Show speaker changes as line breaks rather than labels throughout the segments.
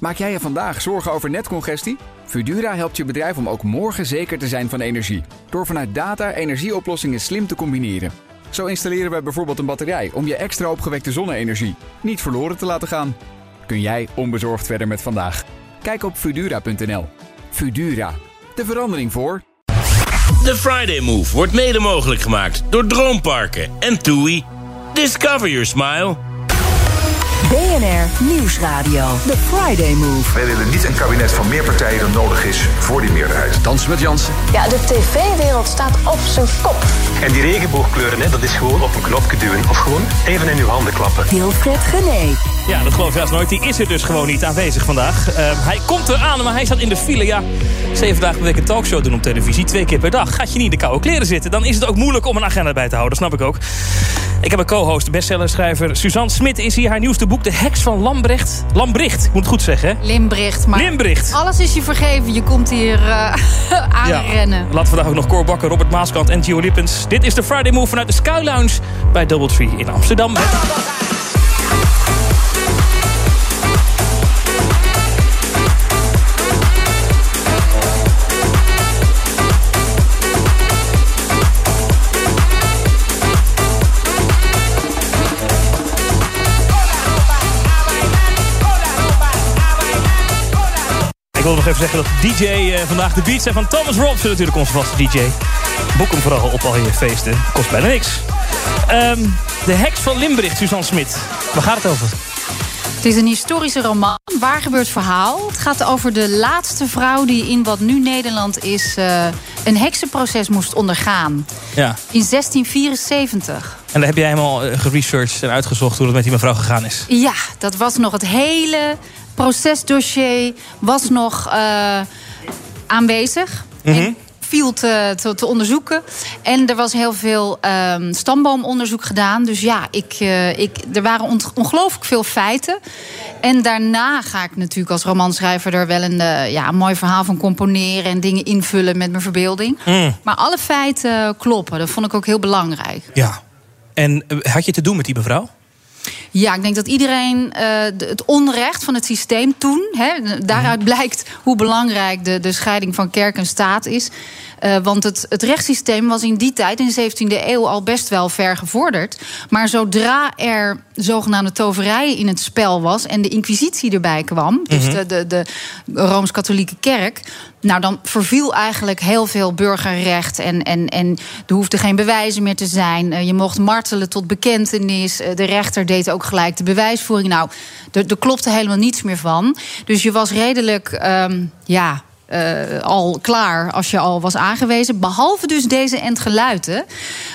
Maak jij je vandaag zorgen over netcongestie? Fudura helpt je bedrijf om ook morgen zeker te zijn van energie. Door vanuit data energieoplossingen slim te combineren. Zo installeren wij bijvoorbeeld een batterij om je extra opgewekte zonne-energie niet verloren te laten gaan. Kun jij onbezorgd verder met vandaag? Kijk op Fudura.nl. Fudura, de verandering voor.
De Friday Move wordt mede mogelijk gemaakt door Droomparken en TUI. Discover your smile.
BNR Nieuwsradio. The Friday Move.
Wij willen niet een kabinet van meer partijen dan nodig is voor die meerderheid.
Dans met Jansen.
Ja, de tv-wereld staat op zijn kop.
En die regenboogkleuren, hè, dat is gewoon op een knopje duwen. Of gewoon even in uw handen klappen.
Wilfred Genee.
Ja, dat geloof je haast nooit. Die is er dus gewoon niet aanwezig vandaag. Eh, hij komt eraan, maar hij staat in de file. Ja, zeven dagen per week een talkshow doen op televisie. Twee keer per dag. Gaat je niet in de koude kleren zitten. Dan is het ook moeilijk om een agenda bij te houden. Dat snap ik ook. Ik heb een co-host, bestsellerschrijver Suzanne Smit is hier. Haar nieuwste boek, De Heks van Lambrecht. Lambrecht, ik moet het goed zeggen. hè?
Limbricht, maar
Limbricht.
alles is je vergeven. Je komt hier eh, aanrennen.
Laten we vandaag ook nog Cor Bakker, Robert Maaskant en Gio Lippens. Dit is de Friday Move vanuit de Sky Lounge bij Doubletree in Amsterdam. Met Ik wil nog even zeggen dat DJ eh, vandaag de beats zijn van Thomas Robson natuurlijk onze vaste DJ. Boek hem vooral op al je feesten. Kost bijna niks. Ehm, de heks van Limbricht, Suzanne Smit. Waar gaat het over?
Het is een historische roman. Waar gebeurt verhaal? Het gaat over de laatste vrouw die in wat nu Nederland is... eh, een heksenproces moest ondergaan.
Ja.
In 1674.
En daar heb jij helemaal eh, geresearched en uitgezocht hoe dat met die mevrouw gegaan is.
Ja, dat was nog het hele procesdossier was nog eh, aanwezig. En viel te, eh, te, te onderzoeken. En er was heel veel ehm, stamboomonderzoek gedaan. Dus ja, ik, eh, ik, er waren ont- ongelooflijk veel feiten. En daarna ga ik natuurlijk als romanschrijver er wel een, eh, ja, een mooi verhaal van componeren... en dingen invullen met mijn verbeelding. Maar alle feiten kloppen. Dat vond ik ook heel belangrijk.
Ja. En eh, had je te doen met die mevrouw?
Ja, ik denk dat iedereen eh, de- het onrecht van het systeem toen... Hè, daaruit blijkt hoe belangrijk de, de scheiding van kerk en staat is. Eh, want het, het rechtssysteem was in die tijd, in de 17e eeuw... al best wel ver gevorderd. Maar zodra er zogenaamde toverij in het spel was... en de inquisitie erbij kwam, dus de, de, de Rooms-Katholieke kerk... nou, dan verviel eigenlijk heel veel burgerrecht... en, en, en er hoefde geen bewijzen meer te zijn. Eh, je mocht martelen tot bekentenis. Eh, de rechter deed ook gelijk de bewijsvoering. Nou, er, er klopte helemaal niets meer van. Dus je was redelijk, ehm, ja... eh, al klaar als je al was aangewezen. Behalve dus deze entgeluiten.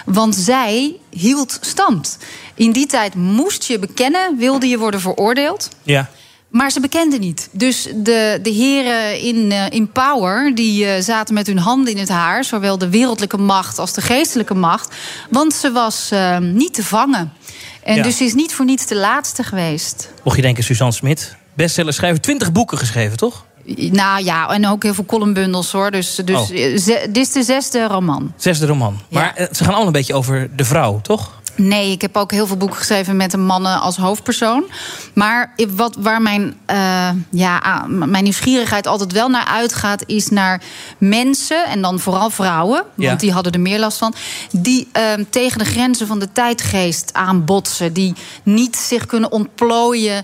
Want zij hield stand. In die tijd moest je bekennen, wilde je worden veroordeeld.
Ja.
Maar ze bekenden niet. Dus de, de heren in, eh, in power, die eh, zaten met hun handen in het haar. Zowel de wereldlijke macht als de geestelijke macht. Want ze was eh, niet te vangen. En
Ja.
dus ze is niet voor niets de laatste geweest.
Mocht je denken, Suzanne Smit. Bestseller schrijver, 20 boeken geschreven, toch?
Nou ja, en ook heel veel columnbundels hoor. Dus, dus
Oh.
eh, ze- dit is de zesde roman.
Zesde roman.
Ja.
Maar eh, ze gaan allemaal een beetje over de vrouw, toch?
Nee, ik heb ook heel veel boeken geschreven met een mannen als hoofdpersoon. Maar ik- wat, waar mijn, eh, ja, ah, m- mijn nieuwsgierigheid altijd wel naar uitgaat, is naar mensen, en dan vooral vrouwen, want
Ja.
die hadden er meer last van, die eh, tegen de grenzen van de tijdgeest aanbotsen, die niet zich kunnen ontplooien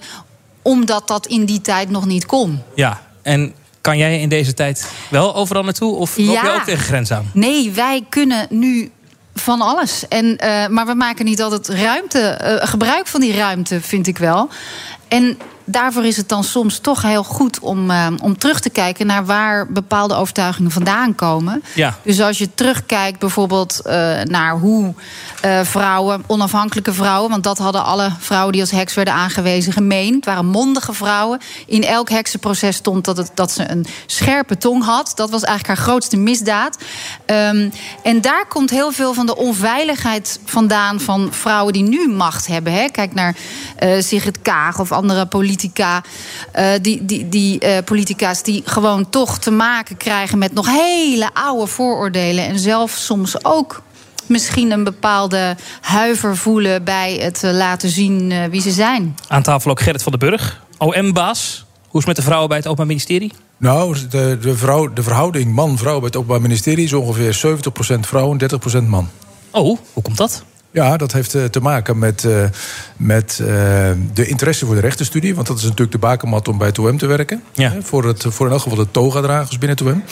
omdat dat in die tijd nog niet kon.
Ja. En kan jij in deze tijd wel overal naartoe? Of loop
Ja.
jij ook tegen grens aan?
Nee, wij kunnen nu van alles. En, eh, maar we maken niet altijd ruimte, eh, gebruik van die ruimte, vind ik wel. En daarvoor is het dan soms toch heel goed om, eh, om terug te kijken naar waar bepaalde overtuigingen vandaan komen.
Ja.
Dus als je terugkijkt bijvoorbeeld eh, naar hoe eh, vrouwen, onafhankelijke vrouwen, want dat hadden alle vrouwen die als heks werden aangewezen gemeen. Het waren mondige vrouwen. In elk heksenproces stond dat, het, dat ze een scherpe tong had. Dat was eigenlijk haar grootste misdaad. Ehm, en daar komt heel veel van de onveiligheid vandaan van vrouwen die nu macht hebben. Hè. Kijk naar eh Sigrid Kaag of andere politica. eh, die die, die eh, politica's die gewoon toch te maken krijgen met nog hele oude vooroordelen. En zelf soms ook misschien een bepaalde huiver voelen bij het eh, laten zien eh, wie ze zijn.
Aan tafel ook Gerrit van den Burg, OM-baas. Hoe is het met de vrouwen bij het Openbaar Ministerie?
Nou, de, de, vrouw, de verhouding man-vrouw bij het Openbaar Ministerie is ongeveer 70% vrouw en 30% man.
Oh, hoe komt dat?
Ja, dat heeft eh, te maken met, eh, met eh, de interesse voor de rechtenstudie. Want dat is natuurlijk de bakermat om bij het OM te werken.
Ja.
Hè, Voor, het, voor in elk geval de toga-dragers binnen het OM.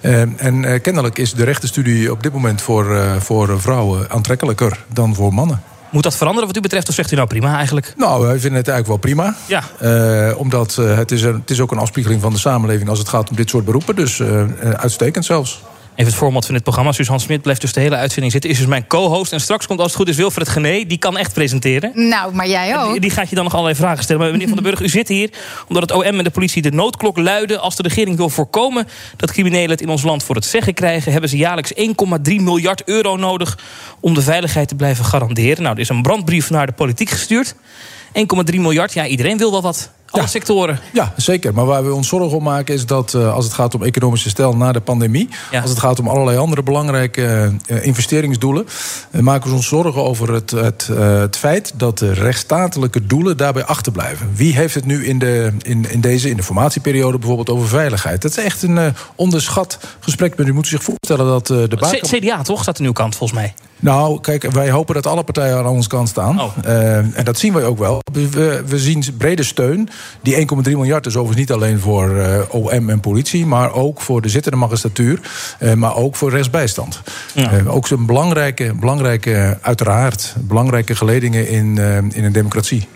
Eh, en eh, kennelijk is de rechtenstudie op dit moment voor, eh, voor vrouwen aantrekkelijker dan voor mannen.
Moet dat veranderen wat u betreft? Of zegt u nou prima eigenlijk?
Nou, wij vinden het eigenlijk wel prima.
Ja.
Eh, omdat eh, het, is een, het is ook een afspiegeling van de samenleving als het gaat om dit soort beroepen. Dus eh, eh, uitstekend zelfs.
Even het format van dit programma. Suzanne Smit blijft dus de hele uitzending zitten. Is dus mijn co-host. En straks komt als het goed is Wilfred Gené. Die kan echt presenteren.
Nou, maar jij ook.
Die, die gaat je dan nog allerlei vragen stellen. Maar meneer Van den Burg, u zit hier omdat het OM en de politie de noodklok luiden. Als de regering wil voorkomen dat criminelen het in ons land voor het zeggen krijgen, hebben ze jaarlijks 1,3 miljard euro nodig om de veiligheid te blijven garanderen. Nou, er is een brandbrief naar de politiek gestuurd. 1,3 miljard, ja, iedereen wil wel wat. Alle
Ja.
sectoren.
Ja, zeker. Maar waar we ons zorgen om maken is dat eh, als het gaat om economische stijl na de pandemie,
Ja.
als het gaat om allerlei andere belangrijke eh, eh, investeringsdoelen, eh, maken we ons zorgen over het, het, eh, het feit dat de rechtsstatelijke doelen daarbij achterblijven. Wie heeft het nu in, de, in, in deze in de formatieperiode bijvoorbeeld over veiligheid? Dat is echt een eh, onderschat gesprek. Maar u moet zich voorstellen dat eh, de
C-
baken...
CDA toch staat aan uw kant volgens mij.
Nou, kijk, wij hopen dat alle partijen aan onze kant staan.
Oh.
Eh, en dat zien wij ook wel. We- We, we zien brede steun. Die 1,3 miljard is overigens niet alleen voor eh, OM en politie... maar ook voor de zittende magistratuur, eh, maar ook voor rechtsbijstand. Eh, ook zo'n belangrijke, belangrijke, uiteraard, belangrijke geledingen in, eh, in een democratie.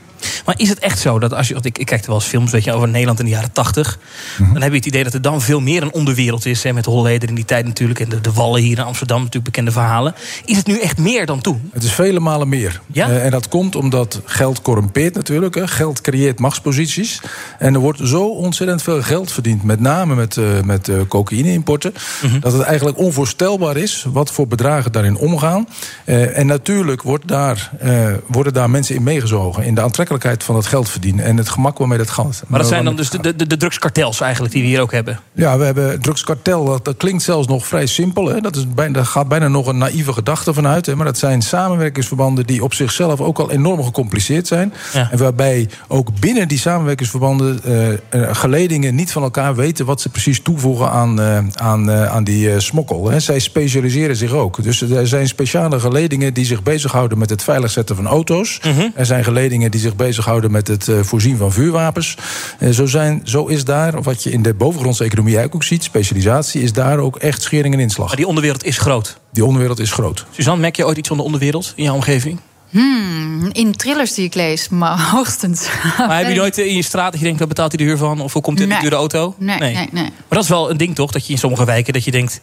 Maar is het echt zo dat als je. want Ik, ik kijk er wel eens films weet je, over Nederland in de jaren tachtig.
Mhm.
Dan heb je het idee dat er dan veel meer een onderwereld is. Hè, met Holleder in die tijd natuurlijk. En de, de Wallen hier in Amsterdam, natuurlijk bekende verhalen. Is het nu echt meer dan toen?
Het is vele malen meer.
Ja?
Eh, en dat komt omdat geld corrumpeert natuurlijk. Hè. Geld creëert machtsposities. En er wordt zo ontzettend veel geld verdiend. Met name met, eh met eh, cocaïne-importen.
Mhm.
Dat het eigenlijk onvoorstelbaar is wat voor bedragen daarin omgaan. Eh, en natuurlijk wordt daar, eh, worden daar mensen in meegezogen. In de aantrekkelijkheid van dat geld verdienen. En het gemak waarmee dat gaat.
Maar dat zijn dan dus de, de, de- de drugskartels eigenlijk die we hier ook hebben.
Ja, we hebben drugskartel. Dat, dat klinkt zelfs nog vrij simpel. Hè? Dat is bijna, daar gaat bijna nog een naïeve gedachte van uit. Hè? Maar dat zijn samenwerkingsverbanden die op zichzelf ook al enorm gecompliceerd zijn.
Ja.
En waarbij ook binnen die samenwerkingsverbanden eh, eh, geledingen niet van elkaar weten wat ze precies toevoegen aan, eh, aan, eh, aan die eh, smokkel. Hè? Zij specialiseren zich ook. Dus er zijn speciale geledingen die zich bezighouden met het veilig zetten van auto's. Er zijn geledingen die zich bezighouden met het eh, voorzien van vuurwapens. Eh, zo, zijn, zo is daar, wat je in de bovengrondse economie eigenlijk ook ziet, specialisatie, is daar ook echt schering en inslag.
Maar die onderwereld is groot.
Die onderwereld is groot.
Suzanne, merk je ooit iets van de onderwereld in jouw omgeving?
Ah, Hmm, In thrillers die ik lees, maar hoogstens.
Maar heb je nooit eh, in je straat dat je denkt, waar betaalt hij de huur van? Of hoe komt dit
Nee.
de dure auto?
Nee, nee, nee.
Maar dat is wel een ding toch, dat je in sommige wijken dat je denkt...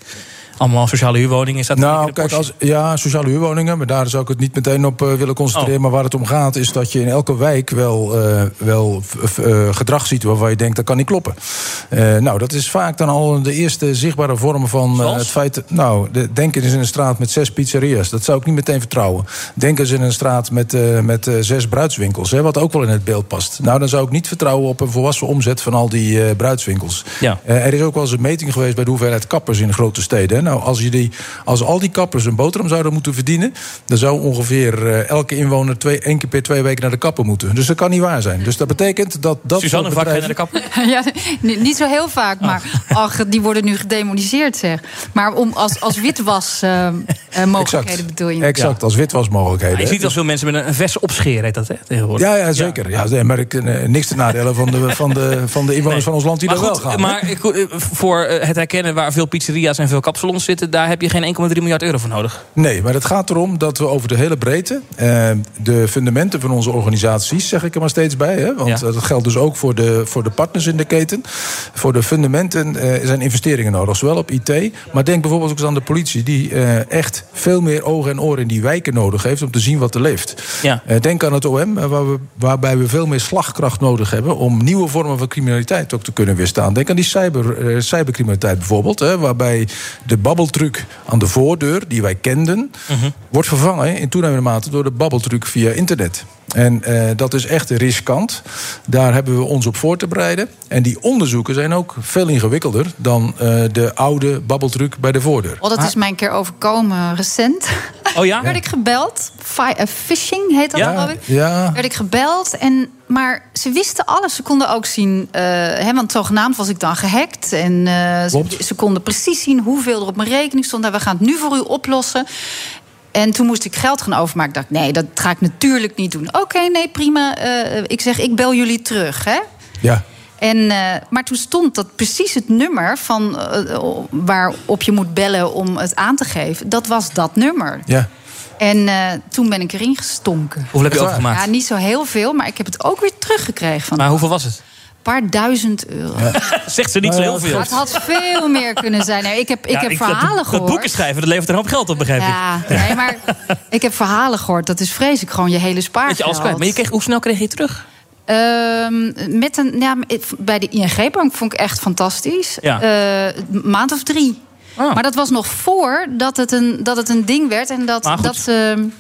allemaal sociale huurwoningen, staat er een
Nou,
keer een
kijk,
Porsche.
als, ja, sociale huurwoningen, maar daar zou ik het niet meteen op eh, willen concentreren.
Oh.
Maar waar het om gaat, is dat je in elke wijk wel, eh, wel v- v- eh, gedrag ziet waarvan je denkt dat kan niet kloppen. Eh, nou, dat is vaak dan al de eerste zichtbare vorm van eh,
Zoals?
het feit. Nou, de, denk eens in een straat met zes pizzeria's. Dat zou ik niet meteen vertrouwen. Denk eens in een straat met, eh, met eh, zes bruidswinkels, hè, wat ook wel in het beeld past. Nou, dan zou ik niet vertrouwen op een volwassen omzet van al die eh, bruidswinkels.
Ja.
Eh, er is ook wel eens een meting geweest bij de hoeveelheid kappers in grote steden. hè. Nou, als, je die, als al die kappers een boterham zouden moeten verdienen, dan zou ongeveer eh, elke inwoner twee, één keer per twee weken naar de kapper moeten. Dus dat kan niet waar zijn. Dus dat betekent dat dat.
Suzanne,
soort
vaak ga je naar de
bedrijven-
kapper?
Ja, nee, niet zo heel vaak,
Oh.
maar ach, die worden nu gedemoniseerd, zeg. Maar om, als, als witwas eh, eh, mogelijkheden
Exact.
bedoel je?
Exact, als witwasmogelijkheden.
Je
hè.
ziet al veel mensen met een vest opscheren, heet dat hè, tegenwoordig.
Ja, ja, zeker. Ja. nee, maar ik, eh, niks te nadelen van de, van de, van de inwoners van ons land die
Maar
daar wel
goed,
gaan. hè.
maar ik- eh, voor eh, het herkennen waar veel pizzeria's en veel kapsalons zitten... daar heb je geen 1,3 miljard euro voor nodig.
Nee, maar het gaat erom dat we over de hele breedte... eh, de fundamenten van onze organisaties, zeg ik er maar steeds bij... Hè, want
Ja.
eh, dat geldt dus ook voor de, voor de partners in de keten. Voor de fundamenten eh, zijn investeringen nodig, zowel op IT... maar denk bijvoorbeeld ook eens aan de politie... die eh, echt veel meer ogen en oren in die wijken nodig heeft... om te zien wat er leeft.
Ja.
Eh, denk aan het OM, eh, waar we, waarbij we veel meer slagkracht nodig hebben... om nieuwe vormen van criminaliteit ook te kunnen weerstaan. Denk aan die cyber, eh, cybercriminaliteit bijvoorbeeld... Hè, waarbij de babbeltruc aan de voordeur, die wij kenden... wordt vervangen in toenemende mate door de babbeltruc via internet. En eh, dat is echt riskant. Daar hebben we ons op voor te bereiden. En die onderzoeken zijn ook veel ingewikkelder... dan eh, de oude babbeltruc bij de voordeur.
Oh, dat is mij een keer overkomen recent.
Oh ja?
werd ik gebeld. Fi- eh, Phishing heet dat,
Ja.
geloof ik.
Ja.
Werd ik gebeld en Maar ze wisten alles. Ze konden ook zien, eh, hè, want zogenaamd was ik dan gehackt. En eh, ze,
Klopt.
ze konden precies zien hoeveel er op mijn rekening stond. Nou, we gaan het nu voor u oplossen. En toen moest ik geld gaan overmaken. Ik dacht, nee, dat ga ik natuurlijk niet doen. Oké, nee, prima. Eh, ik zeg, ik bel jullie terug, hè?
Ja.
En, eh, maar toen stond dat precies het nummer van, eh, waarop je moet bellen om het aan te geven. Dat was dat nummer.
Ja.
En eh, toen ben ik erin gestonken.
Hoeveel heb je
Echt waar?
overgemaakt?
Ja, niet zo heel veel, maar ik heb het ook weer teruggekregen van
Maar
een
hoeveel was het?
paar duizend euro.
Zegt ze niet zo heel veel.
Maar het had veel meer kunnen zijn. Nee, ik heb, ik
Ja,
heb
dat-
verhalen
dat,
gehoord.
Dat boeken schrijven, dat levert een hoop geld op, begrijp ik.
ja, nee, maar ik heb verhalen gehoord. Dat is vreselijk. Gewoon je hele
Dat
spaargeld.
je alles kwijt. Maar je kreeg, hoe snel kreeg je het terug?
Ehm, met een, ja, ik- bij de ING-bank vond ik echt fantastisch.
Ja.
Eh, een maand of drie.
Ah.
Maar dat was nog voor dat het een, dat het een ding werd. En dat,
Maar goed,
dat, ze,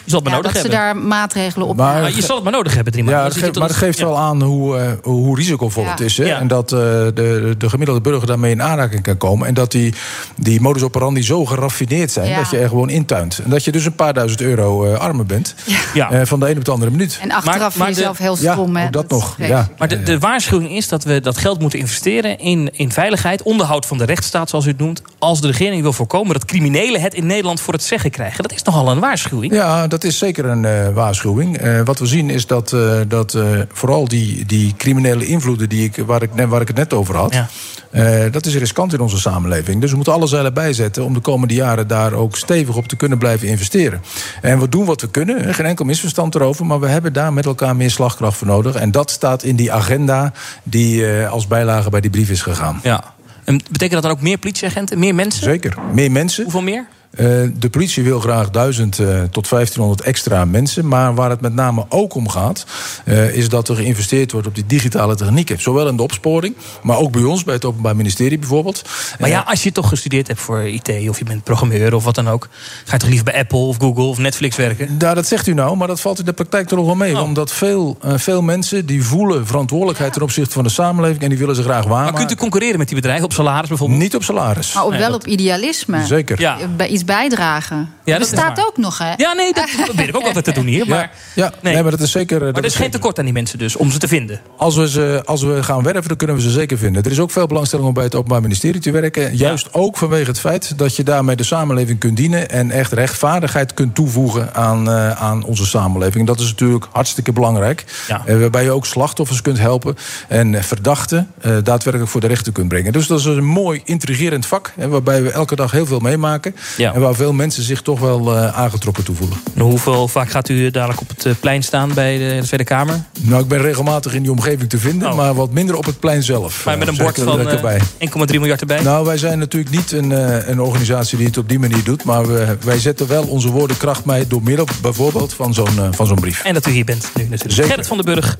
zal het maar
ja,
nodig
dat ze
hebben.
daar maatregelen op
Maar-
Ah, je zal het maar nodig hebben, drie maanden.
Ja, dat
Je
geeft-
zit
maar
tot-
dat geeft
ja.
wel aan hoe, eh, hoe risicovol
Ja.
het is. Hè?
Ja.
En dat eh, de, de gemiddelde burger daarmee in aanraking kan komen. En dat die, die modus operandi zo geraffineerd zijn...
Ja.
dat je er gewoon intuint. En dat je dus een paar duizend euro eh, armer bent.
Ja.
Eh, van de ene op de andere minuut.
En achteraf
Maar-
maar,
maar de-
jezelf heel
Ja,
stom. hè.
ook dat
is
nog,
vreselijk.
ja.
Maar de, de waarschuwing is dat we dat geld moeten investeren in, in veiligheid, onderhoud van de rechtsstaat, zoals u het noemt. Als de regering wil voorkomen dat criminelen het in Nederland voor het zeggen krijgen. Dat is nogal een waarschuwing.
Ja, dat is zeker een eh, waarschuwing. Eh, wat we zien is dat, eh, dat eh, vooral die, die criminele invloeden die ik, waar, ik, net- waar ik het net over had,
Ja.
eh, dat is riskant in onze samenleving. Dus we moeten alle zeilen bijzetten om de komende jaren daar ook stevig op te kunnen blijven investeren. En we doen wat we kunnen, eh, geen enkel misverstand erover, maar we hebben daar met elkaar meer slagkracht voor nodig. En dat staat in die agenda die eh, als bijlage bij die brief is gegaan.
Ja. En betekent dat dan ook meer politieagenten, meer mensen?
Zeker. Meer mensen.
Hoeveel meer?
Eh, de politie wil graag 1000 eh, tot 1500 extra mensen. Maar waar het met name ook om gaat, eh, is dat er geïnvesteerd wordt op die digitale technieken. Zowel in de opsporing, maar ook bij ons, bij het Openbaar Ministerie bijvoorbeeld. Eh,
Maar ja, als je toch gestudeerd hebt voor IT of je bent programmeur of wat dan ook, ga je toch liever bij Apple of Google of Netflix werken?
Ja, dat zegt u nou, maar dat valt in de praktijk toch nog wel mee.
Oh.
Omdat veel, eh, veel mensen die voelen verantwoordelijkheid ten opzichte van de samenleving en die willen ze graag
Maar kunt u
waarmaken.
concurreren met die bedrijven op salaris bijvoorbeeld?
Niet op salaris.
Maar op,
Nee,
wel
dat-
op idealisme.
Zeker.
Ja.
Bij iets bijdragen.
Ja,
dat
dat is
staat
waar.
ook nog, hè?
Ja, nee, dat probeer ik ook altijd te doen hier. Maar,
Ja, ja. Nee. maar dat is zeker.
maar er is geen tekort aan die mensen dus, om ze te vinden.
Als we, ze, als we gaan werven, dan kunnen we ze zeker vinden. Er is ook veel belangstelling om bij het Openbaar Ministerie te werken. Juist ook vanwege het feit dat je daarmee de samenleving kunt dienen. en echt rechtvaardigheid kunt toevoegen aan, eh, aan onze samenleving. En dat is natuurlijk hartstikke belangrijk.
Ja.
Eh, waarbij je ook slachtoffers kunt helpen. en eh, verdachten eh, daadwerkelijk voor de rechter kunt brengen. Dus dat is een mooi, intrigerend vak. hè, waarbij we elke dag heel veel meemaken.
Ja.
en waar veel mensen zich toch wel eh, aangetrokken toe voelen.
En hoeveel vaak gaat u dadelijk op het eh, plein staan bij de Tweede Kamer?
Nou, ik ben regelmatig in die omgeving te vinden.
Oh.
maar wat minder op het plein zelf.
Maar met een
eh, zeg
bord
ik er
van
lekker bij.
eh, 1,3 miljard erbij.
Nou, wij zijn natuurlijk niet een, eh, een organisatie die het op die manier doet. Maar we, wij zetten wel onze woordenkracht mee door middel bijvoorbeeld van zo'n eh, van zo'n brief.
En dat u hier bent nu natuurlijk.
Zeker.
Gerrit van den Burg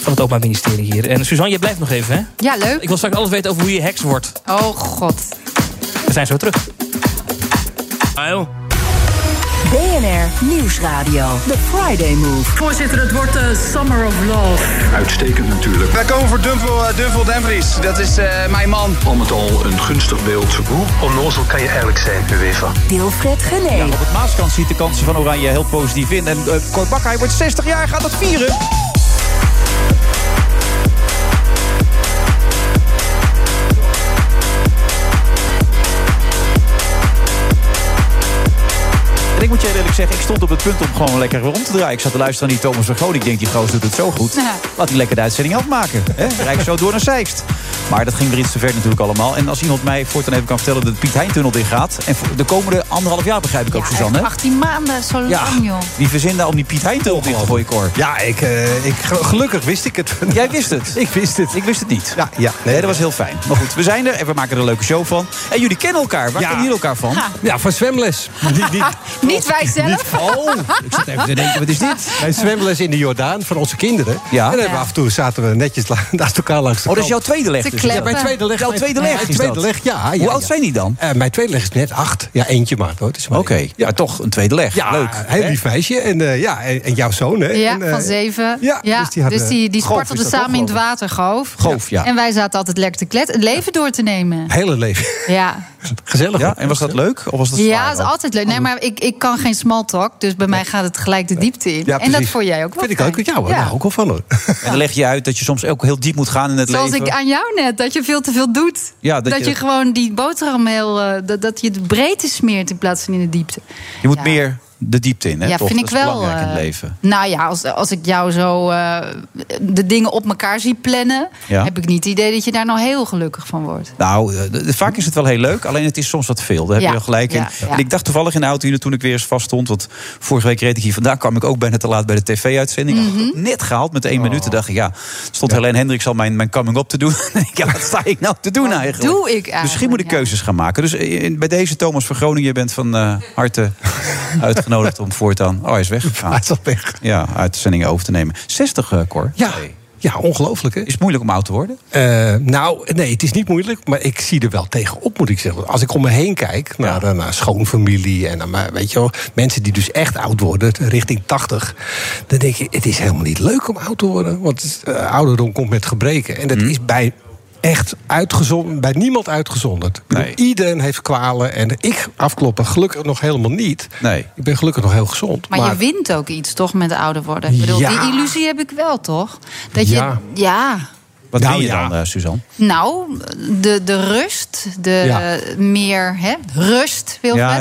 van het Openbaar Ministerie hier. En Suzanne, jij blijft nog even, hè?
Ja, leuk.
Ik wil straks alles weten over hoe je heks wordt.
Oh, god.
We zijn zo terug.
Ail.
BNR Nieuwsradio. The Friday Move.
Voorzitter, het wordt de Summer of Love.
Uitstekend natuurlijk.
Wij komen voor
eh,
Dumfel, Dumfel Dumfries. Dat is eh, mijn man.
Al met al een gunstig beeld. Hoe?
Onnozel kan je eigenlijk zijn, UEFA.
Wilfred Genee.
Op het Maaskant ziet de kansen van Oranje heel positief in. En uh, Kort Bakker, hij wordt 60 jaar, gaat dat vieren. En ik moet je heel eerlijk zeggen, ik stond op het punt om gewoon lekker weer om te draaien. Ik zat te luisteren naar die Thomas van Groot. Ik denk, die gozer doet het zo goed.
Ja.
Laat die lekker de uitzending afmaken. Hè? Rijk zo door naar Zeist. Maar dat ging er iets te ver natuurlijk allemaal. En als iemand mij voortaan even kan vertellen dat de Piet Hein-tunnel dicht gaat... en voor de komende anderhalf jaar begrijp ik ook, Suzanne. hè?
18 maanden, zo lang, joh.
Wie verzin daar om die Piet Hein-tunnel dicht te gooien, Cor?
Ja, ik, eh, ik, gelukkig wist ik het.
Jij wist het.
Ik wist het.
Ik wist het niet.
Ja, ja.
Nee, dat was heel fijn. Maar goed, we zijn er en we maken er een leuke show van. En jullie kennen elkaar. Waar
Ja.
kennen jullie elkaar van?
Ja, van zwemles. Niet, niet,
Niet wij zelf.
Oh, ik zat even te denken, wat is dit?
wij zwemles in de Jordaan van onze kinderen.
Ja.
En dan hebben
Ja.
we af en toe zaten we netjes la- naast elkaar langs de
Oh, dat is
kant.
jouw tweede leg.
Te
dus.
kleppen.
Mijn tweede leg.
Jouw tweede leg
Mijn
is
tweede
dat.
leg, ja. ja,
Hoe oud
ja.
zijn die dan?
Eh, mijn tweede leg is net acht. Ja, eentje maar. Hoor. Het is maar
Oké,
één.
maar toch een tweede leg.
Ja,
Leuk.
Heel lief meisje. En, eh, ja, en, en jouw zoon, hè?
Ja,
En, eh,
van zeven.
Ja, dus die, hadden-
die, die
Goof is
spartelde
dat
samen in het
ongelooflijk.
water, goof.
Goof, ja.
En wij zaten altijd lekker te kletsen. Het leven door te nemen.
Hele leven.
Ja.
Gezellig.
Ja, en was dat leuk? Of was dat
Ja, dat is altijd leuk. Nee, maar ik, ik kan geen small talk, dus bij mij gaat het gelijk de diepte in. en dat
precies.
vond jij ook wel. fijn.
ook nou. wel van.
En dan leg je uit dat je soms ook heel diep moet gaan in het
Zoals
leven.
ik aan jou net, dat je veel te veel doet.
Ja,
dat, je, gewoon die boterham heel. eh, dat, dat je de breedte smeert in plaats van in de diepte.
Je moet
Ja.
meer de diepte in, hè?
Ja,
toch?
vind
dat
ik
is
wel,
belangrijk in het
eh,
leven.
Nou ja, als, als ik jou zo eh, de dingen op elkaar zie plannen,
Ja.
heb ik niet het idee dat je daar nou heel gelukkig van wordt.
Nou, eh, d- d- vaak is het wel heel leuk, alleen het is soms wat veel. Daar heb
Ja,
je wel gelijk in.
ja, ja.
En ik dacht toevallig in de auto hier toen ik weer eens vast stond. Want vorige week reed ik hier vandaan, kwam ik ook bijna te laat bij de tv-uitzending.
Mhm.
Had ik het Net gehaald met één
Oh.
minuut. Toen dacht ik, ja, stond Helene Hendricks al mijn, mijn coming-up te doen. ja, wat sta ik nou te doen eigenlijk?
doe ik eigenlijk,
Misschien moet ik keuzes gaan maken. Dus eh, in- bij deze Thomas van Groningen, je bent van eh, harte uitgenodigd om voortaan... Oh, hij is weggegaan. Hij is
al weg.
Ja, uitzendingen over te nemen. 60, eh, Cor.
Ja, ja ongelooflijk hè. Is
het moeilijk om oud te worden?
nou, nee, het is niet moeilijk. Maar ik zie er wel tegenop, moet ik zeggen. Als ik om me heen kijk, naar, eh, naar schoonfamilie en naar, mijn- weet je wel, mensen die dus echt oud worden, richting 80. Dan denk ik, het is helemaal niet leuk om oud te worden. Want eh, ouderdom komt met gebreken. En
Hm.
dat is bij echt uitgezonderd, bij niemand uitgezonderd. Ik bedoel, Iedereen heeft kwalen. En ik afkloppen gelukkig nog helemaal niet.
Nee.
Ik ben gelukkig nog heel gezond.
Maar, je wint ook iets toch met ouder worden. Ik bedoel,
Ja.
die illusie heb ik wel toch? Dat je,
Ja.
ja.
Wat
Nou,
doe je
ja.
dan, eh, Suzanne?
Nou, de, de rust, de
Ja.
eh, meer hè, rust, Wilfred. Eh,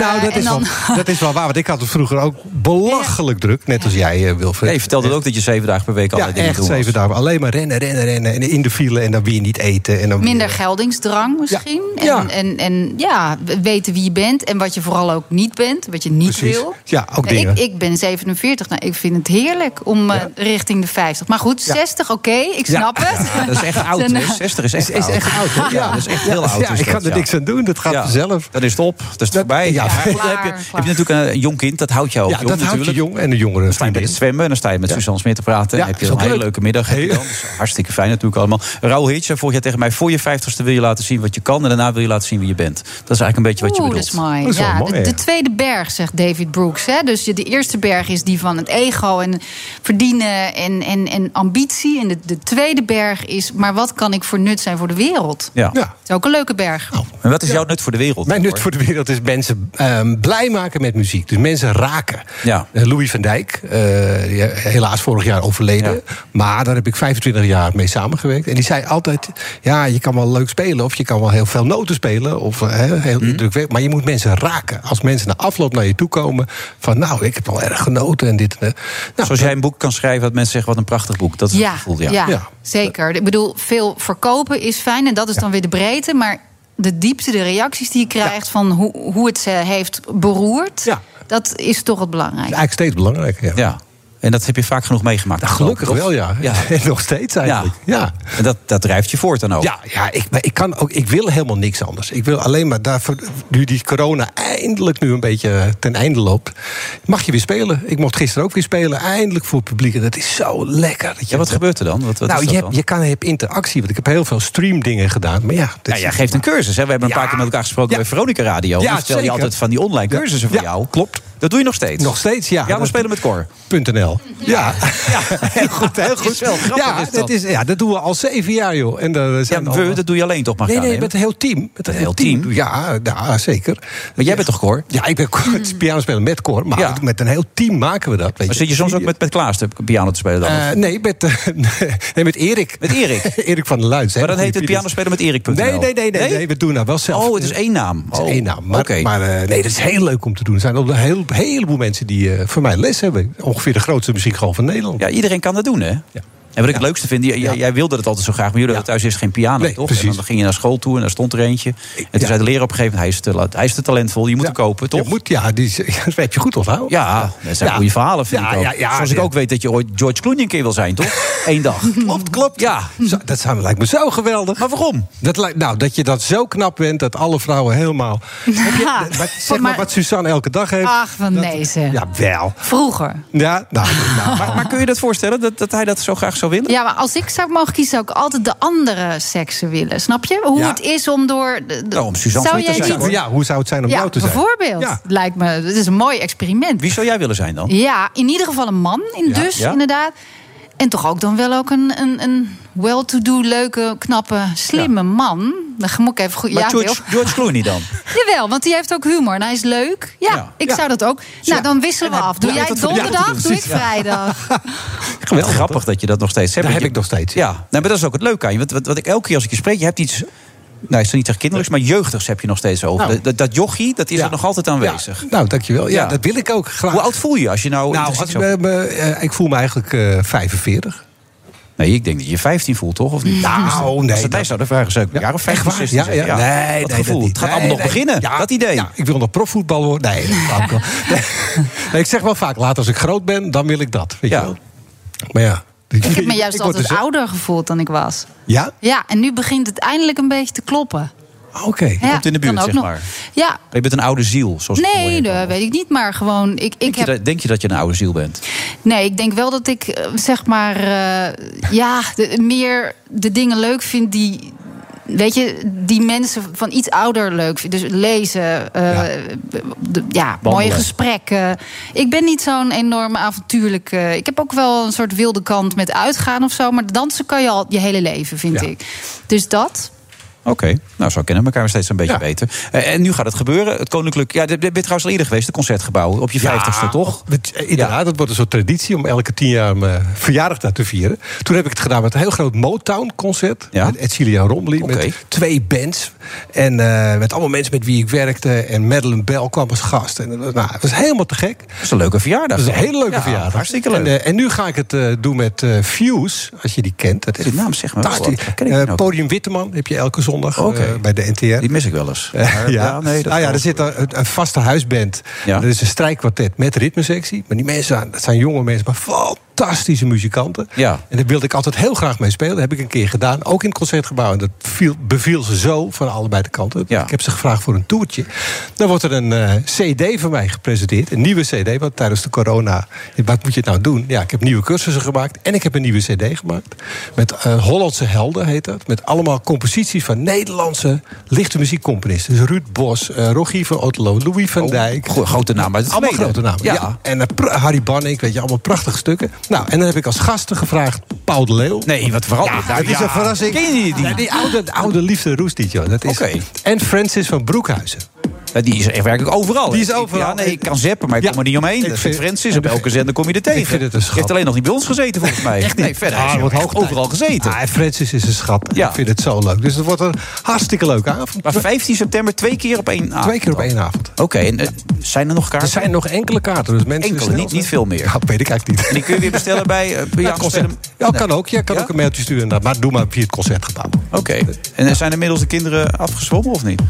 nou, dat
en
is,
dan-
wel, dat is wel waar. Want ik had het vroeger ook belachelijk druk. Net als jij, eh, Wilfred.
Nee, je vertelde ook dat je zeven dagen per week
ja,
allerlei dingen
echt
doen was.
zeven dagen. Alleen maar rennen, rennen, rennen. En in de file en dan weer niet eten.
Oh.
En dan weer-
Minder geldingsdrang misschien. En, en, en ja, weten wie je bent en wat je vooral ook niet bent, wat je niet
Precies.
wil.
Ja, ook
Nee,
dingen.
ik, ik ben 47, nou, ik vind het heerlijk om eh, richting de 50. Maar goed,
Ja.
60, oké, ik
Ja.
snap het.
Ja, dat is echt oud,
En,
hè?
eh,
60 Dus is echt
is
oud.
echt oud, hè?
ja.
Ja.
dat is echt
Ja,
heel oud.
ja,
is
ik
dat,
kan er niks aan doen, dat gaat vanzelf.
Dan is het op, dat is het voorbij.
ja,
Ja,
klaar,
dan heb, je, heb je natuurlijk een eh, jong kind, dat houdt jou ook
Ja,
jong
dat houdt je
natuurlijk.
jong en een jongere
Dan sta je bij het zwemmen en dan sta je met Suzanne Smit te praten.
Ja,
en heb je
is
een
ook
hele
leuk.
leuke middag. heb je dan. Dat is hartstikke fijn natuurlijk allemaal. Raoul Hitch zei vorig jaar tegen mij, voor je vijftigste wil je laten zien wat je kan... en daarna wil je laten zien wie je bent. Dat is eigenlijk een beetje wat je
Oeh, dat
bedoelt.
is mooi. ja, de, de tweede berg, zegt David Brooks. Hè? Dus je- de eerste berg is die van het ego en verdienen en, en, en ambitie. En de, de tweede berg is, maar wat kan ik voor nut zijn voor de wereld?
Ja.
Dat is ook een leuke berg.
En wat is jouw nut voor de wereld?
Mijn nut voor de wereld is mensen ehm, blij maken met muziek. Dus mensen raken.
Ja.
Eh, Louis van Dijk, eh, ja, helaas vorig jaar overleden. Maar daar heb ik 25 jaar mee samengewerkt. En die zei altijd, ja, je kan wel leuk spelen... of je kan wel heel veel noten spelen, of eh, hè, heel
Mhm.
indrukwekkend, maar je moet mensen raken. Als mensen na afloop naar je toe komen... van nou, ik heb wel erg genoten en dit en dat. Nou,
Zoals jij een boek kan schrijven dat mensen zeggen, wat een prachtig boek. Dat is het gevoel,
ja. zeker. Ik bedoel, veel verkopen is fijn en dat is dan weer de breedte. Maar de diepte, de reacties die je krijgt van hoe, hoe het ze heeft beroerd, dat is toch het belangrijkste.
Eigenlijk steeds belangrijker, ja.
En dat heb je vaak genoeg meegemaakt.
Gelukkig
toch?
wel, ja.
Ja.
En nog steeds eigenlijk. Ja.
En dat, dat drijft je voort dan ook.
Ja, ja ik, maar ik, kan ook, ik wil helemaal niks anders. Ik wil alleen maar, daarvoor, nu die corona eindelijk nu een beetje ten einde loopt... mag je weer spelen. Ik mocht gisteren ook weer spelen. Eindelijk voor het publiek. En dat is zo lekker. Dat je
Ja, wat gebeurt er dan? Wat, wat
nou,
is
je,
dat
hebt-
dan?
je kan je hebt interactie. Want ik heb heel veel streamdingen gedaan. Maar ja, dat
Ja,
is-
Nou, jij geeft een cursus. Hè? We hebben een paar keer met elkaar gesproken bij Veronica Radio.
Ja,
Ja, stel je
zeker.
altijd van die online cursussen voor jou. Klopt. Dat doe je nog steeds.
Nog steeds, ja.
Ja, we
Dat-
spelen met Cor.
.nl. Ja. heel goed, heel goed.
wel grappig,
ja,
is dat.
is, ja, dat doen we al zeven jaar, joh. En daar zijn
Ja, we,
allemaal-
dat doe je alleen toch maar
nee,
gaan,
nee,
hè?
met een heel team. Met een heel team. Ja, ja, zeker.
Maar jij bent toch Cor?
Ja, ik ben het piano spelen met koor, maar
Ja.
met een heel team maken we dat. Weet
Maar
je.
zit je soms ook met, met Klaas te piano te spelen dan?
Eh, nee, met, eh, nee, met Erik.
Met Erik?
Erik van der Luijs.
maar dan heet het piano spelen met Erik.nl.
Nee, nee, nee, nee, nee, we doen dat wel zelf.
Oh, het is één naam.
Het is
Oh,
één naam. Maar,
oké.
maar eh, nee, dat is heel leuk om te doen. Er zijn al een heel, heleboel mensen die eh, voor mij les hebben. Ongeveer de grootste muziekschool van Nederland.
Ja, iedereen kan dat doen, hè? En wat ik het leukste vind, jij, jij- jij wilde dat altijd zo graag, maar jullie hadden thuis eerst geen piano,
Nee,
toch?
precies.
En dan ging je naar school toe en daar stond er eentje. En toen
ja.
zei de leraar op een gegeven moment, hij is te, la- hij is te talentvol, je moet hem kopen, toch?
Je moet, ja, die, is- dat heb je goed onthouden.
Ja, dat zijn
Ja.
goede verhalen, vind
Ja,
ik ook.
ja, ja,
Zoals ik
ja.
ook weet dat je ooit George Clooney een keer wil zijn, toch? Eén dag.
Klopt, klopt.
Ja.
Zo- Dat zou, lijkt me zo geweldig.
Maar waarom?
Dat, lijkt- nou, dat je dat zo knap bent dat alle vrouwen helemaal. Heb je-
Ja.
wat- zeg maar
Maar-
wat Suzanne elke dag heeft.
Ah.
Ach, van deze.
Ja, wel.
Vroeger.
Ja, nou, nou,
Maar, maar kun je dat voorstellen, dat, dat hij dat zo graag zou willen?
Ja, maar als ik zou mogen kiezen, zou ik altijd de andere seksen willen. Snap je? Hoe
Ja.
het is om door. de- de-
Nou, om Suzanne
zou
voor je
jij
te zijn,
niet?
ja, hoe zou het zijn om
Ja,
jou te zijn?
bijvoorbeeld.
Ja.
Lijkt me. Het is een mooi experiment.
Wie zou jij willen zijn dan?
Ja, in ieder geval een man, in
Ja,
dus
ja.
inderdaad. En toch ook dan wel ook een, een, een well-to-do, leuke, knappe, slimme man. Dan moet ik even goed...
Maar
ja,
George,
Wil.
George Clooney dan?
Jawel, want die heeft ook humor en hij is leuk. Ja, ik zou dat ook.
Dus
Nou, dan wisselen we af. Doe jij
blijft dat voor jou te
donderdag,
doen.
doe ik
Ja.
vrijdag.
Geweldig. grappig dat je dat nog steeds hebt.
Dat heb
Want je-
ik nog steeds.
Ja, nou, maar dat is ook het leuke aan je. Want wat, wat ik elke keer als ik je spreek, je hebt iets... Nou, is er niet echt kinderlijks, maar jeugdigs heb je nog steeds over.
Nou.
Dat, dat jochie, dat is
Ja.
er nog altijd aanwezig.
Nou, dankjewel. Ja, dat wil ik ook graag.
Hoe oud voel je als je nou...
Nou,
als
als ik, me- me- eh, ik voel me eigenlijk eh 45.
Nee, ik denk dat je 15 voelt, toch? Of niet? Dus, eh,
Nou, nee,
Als dat mij
dat-
zou de vraag zijn, ja, of 15,
Echt waar?
16
Ja,
zeggen.
ja. Nee,
dat
nee,
gevoel.
dat niet.
het gaat
Nee,
allemaal nog
nee.
beginnen.
Ja,
dat idee.
ja, ik wil nog profvoetbal worden. Nee, dat kan ik wel. nee, ik zeg wel vaak, later als ik groot ben, dan wil ik dat. Weet
Ja.
je wel? Maar ja.
Ik heb me juist
word
altijd
dus-
ouder gevoeld dan ik was.
Ja?
Ja, en nu begint het eindelijk een beetje te kloppen.
Ah, Oké.
Ja,
komt in de buurt,
kan ook
zeg
nog.
maar.
Ja,
Je bent een oude ziel, zoals het
nee,
mooi heet.
dat weet ik niet. Maar gewoon, ik, ik
Denk
heb
je dat- Denk je dat je een oude ziel bent?
Nee, ik denk wel dat ik eh, zeg maar eh, ja, de- meer de dingen leuk vind die. Weet je, die mensen van iets ouder leuk vinden. Dus lezen, eh, de- ja, mooie gesprekken. Ik ben niet zo'n enorme avontuurlijke... Ik heb ook wel een soort wilde kant met uitgaan of zo. Maar dansen kan je al je hele leven, vind
Ja.
ik. Dus dat...
Oké, nou zo kennen we elkaar steeds een beetje
Ja.
beter. Eh, en nu gaat het gebeuren. Het Koninklijk. Ja, dit dit bent trouwens al eerder geweest, het concertgebouw. Op je vijftigste, toch?
Het- eh, Inderdaad, het wordt een soort traditie om elke tien jaar mijn verjaardag daar te vieren. Toen heb ik het gedaan met een heel groot Motown-concert.
Ja.
Met Ed Sheeran Romley,
Oké.
met twee bands. En eh, met allemaal mensen met wie ik werkte. En Madeleine Bell kwam als gast. En, eh, nou, het was helemaal te gek.
Dat is een leuke verjaardag.
Dat is een hele leuke
Ja,
verjaardag.
Hartstikke leuk.
En, eh, en nu ga ik het eh, doen met eh, Fuse, als je die kent. Dat is
Die naam zegt me wel wat.
fantastisch.
Ken ik
Eh,
die ook?
Podium Witteman heb je elke zondag eh,
Oké.
bij de NTR.
Die mis ik wel eens.
Ja,
Maar, ja, nee, dat
ah, ja,
wel.
er zit een, een vaste huisband.
Ja.
Er is een strijkkwartet met ritmesectie. Maar die mensen, zijn- dat zijn jonge mensen, maar fantastische muzikanten.
Ja.
En daar wilde ik altijd heel graag mee spelen. Dat heb ik een keer gedaan, ook in het concertgebouw. En dat viel, beviel ze zo van allebei de kanten.
Ja.
Ik heb ze gevraagd voor een toertje. Dan wordt er een eh, cd van mij gepresenteerd. Een nieuwe cd, want tijdens de corona... Wat moet je het nou doen? Ja, ik heb nieuwe cursussen gemaakt. En ik heb een nieuwe cd gemaakt. Met eh, Hollandse helden, heet dat. Met allemaal composities van Nederlandse lichte muziekcomponisten. Dus Ruud Bos, eh Rogier van Otterlo, Louis van Dijk.
Go- grote namen uit het
Allemaal
verleden.
grote namen, ja.
Ja.
En eh, pra- Harry Banning, weet je, allemaal prachtige stukken. Nou, en dan heb ik als gasten gevraagd Paul de Leeuw.
Nee, wat vooral.
Ja, dat is een verrassing.
Ken je die?
Ja, die oude, de oude liefde roestiet, joh. Dat is
Oké.
En Francis van Broekhuizen.
Ja, die is echt werkelijk overal.
Die is
Ik-
overal.
Ja, nee, ik kan zeppen, maar ik
Ja.
kom er niet omheen.
Ik
Dat
vind-
vindt Francis. Op elke zender kom je er tegen.
vind het een
Die heeft
schat.
alleen nog niet bij ons gezeten, volgens mij. echt Nee, verder. Hij
Ah,
is
wordt
echt
hoog tijd.
overal gezeten.
Ah, en Francis is een schat.
Ja.
Ik vind het zo leuk. Dus het wordt een hartstikke leuke avond.
Maar 15 september twee keer op één avond.
Twee keer op één avond.
Oké, en eh, zijn er nog kaarten?
Er zijn nog enkele kaarten. Dus mensen
Enkele,
snel
niet-
zijn.
niet veel meer.
Nou, weet ik eigenlijk niet.
En die kun je weer bestellen bij... eh, bij
Ja,
Jan
concert.
Spelen-
Ja,
Nee.
kan ook. Je kan ook een mailtje sturen. inderdaad. Maar doe maar via het concertgebouw.
Oké. En eh, zijn inmiddels de kinderen afgezwommen of niet?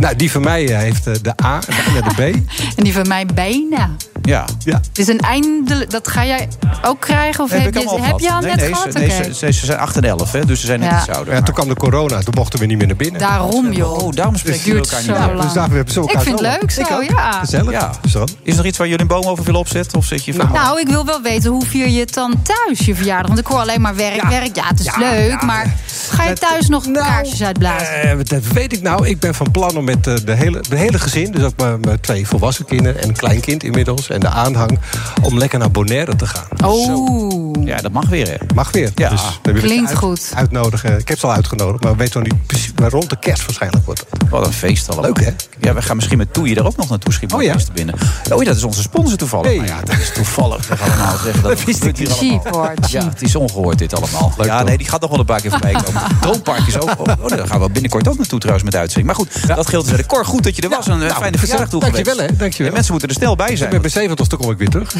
Nou, die van mij eh, heeft eh, de A en de B.
En die van mij bijna.
Ja.
Ja.
Het is een eindelijk... Dat ga jij ook krijgen? Of
Nee, ik
heb,
allemaal
je, heb je al
gehad.
net
nee, nee,
gehad?
Ze, nee,
Oké.
ze, ze- ze zijn 8 en 11, hè, dus ze zijn net
Ja.
iets ouder.
Ja, toen kwam de corona. Toen mochten we niet meer naar binnen.
Daarom, joh.
Oh, daarom spreken
Het duurt
jullie elkaar niet
zo
meer.
lang.
Dus daar we hebben ze elkaar
Ik vind het
wel.
leuk zo,
Ik ook.
ja.
Gezellig.
Ja.
Zo.
Is er iets waar jullie een boom over willen opzetten? Of zit je van...
Nou, ik wil wel weten hoe vier je het dan thuis, je verjaardag. Want ik hoor alleen maar werk, werk. Ja, Nou. het is leuk, maar ga je thuis nog kaarsjes uitblazen?
Eh, dat weet ik nou. Ik ben van plan om met eh, de hele, de hele gezin... dus ook mijn, mijn twee volwassen kinderen en een kleinkind inmiddels... en de aanhang, om lekker naar Bonaire te gaan.
oh,
Ja, dat mag weer, hè?
Mag weer.
Ja.
Dus daar wil ik
Klinkt
uit-
goed.
Uitnodigen. Ik heb ze al uitgenodigd, maar weet nog niet precies... maar rond de kerst waarschijnlijk wordt het.
Wat een feest allemaal.
Leuk, hè?
Ja, we gaan misschien met Toei er ook nog naartoe schieten.
Oh, ja?
Feesten binnen. Oh, dat is onze sponsor toevallig.
Hey.
Nou ja, dat is toevallig. We gaan allemaal zeggen dat het
wist
gebeurt hier
cheap
allemaal.
hoor, cheap.
Ja, het is ongehoord dit allemaal. ja,
toch?
nee, die gaat nog wel een paar keer voorbij komen. Droompark is ook... Oh, oh, daar gaan we binnenkort ook naartoe trouwens met de uitzending. Maar goed, dat geldt dus. Cor, goed dat je er was. en Een fijne verjaardag toe gewenst.
Nou, dankjewel, hè, dankjewel.
En mensen moeten er snel bij
Ik
zijn.
ben bij 70, dan kom ik weer terug.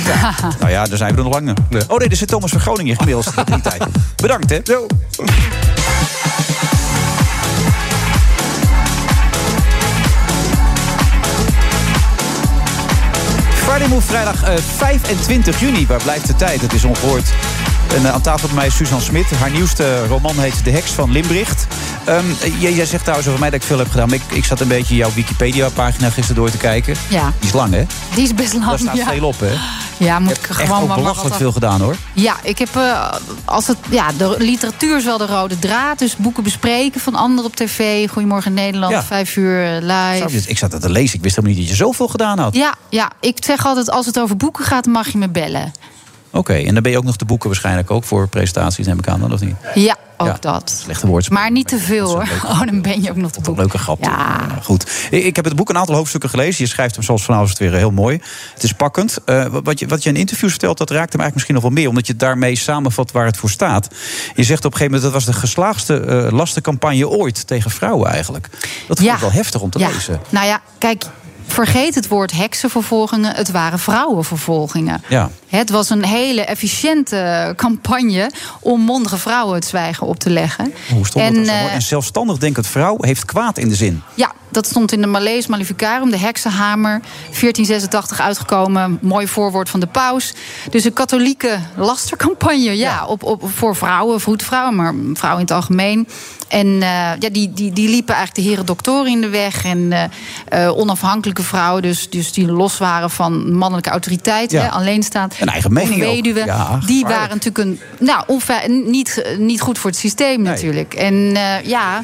Nou ja, daar zijn we er nog langer.
Nee.
Oh nee, er zit Thomas van Groningen inmiddels in die tijd. Bedankt, hè. Friday Move vrijdag eh, 25 juni. Waar blijft de tijd? Het is ongehoord. En eh, aan tafel bij mij is Suzanne Smit. Haar nieuwste roman heet De Heks van Limbricht. Ehm, eh, jij, jij zegt trouwens over mij dat ik veel heb gedaan. Maar ik, ik zat een beetje jouw Wikipedia-pagina gisteren door te kijken.
Ja.
Die is lang, hè?
die is best
Daar
lang.
staat
ja.
veel op, hè?
ja, moet ik
Echt
gewoon
ook
maar
belachelijk
wat-
veel gedaan, hoor.
Ja, ik heb eh, als het, ja, de literatuur is wel de rode draad. Dus boeken bespreken van anderen op tv. Goedemorgen Nederland,
Ja.
vijf uur eh, live.
Snap je? dus Ik zat dat te lezen. Ik wist helemaal niet dat je zoveel gedaan had.
Ja, ja, ik zeg altijd, als het over boeken gaat, mag je me bellen.
Oké, en dan ben je ook nog te boeken waarschijnlijk ook voor presentaties, neem ik aan, dan of niet?
Ja, ook
Ja,
dat.
Slechte woordspeling.
Maar niet te veel hoor. Oh, dan ben je ook nog te boek.
Leuke grap. Ja, goed. Ik, ik heb het boek een aantal hoofdstukken gelezen. Je schrijft hem zoals vanavond weer eh, heel mooi. Het is pakkend. Eh, wat- wat, je, wat je in interviews vertelt, dat raakt hem eigenlijk misschien nog wel meer. Omdat je daarmee samenvat waar het voor staat. Je zegt op een gegeven moment, dat was de geslaagste eh, lastencampagne ooit tegen vrouwen eigenlijk. Dat vond ik wel heftig om te
Ja.
lezen.
Nou ja, kijk, vergeet het woord heksenvervolgingen. Het waren vrouwenvervolgingen.
Ja.
Het was een hele efficiënte campagne om mondige vrouwen het zwijgen op te leggen.
Hoe stond
en,
dat? dan zo
eh,
mooi? Een zelfstandig denkend vrouw heeft kwaad in de zin.
Ja, dat stond in de Malees Maleficarum, de heksenhamer. 1486 uitgekomen, mooi voorwoord van de paus. Dus een katholieke lastercampagne ja, Op, op, voor vrouwen, vroedvrouwen, maar vrouwen in het algemeen. En eh, ja, die, die, die liepen eigenlijk de heren doktoren in de weg. En eh, eh, onafhankelijke vrouwen, dus, dus die los waren van mannelijke autoriteit.
Ja.
Hè, alleenstaand.
Een eigen
Of
mening ook.
weduwen.
Ja,
die
gevaarlijk.
waren natuurlijk een, nou, onfe- niet, ge- niet goed voor het systeem natuurlijk. En eh, ja,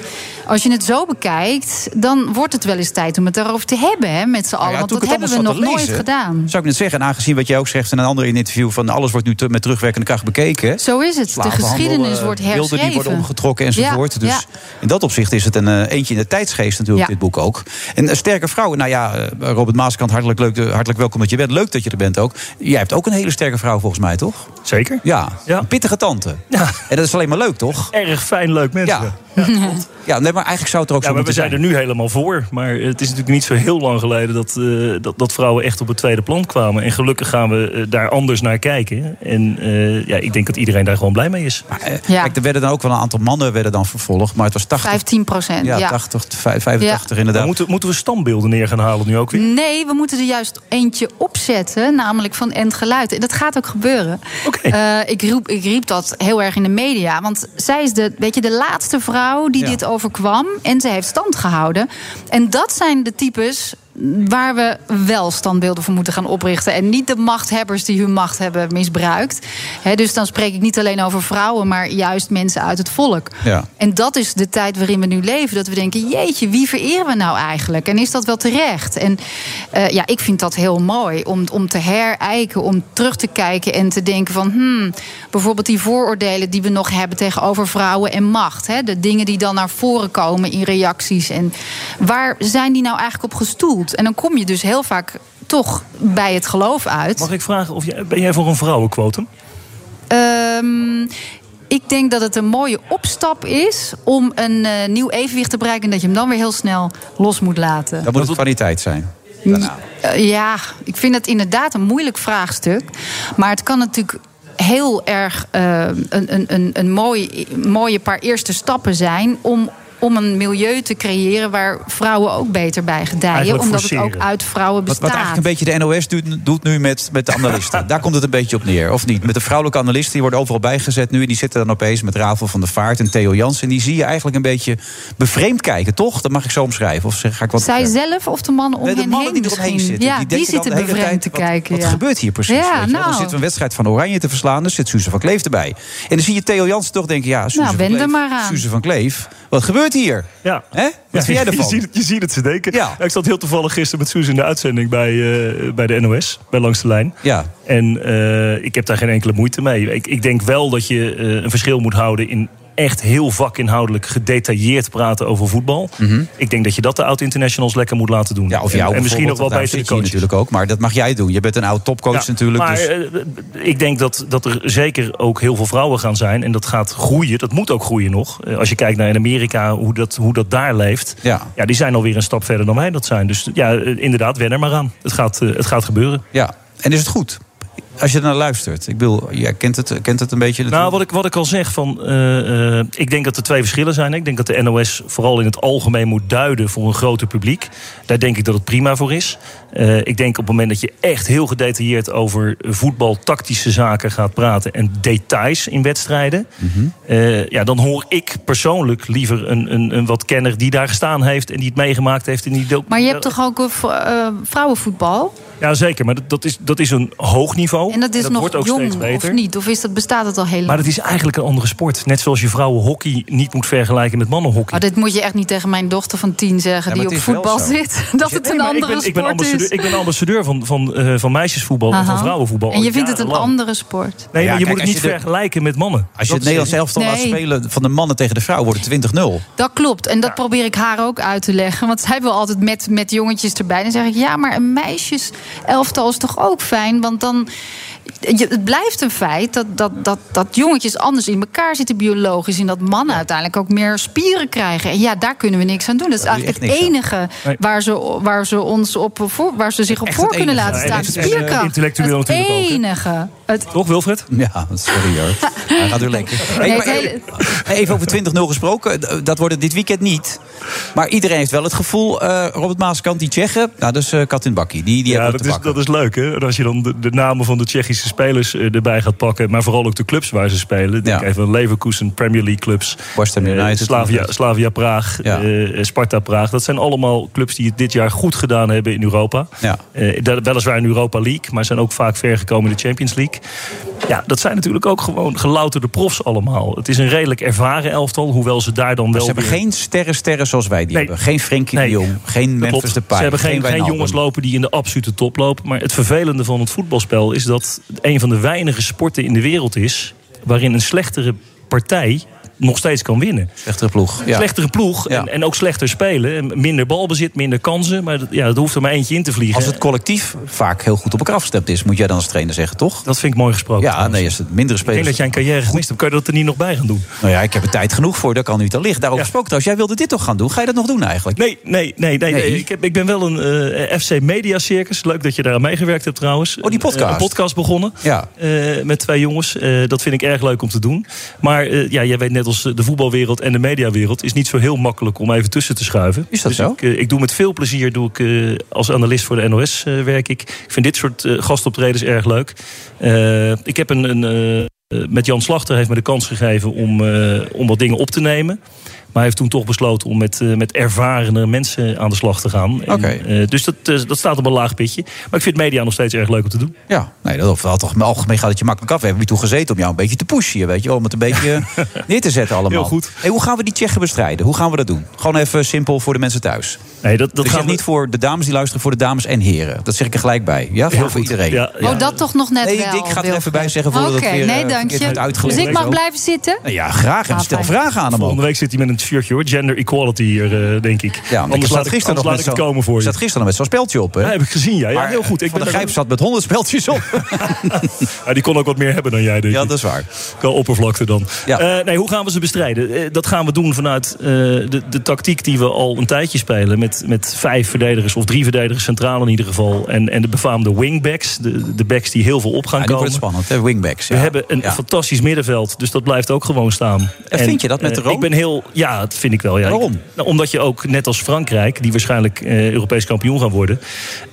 als je het zo bekijkt, dan wordt het wel eens tijd om het daarover te hebben hè, met z'n allen.
Nou Ja,
Want
toen
dat
ik het
hebben we
allemaal
nog
zat te
nooit
lezen,
gedaan.
Zou ik net zeggen, en aangezien wat jij ook zegt in een ander interview... van alles wordt nu te- met terugwerkende kracht bekeken.
Zo is het. De
Slavenhandel,
geschiedenis
eh,
wordt
Beelden die worden
herschreven.
omgetrokken enzovoort.
Ja,
dus
ja.
in dat opzicht is het een eh, eentje in de tijdsgeest natuurlijk,
Ja.
dit boek ook. En eh, sterke vrouwen, nou ja, eh, Robert Maaskant, hartelijk, leuk, eh, hartelijk welkom dat je bent. Leuk dat je er bent ook. Jij hebt ook een hele sterke vrouw volgens mij, toch?
Zeker.
Ja, een pittige tante. Ja. En dat is alleen maar leuk, toch?
Erg fijn, leuk mensen. Ja,
ja nee, maar eigenlijk zou het er ook
Ja,
zo
maar we
moeten
zijn er nu helemaal voor. Maar het is natuurlijk niet zo heel lang geleden dat, eh, dat, dat vrouwen echt op het tweede plan kwamen. En gelukkig gaan we eh, daar anders naar kijken. En eh, ja, ik denk dat iedereen daar gewoon blij mee is.
Ja.
eh, Kijk, er werden dan ook wel een aantal mannen werden dan vervolgd, maar het was 80.
15 procent.
Ja,
Ja,
80, 85
Ja.
inderdaad.
Moeten, moeten we standbeelden neer gaan halen nu ook weer?
Nee, we moeten er juist eentje opzetten, namelijk van End Geluid. En dat gaat ook gebeuren. Eh, ik, roep, ik riep dat heel erg in de media. Want zij is de, weet je, de laatste vrouw die dit overkwam. En ze heeft stand gehouden. En dat zijn de types waar we wel standbeelden voor moeten gaan oprichten. En niet de machthebbers die hun macht hebben misbruikt. Hè, dus dan spreek ik niet alleen over vrouwen... maar juist mensen uit het volk.
Ja.
En dat is de tijd waarin we nu leven. Dat we denken, jeetje, wie vereren we nou eigenlijk? En is dat wel terecht? En eh, ja, ik vind dat heel mooi. Om, om te herijken, om terug te kijken en te denken van... Hmm, bijvoorbeeld die vooroordelen die we nog hebben tegenover vrouwen en macht. Hè? De dingen die dan naar voren komen in reacties. En waar zijn die nou eigenlijk op gestoeld? En dan kom je dus heel vaak toch bij het geloof uit.
Mag ik vragen, of jij, ben jij voor een vrouwenquotum?
Ehm, ik denk dat het een mooie opstap is om een eh, nieuw evenwicht te bereiken. En dat je hem dan weer heel snel los moet laten.
Dat moet het kwaliteit zijn.
Eh, ja, ik vind het inderdaad een moeilijk vraagstuk. Maar het kan natuurlijk heel erg eh, een, een, een, een mooi, mooie paar eerste stappen zijn om. Om een milieu te creëren waar vrouwen ook beter bij gedijen.
Eigenlijk
omdat het
forceren.
ook uit vrouwen
Wat,
bestaat.
wat eigenlijk een beetje de NOS doet, doet nu met, met de analisten. Daar komt het een beetje op neer, of niet? Met de vrouwelijke analisten, die worden overal bijgezet nu. En die zitten dan opeens met Ravel van der Vaart en Theo Jans. En die zie je eigenlijk een beetje bevreemd kijken, toch? Dat mag ik zo omschrijven. Of zeg, ga ik wat
Zij zelf of de mannen om
Nee, de
hen
mannen
heen
die er omheen
misschien?
zitten,
Ja,
die
die,
denken dan
zitten
de hele
bevreemd
tijd,
te kijken.
Wat
ja.
gebeurt hier precies?
Ja,
weet je wel? Dan
nou.
zit een wedstrijd van Oranje te verslaan. Dan zit Suze van Kleef erbij. En dan zie je Theo Jansen toch denken... ja, Suze,
Nou,
van,
wend er
Kleef,
maar aan.
Suze van Kleef, wat gebeurt hier?
Ja.
Hè? Wat
Ja,
vind jij ervan?
Je ziet, het, je ziet het ze denken. Ja, Ik zat heel toevallig gisteren met Suus in de uitzending bij, eh, bij de NOS, bij Langs de Lijn.
Ja.
En eh, ik heb daar geen enkele moeite mee. Ik, ik denk wel dat je eh, een verschil moet houden in echt heel vakinhoudelijk gedetailleerd praten over voetbal. Ik denk dat je dat de oud-internationals lekker moet laten doen.
Mhm. Of jou
en, en misschien ook
bijvoorbeeld,
wel
want daar
beter de
zit je hier
coaches.
natuurlijk ook. Maar dat mag jij doen. Je bent een oud topcoach
Ja,
natuurlijk.
Maar
dus...
eh, ik denk dat, dat er zeker ook heel veel vrouwen gaan zijn. En dat gaat groeien. Dat moet ook groeien nog. Eh, Als je kijkt naar in Amerika, hoe dat, hoe dat daar leeft.
Ja.
die zijn alweer een stap verder dan wij dat zijn. Dus ja, eh, inderdaad, wen er maar aan. Het gaat, eh, het gaat gebeuren.
Ja, en is het goed? Als je ernaar luistert. Ik bedoel, jij kent het, kent het een beetje.
Nou, wat ik, wat ik al zeg, van, eh, eh, ik denk dat er twee verschillen zijn. Ik denk dat de NOS vooral in het algemeen moet duiden voor een groter publiek. Daar denk ik dat het prima voor is. Eh, ik denk op het moment dat je echt heel gedetailleerd over voetbal, tactische zaken gaat praten en details in wedstrijden. eh, ja, dan hoor ik persoonlijk liever een, een, een wat kenner die daar gestaan heeft en die het meegemaakt heeft. En die
Maar je hebt toch ook eh, v- eh, vrouwenvoetbal?
Ja, zeker. Maar dat, dat, is, dat is een hoog niveau.
En dat is nog
wordt ook
jong,
steeds beter.
of niet? Of is dat, bestaat het al heel lang?
Maar het is eigenlijk een andere sport. Net zoals je vrouwenhockey niet moet vergelijken met mannenhockey.
Oh, dit moet je echt niet tegen mijn dochter van tien
Ja,
zeggen... die
maar
op
het is wel
voetbal
zo.
zit, dat het
Nee,
een
maar ik
andere
ben, ik ben
sport
ambassadeur,
is.
ik ben ambassadeur van, van, eh, van meisjesvoetbal en van
Aha.
vrouwenvoetbal.
En
al
je vindt het een
jarenlang.
andere sport?
Nee,
Ja,
maar je
kijk,
moet
als
het
je
niet
de-
vergelijken met mannen.
Als je het
Dat is-
Nederlands elftal laat
Nee.
spelen van de mannen tegen de vrouwen, wordt het 20-0.
Dat klopt. En dat probeer ik haar ook uit te leggen. Want zij wil altijd met, met jongetjes erbij. Dan zeg ik, ja, maar een meisjeselftal is toch ook fijn? Want dan... je- het blijft een feit dat, dat, dat, dat jongetjes anders in elkaar zitten biologisch. En dat mannen uiteindelijk ook meer spieren krijgen. En ja, daar kunnen we niks aan doen. Dat is
Daar doe je
eigenlijk het
echt niks
enige waar, ze, waar, ze ons op, voor, waar ze zich op voor kunnen
enige.
laten
Ja, en
staan.
het is, eh,
Spierkracht.
intellectueel
het
natuurlijk ook, hè?
enige. Het
Toch, Wilfred?
Ja, sorry hoor. Hij gaat weer lekker.
Nee,
Hey, maar
het hele-
even- Even over 20-0 gesproken. D- Dat wordt het dit weekend niet. Maar iedereen heeft wel het gevoel... eh, Robert Maaskant, die Tsjechen... Nou, dat is eh, kat in het bakkie. Die, die
ja,
hebben
dat
het te
is,
pakken.
dat is leuk, hè? En Als je dan de, de namen van de Tsjechische spelers eh, erbij gaat pakken... maar vooral ook de clubs waar ze spelen. Denk even aan Leverkusen, Premier League clubs.
Boston
eh,
United.
Slavia, Slavia Praag, eh, Sparta Praag. Dat zijn allemaal clubs die het dit jaar goed gedaan hebben in Europa.
Ja.
Eh, da- weliswaar in Europa League, maar zijn ook vaak ver gekomen in de Champions League. Ja, dat zijn natuurlijk ook gewoon gelouterde profs allemaal. Het is een redelijk ervaren elftal, hoewel ze daar dan
Maar
wel
ze hebben
weer-
geen sterren-sterren zoals wij die hebben. Geen Frenkie de Jong. Geen
dat
Memphis
klopt.
Depay.
Ze hebben geen, geen
Wijnaldum.
jongens lopen die in de absolute top lopen. Maar het vervelende van het voetbalspel is dat het een van de weinige sporten in de wereld is. waarin een slechtere partij nog steeds kan winnen.
Slechtere ploeg. Ja.
Slechtere ploeg en, en ook slechter spelen. En Minder balbezit, minder kansen. Maar dat, ja, dat hoeft er maar eentje in te vliegen.
Als het collectief vaak heel goed op elkaar afgestemd is... moet jij dan als trainer zeggen, toch?
Dat vind ik mooi gesproken.
Ja, nee, als het mindere
Ik
spelers...
denk dat jij een carrière gemist hebt. Kan je dat er niet nog bij gaan doen?
Nou ja, ik heb er tijd genoeg voor. Dat kan nu al liggen. Daarover gesproken trouwens. Jij wilde dit toch gaan doen? Ga je dat nog doen eigenlijk?
Nee, nee, nee. nee, nee. Ik, heb, ik ben wel een eh, FC Media Circus. Leuk dat je daar aan meegewerkt hebt trouwens. Oh,
die podcast.
Een, podcast begonnen.
Ja.
Eh, met twee jongens. Eh, dat vind ik erg leuk om te doen. Maar eh, ja, jij weet net als de voetbalwereld en de mediawereld... is niet zo heel makkelijk om even tussen te schuiven.
Is dat
dus
zo?
Ik, eh, ik doe met veel plezier, doe ik, eh, als analist voor de NOS eh, werk ik. Ik vind dit soort eh, gastoptredens erg leuk. Eh, ik heb een... een eh, eh, met Jan Slachter heeft me de kans gegeven om, eh, om wat dingen op te nemen. Maar hij heeft toen toch besloten om met, eh, met ervarende mensen aan de slag te gaan. En, eh, dus dat, eh, dat staat op een laag pitje. Maar ik vind media nog steeds erg leuk om te doen.
Ja, nee, dat over het algemeen- algemeen gaat het je makkelijk af. We hebben hier toe gezeten om jou een beetje te pushen, hier, weet je, wel, om het een beetje neer te zetten allemaal.
Heel goed.
Hey, hoe gaan we die Tsjechen bestrijden? Hoe gaan we dat doen? Gewoon even simpel voor de mensen thuis.
Nee, dat,
ik
dat gaan
zeg
we-
niet voor de dames die luisteren, voor de dames en heren. Dat zeg ik er gelijk bij. Ja, voor, voor iedereen.
Oh, dat toch nog net
Nee,
wel.
ik ga er
Wil.
even bij zeggen voordat
Oké,
het weer
nee,
eh, verkeerd
dank
wordt
je. Dus
uitgelegd.
ik mag blijven zitten?
Nou Ja, graag. En
Ah,
stel
fijn.
vragen aan hem ook.
Volgende week zit hij met een shirtje hoor. Gender equality hier, eh, denk ik.
Ja, want ik
anders laat
zat
ik,
Nou, gisteren
anders
nog
laat
met
ik het
zo'n-
komen voor
ik
je.
zat gisteren nog met zo'n speltje op. Hè?
Ja, heb ik gezien, ja. ja
Maar, eh,
heel goed. Ik
Van de
ben er-
Grijp zat met honderd speltjes op.
Ja, die kon ook wat meer hebben dan jij, denk ik.
ja, dat is waar.
Qua oppervlakte dan. Eh, nee, hoe gaan we ze bestrijden? Eh, dat gaan we doen vanuit eh, de, de tactiek die we al een tijdje spelen. Met, met vijf verdedigers, of drie verdedigers centraal in ieder geval. En, en de befaamde wingbacks. De, de backs die heel veel op gaan
Ja, die
komen.
wordt spannend, hè? wingbacks.
We
ja.
hebben een
Ja.
fantastisch middenveld, dus dat blijft ook gewoon staan.
En vind je dat met de
eh,
Roon?
Ik ben heel, ja, dat vind ik wel. Ja.
Waarom?
Ik- nou, omdat je ook, net als Frankrijk, die waarschijnlijk eh, Europees kampioen gaan worden,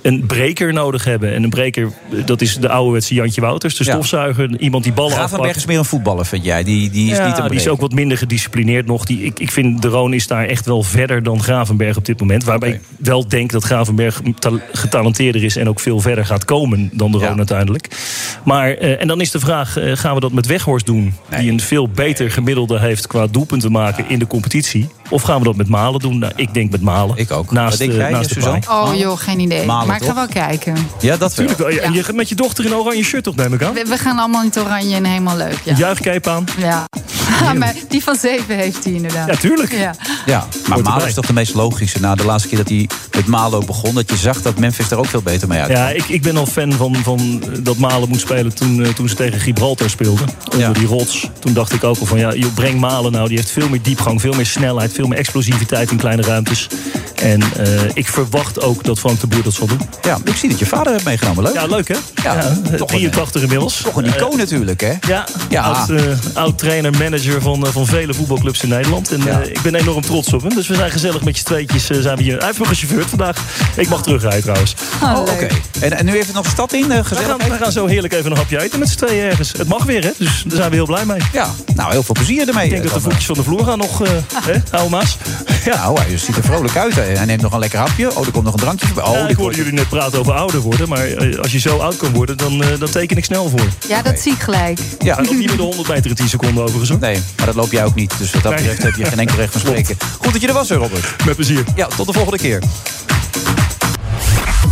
een breker nodig hebben. En een breker, eh, dat is de ouderwetse Jantje Wouters, de
Ja.
stofzuiger, iemand die ballen
Gravenberg
afpakt.
is meer een voetballer, vind jij? Die, die is
ja,
niet een
die is
breker.
ook wat minder gedisciplineerd nog. Die, ik, ik vind de Roon is daar echt wel verder dan Gravenberg op dit moment. Waarbij ik wel denk dat Gravenberg ta- getalenteerder is en ook veel verder gaat komen dan de Roon uiteindelijk. Maar, eh, en dan is de vraag: eh, gaan we dat met Weghorst doen? Die een veel beter gemiddelde heeft qua doelpunten maken in de competitie. Of gaan we dat met Malen doen? Nou, ik denk met Malen. Ik ook. Naast,
Wat denk
eh,
jij,
naast de
Suzanne?
paai.
Oh joh, geen idee.
Malen,
maar ik ga
toch?
wel kijken.
Ja, dat
Tuurlijk wel. Ja, En je gaat met je dochter in een oranje shirt toch, neem ik aan?
We, we gaan allemaal in het oranje en helemaal leuk, ja.
Juichcape aan.
Ja, maar die van zeven heeft hij inderdaad.
Ja, tuurlijk.
Ja.
Ja, maar Malen
erbij.
is toch de meest logische. Na de laatste keer dat hij met Malen ook begon... dat je zag dat Memphis er ook veel beter mee uit.
Ja, ik, ik ben al fan van, van dat Malen moet spelen toen, eh, toen ze tegen Gibraltar speelden. Onder die rots. Toen dacht ik ook al van ja, joh, breng Malen nou. Die heeft veel meer diepgang, veel meer snelheid, veel meer explosiviteit in kleine ruimtes. En eh, ik verwacht ook dat Frank de Boer dat zal doen.
Ja, ik zie dat je vader hebt meegenomen. Leuk.
Ja, leuk hè?
Ja,
eh,
toch een,
83 inmiddels. Eh,
Toch een icoon natuurlijk, hè?
Ja,
Ja.
Oud, eh, oud trainer, manager van, eh, van vele voetbalclubs in Nederland. En eh, ik ben enorm trots op hem. Dus we zijn gezellig met je tweetjes. eh, zijn we hier. Hij heeft me gechauffeurd vandaag. Ik mag terugrijden trouwens.
Oh, Oké. En, en nu heeft het nog stad in, eh,
We gaan,
gezellig.
we gaan zo heerlijk even een hapje eten met z'n tweeën ergens. Het mag weer, hè? Dus daar zijn we heel blij mee.
Ja, nou, heel veel plezier ermee.
Ik denk dat de voetjes van de vloer gaan nog, eh hè, oude maas.
Ja, nou, hij ziet er vrolijk uit. hè. Hij neemt nog een lekker hapje. Oh, er komt nog een drankje. voorbij. Oh,
Ja,
dit
ik
wordt-
hoorde jullie net praten over ouder worden, maar eh, als je zo oud kan worden, dan, eh, dan teken ik snel voor.
Ja, dat zie ik gelijk.
Ja,
ook niet met de 100 meter in 10 seconden overigens.
Nee, maar dat loop jij ook niet. Dus wat dat betreft heb je geen enkel recht van spreken. Goed dat je er was, hè, Robert.
Met plezier.
Ja, tot de volgende keer.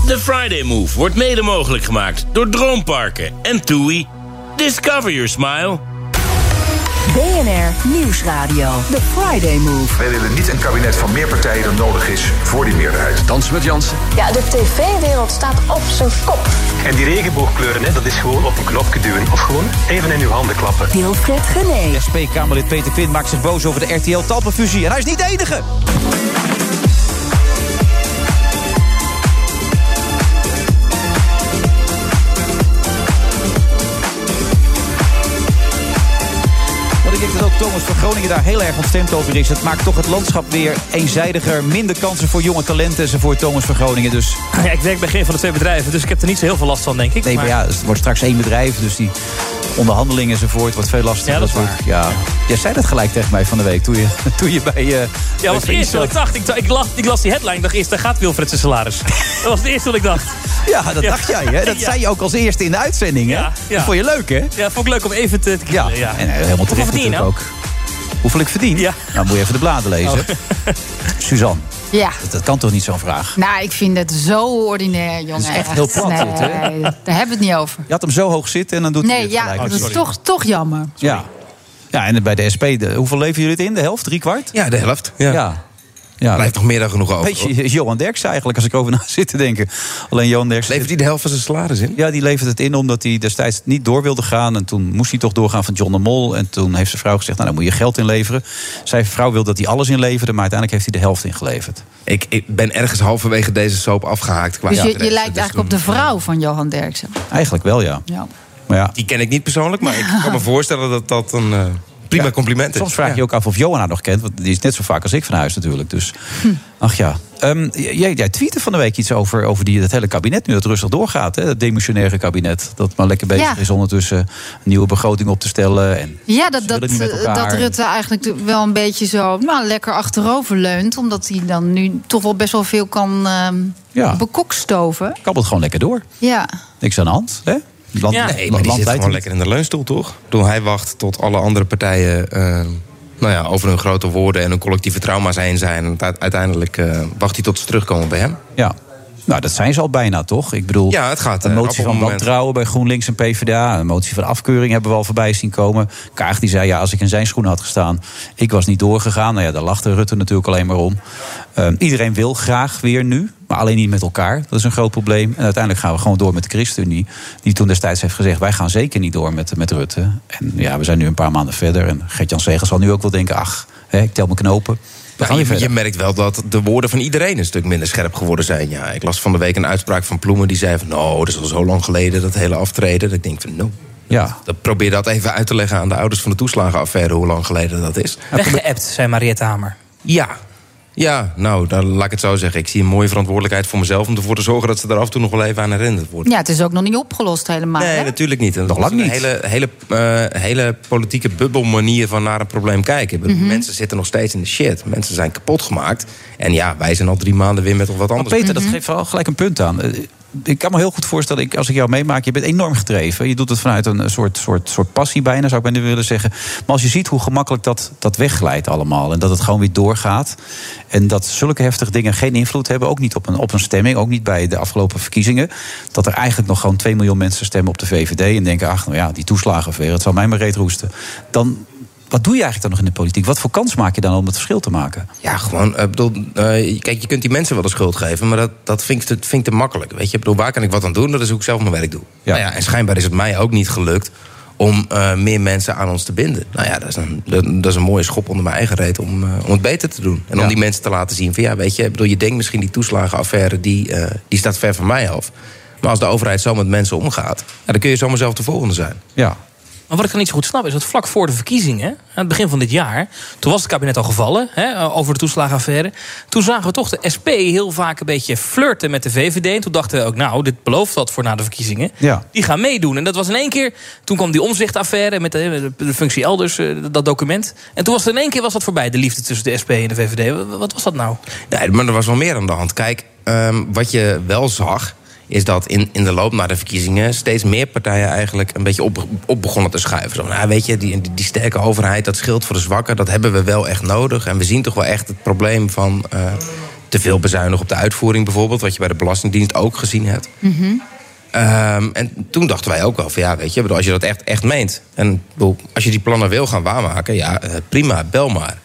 De Friday Move wordt mede mogelijk gemaakt door Droomparken en TUI. Discover your smile.
BNR Nieuwsradio. The Friday Move.
Wij willen niet een kabinet van meer partijen dan nodig is voor die meerderheid. Dans met Jansen.
Ja, de tv-wereld staat op zijn kop.
En die regenboogkleuren, hè, dat is gewoon op een knopje duwen. Of gewoon even in uw handen klappen.
Wilfred Genee.
SP-Kamerlid Peter Quint maakt zich boos over de RTL-Talpenfusie. En hij is niet de enige. Wat ik denk dat ook Thomas van Groningen daar heel erg ontstemd over is. Het maakt toch het landschap weer eenzidiger. Minder kansen voor jonge talenten en voor Thomas van Groningen. Dus
Ja, ik werk bij geen van de twee bedrijven, dus ik heb er niet zo heel veel last van, denk ik.
nee, maar ja, het wordt straks één bedrijf. Dus die onderhandelingen enzovoort wordt veel lastiger.
Ja, dat is
wordt- Ja. Jij zei dat gelijk tegen mij van de week toen je, toen je bij... eh
Ja, dat was het eerste wat ik dacht. Ik, dacht- ik, las, ik las die headline dacht eerst, daar gaat Wilfred zijn salaris. Dat was het eerste wat ik dacht.
Ja, Ah, dat dacht jij, hè? Dat zei je ook als eerste in de uitzending, hè? Dat vond je leuk, hè?
Ja, vond ik leuk om even te, te
Ja,
kielen, ja.
en eh, helemaal terecht
verdien je
natuurlijk
nou? Oh.
ook. Hoeveel ik verdien? Ja. Nou, moet je even de bladen lezen. Suzanne,
Ja.
dat, dat kan toch niet zo'n vraag?
Nou, ik vind het zo ordinair, jongen.
is echt heel plat,
Nee,
dit, hè?
daar hebben we het niet over.
Je had hem zo hoog zitten en dan doet hij
Nee,
het
ja,
gelijk. Oh,
dat is toch, toch jammer.
Ja. ja, en bij de SP, de- hoeveel leven jullie het in? De helft, drie kwart? Ja, de helft. Ja. ja. Blijft nog meer dan genoeg over. Beetje Johan Derksen eigenlijk, als ik over na zit te denken. Alleen Johan Derksen... Levert hij de helft van zijn salaris in? Ja, die levert het in omdat hij destijds niet door wilde gaan. En toen moest hij toch doorgaan van John de Mol. En toen heeft zijn vrouw gezegd, nou, dan moet je geld inleveren. Zijn vrouw wil dat hij alles inleverde, maar uiteindelijk heeft hij de helft ingeleverd.
Ik, ik ben ergens halverwege deze soap afgehaakt. Qua
Dus je, je
interesse.
lijkt eigenlijk op de vrouw van Johan Derksen.
Eigenlijk wel, ja.
Ja.
Maar ja.
Die ken ik niet persoonlijk, maar ik kan me voorstellen dat dat een eh, prima compliment is.
Soms vraag je je ook af of Johan haar nog kent. Want die is net zo vaak als ik van huis natuurlijk. Dus,
Hm.
ach ja. Ehm, j- jij, jij tweette van de week iets over, over die, dat hele kabinet nu. Dat rustig doorgaat, hè? Dat demissionaire kabinet. Dat maar lekker bezig
Ja.
is ondertussen een nieuwe begroting op te stellen. En
Ja, dat,
willen
dat,
niet met
eh,
elkaar.
dat Rutte eigenlijk wel een beetje zo nou, lekker achterover leunt. Omdat hij dan nu toch wel best wel veel kan ehm
Ja.
bekokstoven.
kabbelt gewoon lekker door.
Ja.
Niks aan de hand, hè? nou, Land,
Ja.
Nee, maar die zit gewoon lekker in de leunstoel, toch? Toen hij wacht tot alle andere partijen eh, nou ja, over hun grote woorden en hun collectieve trauma's heen zijn. En uite- uiteindelijk eh, wacht hij tot ze terugkomen bij hem.
Ja. Nou, dat zijn ze al bijna, toch? Ik bedoel,
Ja, het gaat,
een
eh,
motie
op
van
een moment.
wantrouwen bij GroenLinks en PvdA. Een motie van afkeuring hebben we al voorbij zien komen. Kaag die zei, ja, als ik in zijn schoenen had gestaan... ik was niet doorgegaan. Nou ja, daar lachte Rutte natuurlijk alleen maar om. Eh, iedereen wil graag weer nu, maar alleen niet met elkaar. Dat is een groot probleem. En uiteindelijk gaan we gewoon door met de ChristenUnie... die toen destijds heeft gezegd, wij gaan zeker niet door met, met Rutte. En ja, we zijn nu een paar maanden verder. En Gert-Jan Segers zal nu ook wel denken, ach, hè, ik tel mijn knopen. We gaan
Nou,
weer
je,
verder.
je merkt wel dat de woorden van iedereen een stuk minder scherp geworden zijn. Ja, ik las van de week een uitspraak van Ploemen die zei van... nou, dat is al zo lang geleden, dat hele aftreden. Dat ik denk van, nou...
Ja.
Dat probeer dat even uit te leggen aan de ouders van de toeslagenaffaire... hoe lang geleden dat is.
Weggeëpt, zei Mariette Hamer.
Ja. Ja, nou, dan laat ik het zo zeggen. Ik zie een mooie verantwoordelijkheid voor mezelf... om ervoor te zorgen dat ze daar af en toe nog wel even aan herinnerd worden.
ja, het is ook nog niet opgelost helemaal.
Nee,
hè?
natuurlijk niet. Dat nog
lang
Een
niet.
hele, hele, eh, hele politieke bubbelmanier van naar een probleem kijken. Ik bedoel,
Mhm.
Mensen zitten nog steeds in de shit. Mensen zijn kapot gemaakt. En ja, wij zijn al drie maanden weer met wat anders.
Maar
Mhm.
Peter, dat geeft wel gelijk een punt aan. Eh, Ik kan me heel goed voorstellen, ik, als ik jou meemaak, je bent enorm gedreven. Je doet het vanuit een soort, soort, soort passie bijna, zou ik bijna willen zeggen. Maar als je ziet hoe gemakkelijk dat, dat wegglijdt allemaal... en dat het gewoon weer doorgaat... en dat zulke heftige dingen geen invloed hebben... ook niet op een, op een stemming, ook niet bij de afgelopen verkiezingen... dat er eigenlijk nog gewoon 2 miljoen mensen stemmen op de VVD... en denken, ach, nou ja, die toeslagenaffaire, het zal mij maar reet roesten. Dan, wat doe je eigenlijk dan nog in de politiek? Wat voor kans maak je dan om het verschil te maken?
Ja, gewoon. eh, bedoel, eh, kijk, je kunt die mensen wel de schuld geven, maar dat, dat vind ik, te, vind ik te makkelijk. Weet je, Ik bedoel, waar kan ik wat aan doen? Dat is hoe ik zelf mijn werk doe. Nou ja, en schijnbaar is het mij ook niet gelukt om eh, meer mensen aan ons te binden. Nou ja, dat is een, dat, dat is een mooie schop onder mijn eigen reet om, eh, om het beter te doen. En om die mensen te laten zien van ja, weet je, ik bedoel, je denkt misschien die toeslagenaffaire, die, eh, die staat ver van mij af. Maar als de overheid zo met mensen omgaat, ja, dan kun je zomaar zelf de volgende zijn.
Ja.
Maar wat ik dan niet zo goed snap is dat vlak voor de verkiezingen, aan het begin van dit jaar, toen was het kabinet al gevallen hè, over de toeslagenaffaire. Toen zagen we toch de SP heel vaak een beetje flirten met de VVD. En toen dachten we ook, nou, dit belooft wat voor na de verkiezingen.
Ja.
Die gaan meedoen. En dat was in één keer, toen kwam die omzichtaffaire met de, de functie elders, eh, dat document. En toen was het in één keer was dat voorbij, de liefde tussen de SP en de VVD. Wat- Wat was dat nou?
Nee, maar er was wel meer aan de hand. Kijk, ehm, wat je wel zag, is dat in, in de loop naar de verkiezingen steeds meer partijen eigenlijk een beetje op, op begonnen te schuiven. Zo, nou, weet je, die, die, die sterke overheid, dat scheelt voor de zwakken, dat hebben we wel echt nodig. En we zien toch wel echt het probleem van eh, te veel bezuinigen op de uitvoering bijvoorbeeld, wat je bij de Belastingdienst ook gezien hebt. Ehm, en toen dachten wij ook wel van ja, weet je, ik bedoel, als je dat echt, echt meent. En ik bedoel, als je die plannen wil gaan waarmaken, ja, eh, prima, bel maar.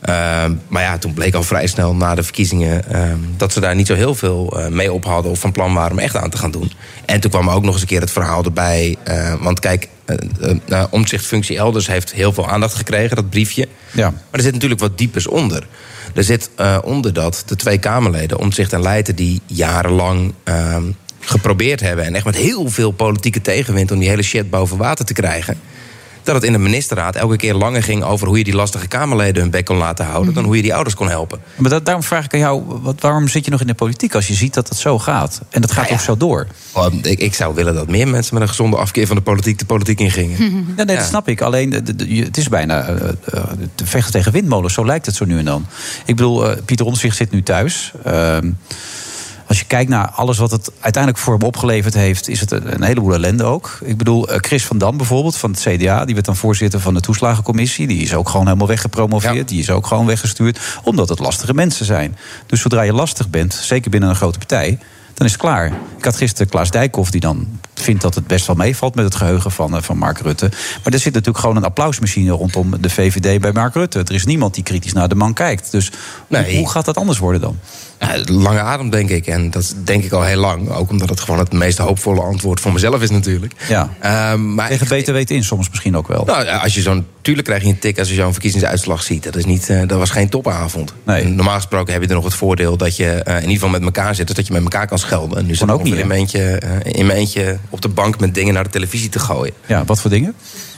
Ehm, maar ja, toen bleek al vrij snel na de verkiezingen ehm, dat ze daar niet zo heel veel eh, mee op hadden of van plan waren om echt aan te gaan doen. En toen kwam ook nog eens een keer het verhaal erbij. eh, want kijk, eh, eh, nou, omzichtfunctie elders heeft heel veel aandacht gekregen, dat briefje.
Ja.
Maar er zit natuurlijk wat diepers onder. Er zit eh, onder dat de twee Kamerleden, Omtzigt en Leijten... die jarenlang ehm, geprobeerd hebben... en echt met heel veel politieke tegenwind... om die hele shit boven water te krijgen... dat het in de ministerraad elke keer langer ging... over hoe je die lastige Kamerleden hun bek kon laten houden... dan hoe je die ouders kon helpen.
Mhm. Maar dat, daarom vraag ik aan jou, wat, waarom zit je nog in de politiek als je ziet dat dat zo gaat? En dat gaat ook zo door.
Nou ik, ik zou willen dat meer mensen met een gezonde afkeer van de politiek de politiek ingingen.
Ja, nee, dat snap ik. Alleen, de- de- je- het is bijna eh, eh, te vechten tegen windmolens. Zo lijkt het zo nu en dan. Ik bedoel, eh, Pieter Omtzigt zit nu thuis. Ehm, als je kijkt naar alles wat het uiteindelijk voor hem opgeleverd heeft... is het een een heleboel ellende ook. Ik bedoel, eh, Chris van Dam bijvoorbeeld van het CDA... die werd dan voorzitter van de toeslagencommissie. Die is ook gewoon helemaal weggepromoveerd. Die is ook gewoon weggestuurd. Omdat het lastige mensen zijn. Dus zodra je lastig bent, zeker binnen een grote partij... dan is het klaar. Ik had gisteren Klaas Dijkhoff die dan vindt dat het best wel meevalt... met het geheugen van, eh, van Mark Rutte. Maar er zit natuurlijk gewoon een applausmachine rondom de VVD bij Mark Rutte. Er is niemand die kritisch naar de man kijkt. Dus hoe-
Nee.
hoe gaat dat anders worden dan?
Ja, lange adem, denk ik. En dat denk ik al heel lang. Ook omdat het gewoon het meest hoopvolle antwoord voor mezelf is, natuurlijk. Ehm,
Ja.
maar
Tegen beter weten in soms misschien ook wel.
Nou, ja, als je zo'n, tuurlijk krijg je een tik als je zo'n verkiezingsuitslag ziet. Dat, is niet, eh, dat was geen topavond. En normaal gesproken heb je er nog het voordeel dat je eh, in ieder geval met elkaar zit. Dus dat je met elkaar kan schelden. En nu zit ik ongeveer in mijn, eentje, eh, in mijn eentje op de bank met dingen naar de televisie te gooien.
Ja, wat voor dingen?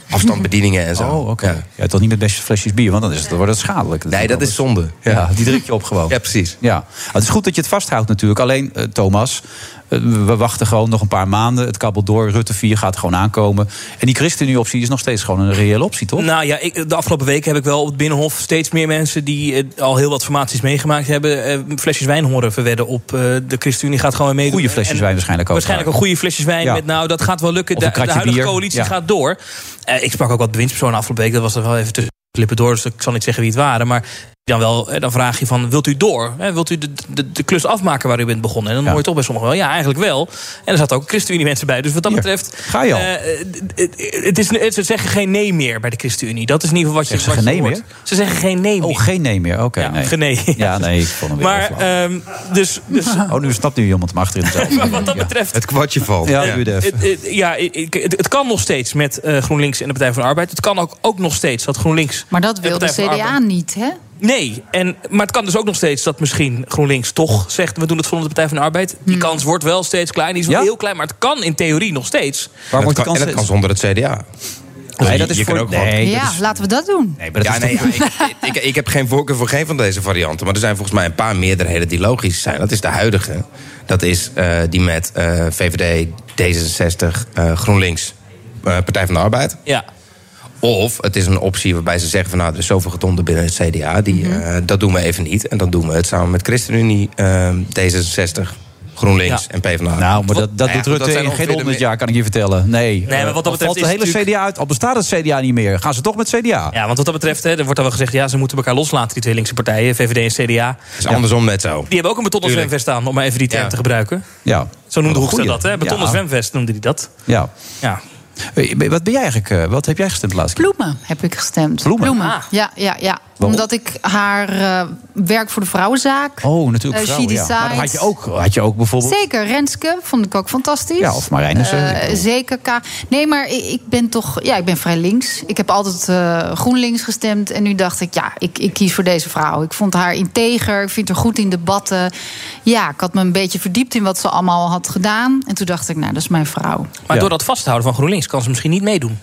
Afstandsbedieningen en zo.
Oh, oké. Ja. toch niet met best flesjes bier, want dan, is het, dan wordt het schadelijk. nee, dat is
zonde.
Ja, die druk je op gewoon. Ja,
precies.
Ja. Het is goed dat je het vasthoudt natuurlijk. Alleen, eh, Thomas, eh, we wachten gewoon nog een paar maanden. Het kabbelt door, Rutte 4 gaat gewoon aankomen. En die ChristenUnie-optie is nog steeds gewoon een reële optie, toch?
Nou ja, ik, de afgelopen weken heb ik wel op het Binnenhof steeds meer mensen die eh, al heel wat formaties meegemaakt hebben, eh, flesjes wijn horen verwedden op eh, de ChristenUnie gaat gewoon weer meedoen.
Goede flesjes
En-
wijn waarschijnlijk ook.
Waarschijnlijk ook goede flesjes wijn
Ja.
met nou, dat gaat wel lukken.
Of
De,
een
de
kratje
huidige
bier.
coalitie
Ja.
gaat door. Eh, ik sprak ook wat bewindspersonen afgelopen week, dat was er wel even tussen de lippen door, dus ik zal niet zeggen wie het waren, maar dan, wel, eh, dan vraag je van, wilt u door? Hè, wilt u de, de, de klus afmaken waar u bent begonnen? En dan hoor je toch bij sommigen wel, ja, eigenlijk wel. En er zaten ook ChristenUnie-mensen bij, dus wat dat betreft...
ga je al.
eh, d- d- het is, ze zeggen geen nee meer bij de ChristenUnie. Dat is in ieder geval wat je,
Zeggen ze
wat je
geen nee
hoort. Ze zeggen geen nee meer.
Oh, geen nee meer. Oké,
Ja,
nee.
geen nee.
Ja, nee, ik vond hem weer
Maar,
heel flauw.
ehm, dus... dus
Oh, nu snapt nu iemand hem achterin zelf.
Maar wat dat betreft...
Het kwartje valt.
Ja,
eh,
duurde even.
het- het- ja, ik- het, het kan nog steeds met eh, GroenLinks en de Partij van de Arbeid. Het kan ook, ook nog steeds dat GroenLinks...
Maar dat
en
wil de
Partij van de
CDA
Arbeid-
niet, hè?
Nee, en, maar het kan dus ook nog steeds dat misschien GroenLinks toch zegt... we doen het volgens de Partij van de Arbeid.
Hmm.
Die kans wordt wel steeds klein, die is wel heel klein... maar het kan in theorie nog steeds.
Maar dat kan, en dat kan zonder het CDA.
Nee,
dat is voor... nee,
ja, laten we dat doen.
maar dat
ja,
is
nee,
toch-
ja, ik, ik, ik heb geen voorkeur voor geen van deze varianten. Maar er zijn volgens mij een paar meerderheden die logisch zijn. Dat is de huidige. Dat is eh, die met eh, VVD, D66, eh, GroenLinks, eh, Partij van de Arbeid.
Ja.
Of het is een optie waarbij ze zeggen van nou, er is zoveel gedonder binnen het CDA. Die,
Mhm.
eh, dat doen we even niet. En dan doen we het samen met ChristenUnie, eh, D66, GroenLinks
Ja.
en PvdA.
Nou, maar dat, dat
Nou ja,
doet
goed, zijn
Rutte in
ongeveer
geen
de
honderd jaar, kan ik je vertellen. Nee,
Nee, maar wat dat
Al valt
betreft
de
is
hele CDA uit. Al bestaat het CDA niet meer, gaan ze toch met CDA.
Ja, want wat dat betreft, hè, er wordt al wel gezegd... ja, ze moeten elkaar loslaten, die twee linkse partijen, VVD en CDA.
is andersom net zo.
Die hebben ook een betonnen
Tuurlijk.
zwemvest aan, om maar even die term te gebruiken.
Ja.
Zo noemde
Wat een
Hoekstra
goeie.
dat, hè? Betonnen
Ja.
zwemvest noemde hij dat.
Ja.
Ja.
Hey, Wat ben jij eigenlijk? eh, Wat heb jij gestemd laatst?
Bloemen heb ik gestemd.
Bloemen?
Ah.
Ja, ja, ja. Omdat ik haar eh, werk voor de vrouwenzaak.
Oh, natuurlijk.
Eh,
vrouwen,
She
ja. Maar dat had je
Decides.
ook, had je ook bijvoorbeeld.
Zeker, Renske vond ik ook fantastisch.
Ja, of Marijnissen,
Eh,
ik bedoel.
zeker, K. Nee, maar ik, ik ben toch... Ja, ik ben vrij links. Ik heb altijd eh, GroenLinks gestemd. En nu dacht ik, ja, ik, ik kies voor deze vrouw. Ik vond haar integer, ik vind haar goed in debatten. Ja, ik had me een beetje verdiept in wat ze allemaal had gedaan. En toen dacht ik, nou, dat is mijn vrouw.
Maar door dat vasthouden van GroenLinks Opeens kan ze misschien niet meedoen.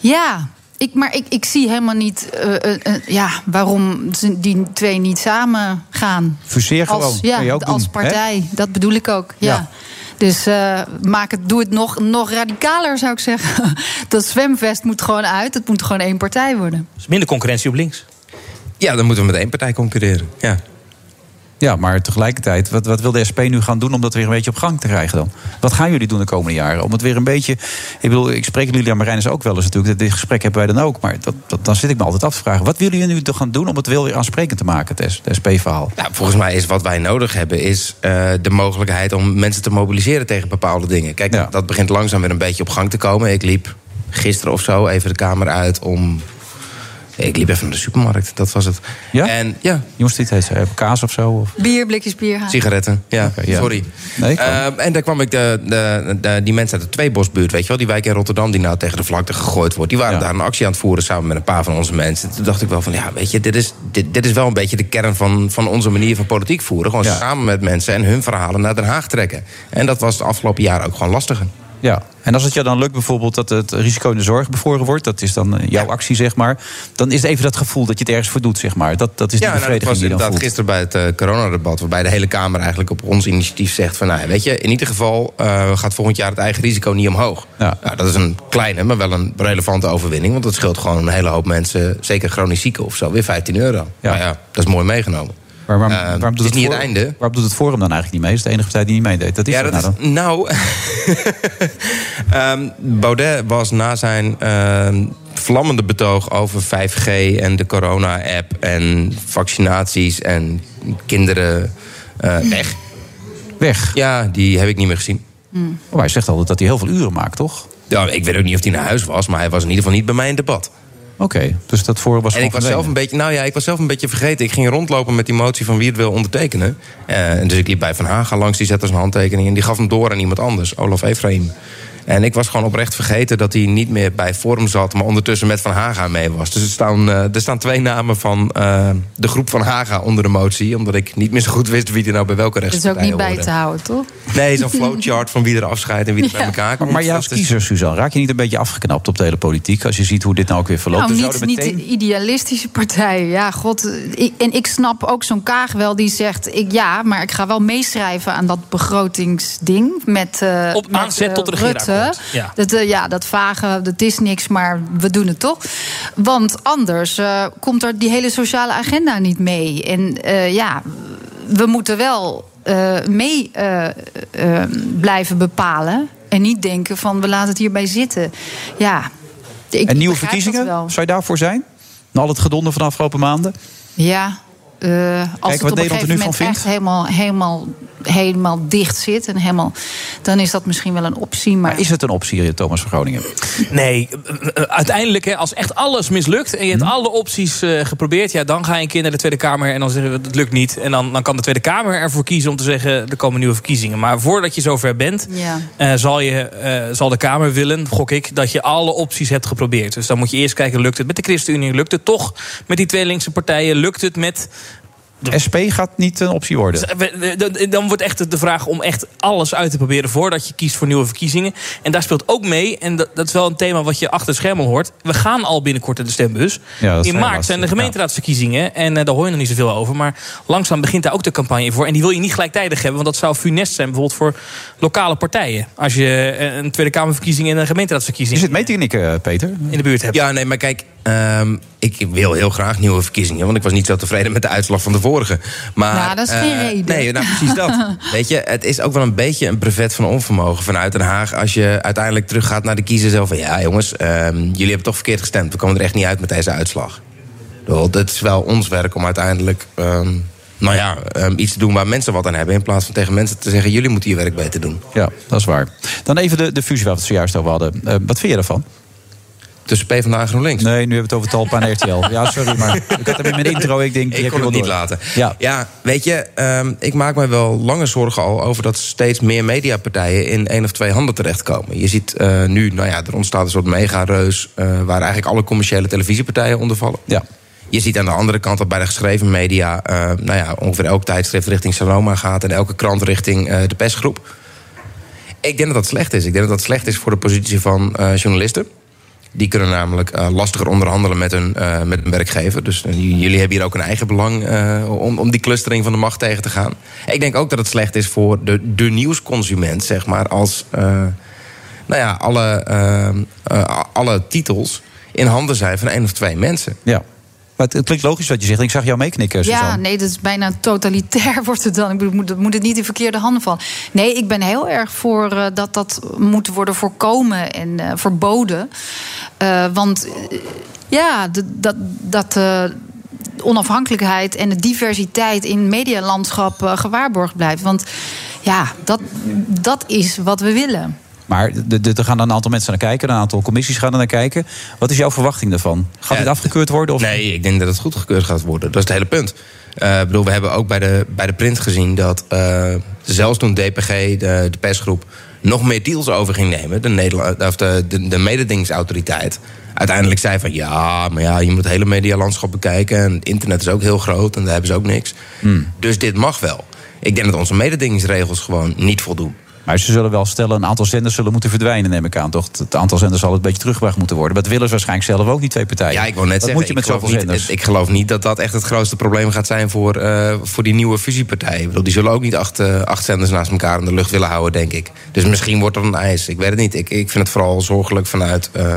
Ja, ik, maar ik, ik zie helemaal niet eh, eh, eh, ja, waarom ze die twee niet samen gaan.
Fuseer gewoon,
Als, ja,
kan je ook
als
doen,
partij, dat bedoel ik ook. Ja.
Ja.
Dus eh, maak het, doe het nog, nog radicaler, zou ik zeggen. Dat zwemvest moet gewoon uit. Het moet gewoon één partij worden.
Dus minder concurrentie op links.
Ja, dan moeten we met één partij concurreren. Ja.
Ja, maar tegelijkertijd, wat, wat wil de SP nu gaan doen om dat weer een beetje op gang te krijgen dan? Wat gaan jullie doen de komende jaren? Om het weer een beetje. Ik bedoel, ik spreek jullie aan Marijnus ook wel eens natuurlijk. dat Dit gesprek hebben wij dan ook. Maar dat, dat, dan zit ik me altijd af te vragen. Wat willen jullie nu toch gaan doen om het wel weer aansprekend te maken, het SP-verhaal?
Nou, volgens mij is wat wij nodig hebben... is eh, de mogelijkheid om mensen te mobiliseren tegen bepaalde dingen. Kijk, dat begint langzaam weer een beetje op gang te komen. Ik liep gisteren of zo even de kamer uit om... Ik liep even naar de supermarkt, dat was het. Ja? En, ja.
Je moest iets eten, eh, kaas of zo? Of?
Bier, blikjes bier halen.
Sigaretten, ja,
ja.
sorry.
Nee,
Ehm, en daar kwam ik de, de, de- die mensen uit de Tweebosbuurt, weet je wel, die wijk in Rotterdam die nou tegen de vlakte gegooid wordt. Die waren daar een actie aan het voeren samen met een paar van onze mensen. Toen dacht ik wel van, ja, weet je, dit is, dit, dit is wel een beetje de kern van, van onze manier van politiek voeren. Gewoon samen met mensen en hun verhalen naar Den Haag trekken. En dat was de afgelopen jaren ook gewoon lastiger.
Ja, en als het jou dan lukt bijvoorbeeld dat het risico in de zorg bevroren wordt, dat is dan eh, jouw actie, zeg maar. Dan is even dat gevoel dat je het ergens voor doet, zeg maar. Dat, dat is die
ja, nou, dat
bevrediging
was
die je dan
inderdaad gisteren
voelt.
bij het eh, coronadebat... waarbij de hele Kamer eigenlijk op ons initiatief zegt van... Nou, ja, weet je, in ieder geval eh, gaat volgend jaar het eigen risico niet omhoog. Nou, dat is een kleine, maar wel een relevante overwinning... want dat scheelt gewoon een hele hoop mensen, zeker chronisch zieken of zo... weer 15 euro. Ja. Nou ja, dat is mooi meegenomen.
Maar waarom,
Eh,
waarom
het is
doet het
niet het
forum-
einde.
Waarom doet het Forum dan eigenlijk niet mee? Is de enige partij die niet meedeed. Dat is
ja,
het
dat
nou
is, nou, Ehm, Baudet was nou, na zijn ehm, vlammende betoog over 5G en de corona-app en vaccinaties en kinderen eh, weg.
Weg?
Ja, die heb ik niet meer gezien.
dan. Oh, hij zegt altijd dat hij heel veel uren maakt, toch?
Ja, ik weet ook niet of hij naar huis was, maar hij was in ieder geval niet bij mij in debat.
Oké, dus dat Forum was
en ik
gewoon
was zelf
verdwenen.
een beetje, nou ja, ik was zelf een beetje vergeten. Ik ging rondlopen met die motie van wie het wil ondertekenen. Eh, en dus ik liep bij Van Haga langs, die zette zijn handtekening en die gaf hem door aan iemand anders, Olaf Efraim. En ik was gewoon oprecht vergeten dat hij niet meer bij Forum zat, maar ondertussen met Van Haga mee was. Dus er staan, eh, er staan twee namen van eh, de groep Van Haga onder de motie, omdat ik niet meer zo goed wist wie er nou bij welke
Dat is ook
rechtspartij
niet bij
hoorde.
te houden, toch?
Nee, zo'n flowchart van wie er afscheidt en wie er bij elkaar komt.
Maar jij als kiezer, Suzanne, raak je niet een beetje afgeknapt op de hele politiek... als je ziet hoe dit nou ook weer verloopt?
Nou,
We
niet,
zouden
niet de idealistische partijen. Ja, god. ik- en ik snap ook zo'n Kaag wel die zegt... Ik, ja, maar ik ga wel meeschrijven aan dat begrotingsding... met, eh,
Op
met,
aanzet
eh,
tot de
Rutte.
regeerakkoord. Ja.
Dat, eh, ja, dat vage, dat is niks, maar we doen het toch. Want anders eh, komt er die hele sociale agenda niet mee. En eh, ja, we moeten wel eh, mee eh, eh, blijven bepalen... en niet denken van we laten het hierbij zitten. Ja, ik
en nieuwe
begrijp dat
verkiezingen?
wel.
Zou je daarvoor zijn? Na al het gedonder van de afgelopen maanden?
Ja, eh,
wat
als het op
Nederland er
een
nu van
gegeven moment
vindt?
echt helemaal, helemaal, helemaal dicht zit... En helemaal, dan is dat misschien wel een optie. Maar,
Maar is het een optie, eh, Thomas van Groningen?
Nee, eh, eh, uiteindelijk, hè, als echt alles mislukt en je hebt
Hm.
alle opties eh, geprobeerd, ja, dan ga je een keer naar de Tweede Kamer en dan zeggen we dat lukt niet. En dan, dan kan de Tweede Kamer ervoor kiezen om te zeggen er komen nieuwe verkiezingen. Maar voordat je zover bent,
ja.
eh, zal, je, eh, zal de Kamer willen, gok ik, dat je alle opties hebt geprobeerd. Dus dan moet je eerst kijken, lukt het met de ChristenUnie? Lukt het toch met die twee linkse partijen? Lukt het met
De SP gaat niet een optie worden.
we- Dus, eh, we- dan- Dan wordt echt de vraag om echt alles uit te proberen voordat je kiest voor nieuwe verkiezingen. En daar speelt ook mee, en dat, dat is wel een thema wat je achter de schermen hoort. We gaan al binnenkort naar de stembus.
Ja, dat is heel
in maart
lastig,
zijn de
ja.
gemeenteraadsverkiezingen. En eh, daar hoor je nog niet zoveel over. Maar langzaam begint daar ook de campagne voor. En die wil je niet gelijktijdig hebben, want dat zou funest zijn bijvoorbeeld voor lokale partijen. Als je eh, een Tweede Kamerverkiezing en een gemeenteraadsverkiezing.
Is het mee te knikken, eh, Peter?
in de buurt hebt.
Ja, nee, maar kijk, ehm, ik wil heel graag nieuwe verkiezingen. Want ik was niet zo tevreden met de uitslag van de vorige. Maar,
Nou, dat is geen
eh,
reden.
Nee, nou, precies dat. Weet je, het is ook wel een beetje een brevet van onvermogen vanuit Den Haag. Als je uiteindelijk teruggaat naar de kiezer zelf. Van, ja, jongens, ehm, jullie hebben toch verkeerd gestemd. We komen er echt niet uit met deze uitslag. Ik bedoel, Dat is wel ons werk om uiteindelijk. ehm, nou ja, ehm, iets te doen waar mensen wat aan hebben. In plaats van tegen mensen te zeggen: jullie moeten je werk beter doen.
Ja, dat is waar. Dan even de, de fusie waar we het zojuist over hadden. Eh, wat vind je daarvan?
Tussen PvdA en GroenLinks.
Nee, nu hebben we het over Talpa en RTL. Ja, sorry, maar ik had hem in mijn intro. Ik denk,
ik
die heb je
kon
wel
het niet
door.
laten.
Ja.
weet je, ehm, ik maak mij wel lange zorgen al over dat steeds meer mediapartijen in één of twee handen terechtkomen. Je ziet eh, nu, nou ja, er ontstaat een soort mega-reus eh, waar eigenlijk alle commerciële televisiepartijen onder vallen.
Ja.
Je ziet aan de andere kant dat bij de geschreven media, eh, nou ja, ongeveer elk tijdschrift richting Saloma gaat en elke krant richting eh, de persgroep. Ik denk dat dat slecht is. Ik denk dat dat slecht is voor de positie van eh, journalisten. Die kunnen namelijk eh, lastiger onderhandelen met hun, eh, met hun werkgever. Dus eh, j- jullie hebben hier ook een eigen belang eh, om, om die clustering van de macht tegen te gaan. Ik denk ook dat het slecht is voor de, de nieuwsconsument, zeg maar. Als eh, nou ja, alle, eh, eh, alle titels in handen zijn van één of twee mensen.
Ja. Maar het, het klinkt logisch wat je zegt. Ik zag jou meeknikken, Suzanne.
Ja, nee, dat is bijna totalitair wordt het dan. Ik bedoel, moet, moet het niet in verkeerde handen vallen. Nee, ik ben heel erg voor eh, dat dat moet worden voorkomen en eh, verboden. Eh, want eh, ja, d- dat. dat eh, onafhankelijkheid en de diversiteit in medialandschap eh, gewaarborgd blijft. Want ja, dat, dat is wat we willen.
Maar de- de- er gaan dan een aantal mensen naar kijken. Een aantal commissies gaan er naar kijken. Wat is jouw verwachting daarvan? Gaat dit afgekeurd worden? Of...
Nee, ik denk dat het goedgekeurd gaat worden. Dat is het hele punt. Eh, ik bedoel, we hebben ook bij de, bij de print gezien dat eh, zelfs toen DPG, de, de persgroep, nog meer deals over ging nemen, de, Nederla- of de, de, de mededingingsautoriteit, uiteindelijk zei van ja, maar ja, je moet het hele medialandschap bekijken en het internet is ook heel groot en daar hebben ze ook niks.
Hm.
Mm.
Dus dit mag wel. Ik denk dat onze mededingingsregels gewoon niet voldoen.
Maar ze zullen wel stellen, een aantal zenders zullen moeten verdwijnen, neem ik aan. Toch? Het- Het aantal zenders zal een beetje teruggebracht moeten worden. Maar dat willen ze waarschijnlijk zelf ook, die twee partijen.
Ja, ik wil net
dat
zeggen,
moet je met
ik, geloof
zoveel
niet,
zenders.
het- ik geloof niet dat dat echt het grootste probleem gaat zijn voor, eh, voor die nieuwe fusiepartijen. Ik bedoel, die zullen ook niet acht, eh, acht zenders naast elkaar in de lucht willen houden, denk ik. Dus misschien wordt er een eis. Ik weet het niet. Ik, ik vind het vooral zorgelijk vanuit eh,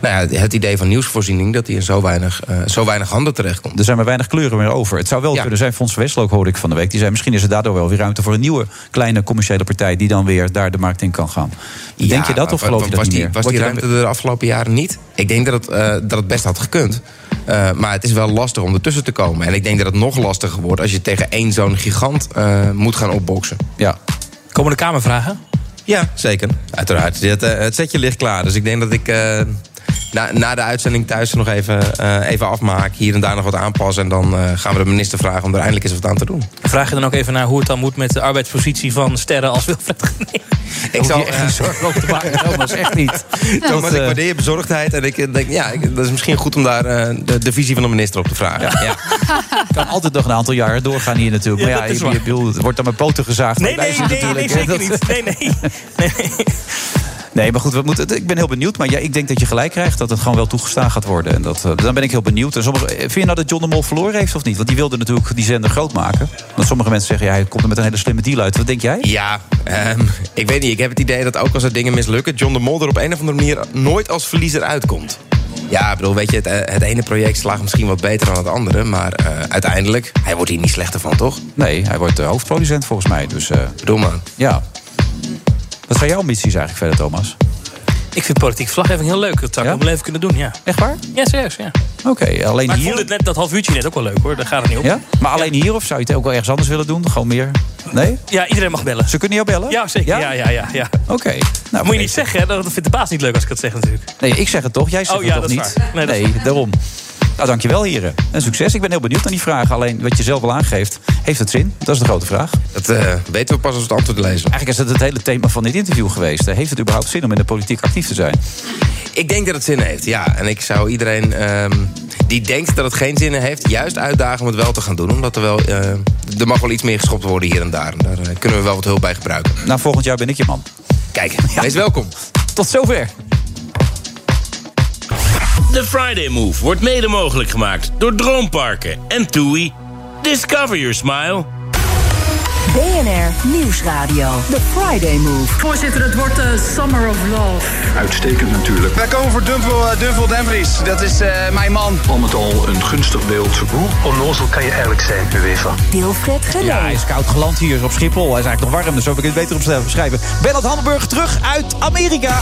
nou ja, het idee van nieuwsvoorziening dat die in zo weinig, eh, zo weinig handen terechtkomt.
Er zijn maar weinig kleuren meer over. Het zou wel kunnen zijn, Fons Westlook hoorde ik van de week. Die zei, misschien is er daardoor wel weer ruimte voor een nieuwe kleine commerciële partij... die dan weer daar de markt in kan gaan. Denk je dat of
wa-
geloof
wa-
je dat
was
niet
die,
meer?
Was
Word
die
je
ruimte er de afgelopen jaren niet? Ik denk dat het, eh, dat het best had gekund. Eh, maar het is wel lastig om ertussen te komen. En ik denk dat het nog lastiger wordt als je tegen één zo'n gigant eh, moet gaan opboksen.
Ja.
Komen de Kamervragen?
Ja, zeker. Uiteraard. Het, eh, het setje ligt klaar. Dus ik denk dat ik eh, na, na de uitzending thuis nog even, eh, even afmaak. Hier en daar nog wat aanpassen. En dan eh, gaan we de minister vragen om er eindelijk eens wat aan te doen.
Vraag je dan ook even naar hoe het dan moet met de arbeidspositie van sterren als Wilfred Genee?
Ik zal
echt geen zorgen over te maken. Thomas, echt niet.
Thomas,
eh,
ik waardeer je bezorgdheid. En ik eh, denk, ja, ik- dat is misschien goed om daar eh, de, de visie van de minister op te vragen. Ja.
kan altijd nog een aantal jaren doorgaan hier natuurlijk.
Ja,
maar
dat
ja,
is
je,
waar.
je bedoelt, het wordt dan met poten gezaagd.
Nee,
Wij
nee,
zien
nee, nee,
natuurlijk, hè,
zeker
dat-
niet. Nee, nee.
Nee, maar goed, we moeten, het- ik ben heel benieuwd. Maar ja, ik denk dat je gelijk krijgt dat het gewoon wel toegestaan gaat worden. En dat, eh, dan ben ik heel benieuwd. En sommige, eh, vind je nou dat John de Mol verloren heeft of niet? Want die wilde natuurlijk die zender groot maken. Want sommige mensen zeggen, ja, hij komt er met een hele slimme deal uit. Wat denk jij?
Ja, ehm, ik weet niet. Ik heb het idee dat ook als er dingen mislukken... John de Mol er op een of andere manier nooit als verliezer uitkomt. Ja, ik bedoel, weet je, het, eh, het ene project slaagt misschien wat beter dan het andere... maar eh, uiteindelijk, hij wordt hier niet slechter van, toch?
Nee, hij wordt eh, hoofdproducent volgens mij. Dus,
Bedoel man.
Ja. Wat zijn jouw ambities eigenlijk verder, Thomas?
Ik vind politiek vlaggeving heel leuk. Dat zou ik nog wel even kunnen doen, ja.
Echt waar?
Ja, serieus, ja.
Oké, alleen
maar ik
hier?
vond het net, dat half uurtje net ook wel leuk, hoor. Daar gaat het niet om.
Ja? Maar alleen hier of zou je het ook wel ergens anders willen doen? Gewoon meer? Nee?
Ja, iedereen mag bellen.
Ze kunnen jou bellen?
Ja, zeker. Ja, ja, ja. ja.
Oké. Nou,
Moet je niet zeggen, hè? dat vindt de baas niet leuk als ik dat zeg natuurlijk.
Nee, ik zeg het toch. Jij zegt
Oh, ja,
het toch
dat is
niet?
waar. Nee, dat is
daarom. Nou, dankjewel heren. En succes. Ik ben heel benieuwd naar die vragen. Alleen wat je zelf al aangeeft, heeft het zin? Dat is de grote vraag.
Dat eh, weten we pas als we het antwoord lezen.
Eigenlijk is dat het hele thema van dit interview geweest. Eh, Heeft het überhaupt zin om in de politiek actief te zijn?
Ik denk dat het zin heeft, ja. En ik zou iedereen ehm, die denkt dat het geen zin heeft... juist uitdagen om het wel te gaan doen. Omdat er wel... eh, er mag wel iets meer geschopt worden hier en daar. En daar eh, kunnen we wel wat hulp bij gebruiken.
Nou, volgend jaar ben ik je man.
Kijk, wees welkom.
Tot zover.
De Friday Move wordt mede mogelijk gemaakt door Droomparken en TUI. Discover your smile.
BNR Nieuwsradio. The Friday Move.
Voorzitter, het wordt de Summer of Love.
Uitstekend natuurlijk.
Wij komen voor Dumfel, eh, Dumfel Dumfries. Dat is eh, mijn man.
Al met al een gunstig beeld. Hoe
onnozel kan je eigenlijk zijn, UEFA?
Wilfred Genee.
Ja, hij is koud geland hier op Schiphol. Hij is eigenlijk nog warm, dus zo heb ik het beter op beschrijven. Bernard Hamburg terug uit Amerika.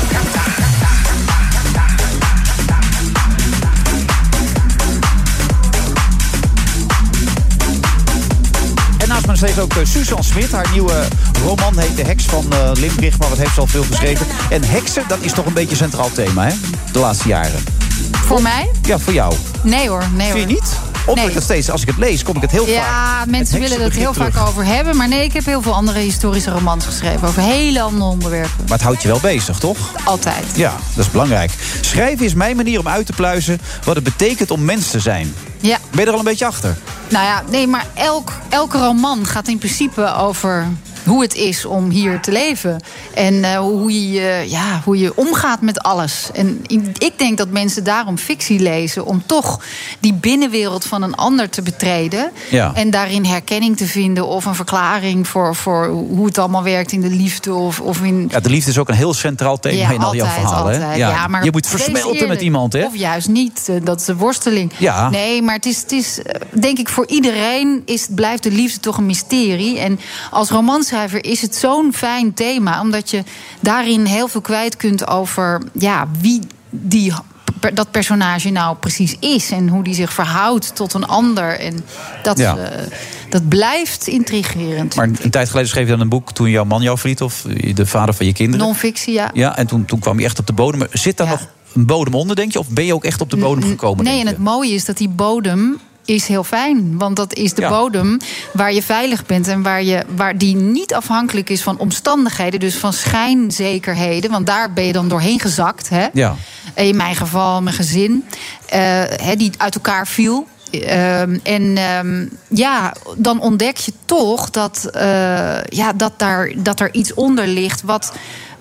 En naast me steeds ook eh, Suzanne Smit. Haar nieuwe roman heet De Heks van eh Limbrich, maar wat heeft ze al veel geschreven. En heksen, dat is toch een beetje een centraal thema, hè? De laatste jaren.
Voor mij?
Ja, voor jou.
Nee hoor, nee hoor.
Vind je niet? Opmerk dat steeds, als ik het lees, kom ik het heel vaak.
Ja, mensen
het
willen het heel
heksenbegrip
vaak
terug.
over hebben. Maar nee, ik heb heel veel andere historische romans geschreven. Over hele andere onderwerpen.
Maar het houdt je wel bezig, toch?
Altijd.
Ja, dat is belangrijk. Schrijven is mijn manier om uit te pluizen wat het betekent om mens te zijn.
Ja.
Ben je er al een beetje achter?
Nou ja, nee, maar elk, elke roman gaat in principe over hoe het is om hier te leven. En eh, hoe, je, eh, ja, hoe je omgaat met alles. En i- ik denk dat mensen daarom fictie lezen. Om toch die binnenwereld van een ander te betreden.
Ja.
En daarin herkenning te vinden. Of een verklaring voor, voor hoe het allemaal werkt in de liefde. Of, of in
Ja, de liefde is ook een heel centraal thema
ja,
in al jouw
altijd,
verhalen. hè?
altijd.
Ja.
Ja, maar
je moet
wees
versmelten met
eerlijk.
iemand, hè?
Of juist niet. eh, Dat is de worsteling.
Ja.
Nee, maar het is, het is eh, denk ik voor iedereen is, blijft de liefde toch een mysterie. En als romanschrijver is het zo'n fijn thema. Omdat je daarin heel veel kwijt kunt over ja, wie die, per- dat personage nou precies is. En hoe die zich verhoudt tot een ander. En dat,
Ja.
eh, dat blijft intrigerend.
Maar een tijd geleden schreef je dan een boek toen jouw man jou verliet... of de vader van je kinderen.
Non-fictie, ja.
Ja, en toen, toen kwam je echt op de bodem. Maar Zit daar nog een bodem onder, denk je? Of ben je ook echt op de bodem gekomen?
Nee, en het mooie is dat die bodem is heel fijn. Want dat is de
Ja.
bodem waar je veilig bent... en waar, je, waar die niet afhankelijk is van omstandigheden... dus van schijnzekerheden. Want daar ben je dan doorheen gezakt. Hè?
Ja.
Eh, In mijn geval, mijn gezin. eh, hè, die uit elkaar viel. Ehm, en ehm, ja, dan ontdek je toch dat, eh, ja, dat, daar, dat er iets onder ligt wat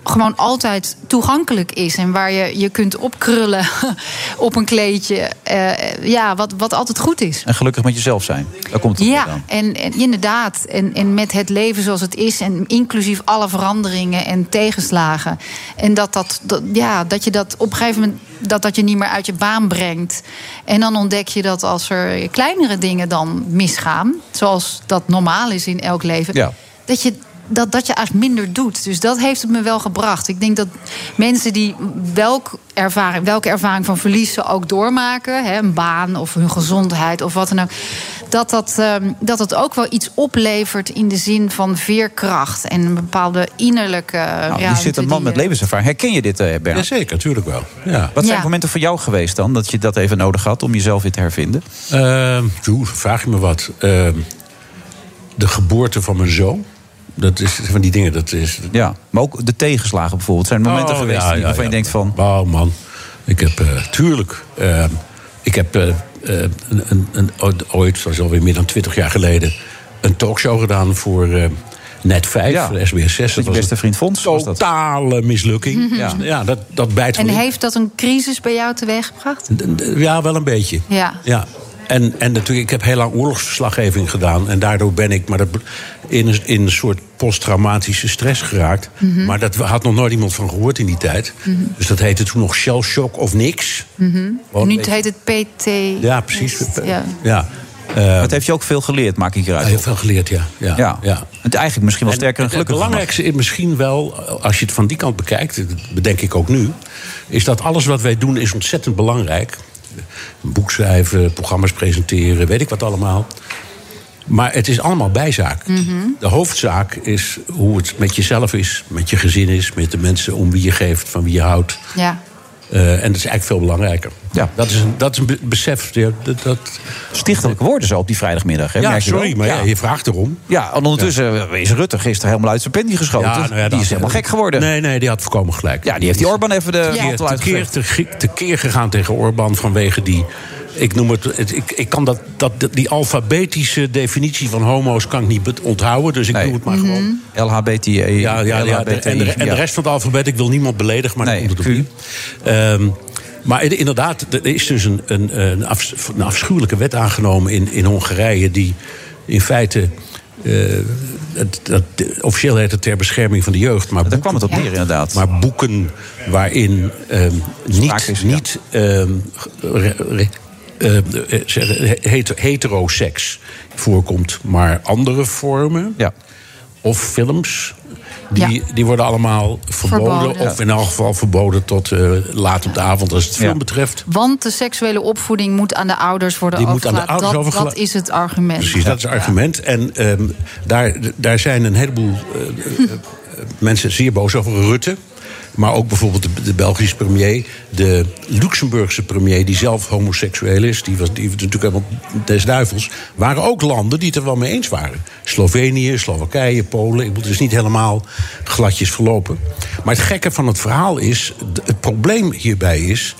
gewoon altijd toegankelijk is. En waar je je kunt opkrullen op een kleedje. eh, ja, wat, wat altijd goed is.
En gelukkig met jezelf zijn. Daar komt het op
Ja,
neer dan.
en, en inderdaad. En, en met het leven zoals het is. En inclusief alle veranderingen en tegenslagen. En dat, dat, dat- ja, dat je dat op een gegeven moment dat, dat je niet meer uit je baan brengt. En dan ontdek je dat als er kleinere dingen dan misgaan. Zoals dat normaal is in elk leven.
Ja.
Dat je. Dat, dat je eigenlijk minder doet. Dus dat heeft het me wel gebracht. Ik denk dat mensen die welk ervaring, welke ervaring van verlies ze ook doormaken, hè, een baan of hun gezondheid of wat dan ook, dat dat, ehm, dat dat ook wel iets oplevert in de zin van veerkracht en een bepaalde innerlijke. eh,
Nou,
ruimte
hier zit een
die
man met
je-
levenservaring. Herken je dit, eh Bernard?
Jazeker, natuurlijk wel. Ja.
Wat zijn
Ja.
momenten voor jou geweest dan? Dat je dat even nodig had om jezelf weer te hervinden?
Ehm, joe, vraag je me wat. Ehm, de geboorte van mijn zoon. Dat is van die dingen, dat is... Oh,
Ja, maar ook de tegenslagen bijvoorbeeld. Zijn er momenten geweest die- waarvan je denkt
van... Wauw, man. Ik heb, eh, tuurlijk... eh, ik heb eh, eh, een, een, een, ooit, dat is alweer meer dan twintig jaar geleden... een talkshow gedaan voor eh, Net 5,
Ja.
voor SBS 6.
Met je beste
vriend Fons was dat. Totale mislukking.
Mhm.
Ja, dat, dat bijt
En
me.
heeft dat een crisis bij jou teweeggebracht?
Ja, wel een beetje.
Ja.
Ja. En, en natuurlijk, ik heb heel lang oorlogsverslaggeving gedaan. En daardoor ben ik maar dat, in, een, in een soort posttraumatische stress geraakt.
Mhm.
Maar daar had nog nooit iemand van gehoord in die tijd.
Mhm.
Dus dat heette toen nog shell shock of niks.
Mhm.
Gewoon
Nu
een beetje-
heet het PT.
Ja, precies. Eh,
Ja.
Ja.
dat heeft je ook veel geleerd, maak ik hieruit. Heel
veel geleerd, ja. ja,
ja. Het eigenlijk misschien wel
En
sterker en
het
gelukkiger.
belangrijkste is misschien wel, als je het van die kant bekijkt, dat bedenk ik ook nu, is dat alles wat wij doen is ontzettend belangrijk. Een boek schrijven, programma's presenteren, weet ik wat allemaal. Maar het is allemaal bijzaak.
Mhm.
De hoofdzaak is hoe het met jezelf is, met je gezin is, met de mensen om wie je geeft, van wie je houdt.
Ja.
Eh, en dat is eigenlijk veel belangrijker. Ja. Dat, is een, dat is een be- besef. ja, Dat, dat...
Stichtelijke woorden zo op die vrijdagmiddag. Hè?
Ja,
Merk je wel?
sorry, maar ja, je vraagt erom.
Ja, en ondertussen eh, is Rutte gisteren helemaal uit zijn pen geschoten.
Ja, nou ja,
die
dat-
is helemaal gek geworden.
Nee, nee, die had voorkomen gelijk.
Ja, die heeft die Orban even de
Tekeer-
mantel
tekeer,
uitgeveegd.
tekeer, tekeer gegaan tegen Orbán vanwege die. Ik noem het. het- ik, ik kan dat, dat, dat- die alfabetische definitie van homo's kan ik niet bet- onthouden. Dus ik doe het maar gewoon.
LHBTI.
Ja, ja, E, ja, de- en, de, en de rest van het alfabet, ik wil niemand beledigen, maar daar komt het op neer. Ehm, maar in- inderdaad, er is dus een, een, een, afs- een afschuwelijke wet aangenomen in, in Hongarije... die in feite, eh, het, dat, officieel heet het ter bescherming van de jeugd... maar daar kwam het op
neer, inderdaad.
Maar boeken waarin ehm, niet, niet ehm, re- re- eh, eh, zeg- het- heteroseks voorkomt, maar andere vormen. Of films. Die, die worden allemaal verboden.
Verboden.
Of in elk geval verboden tot eh, laat op de avond als het film betreft.
Want de seksuele opvoeding moet aan de ouders worden
Die moet aan de
overgelaten.
ouders
dat,
overgelaten-
dat is het argument.
Precies, dat is het argument. En ehm, daar, daar zijn een heleboel eh, eh, mensen zeer boos over. Rutte, maar ook bijvoorbeeld de, de Belgische premier. De Luxemburgse premier, die zelf homoseksueel is. Die was, die was natuurlijk helemaal des duivels. Waren ook landen die het er wel mee eens waren. Slovenië, Slowakije, Polen. Ik bedoel, het is niet helemaal gladjes verlopen. Maar het gekke van het verhaal is... d- het probleem hierbij is...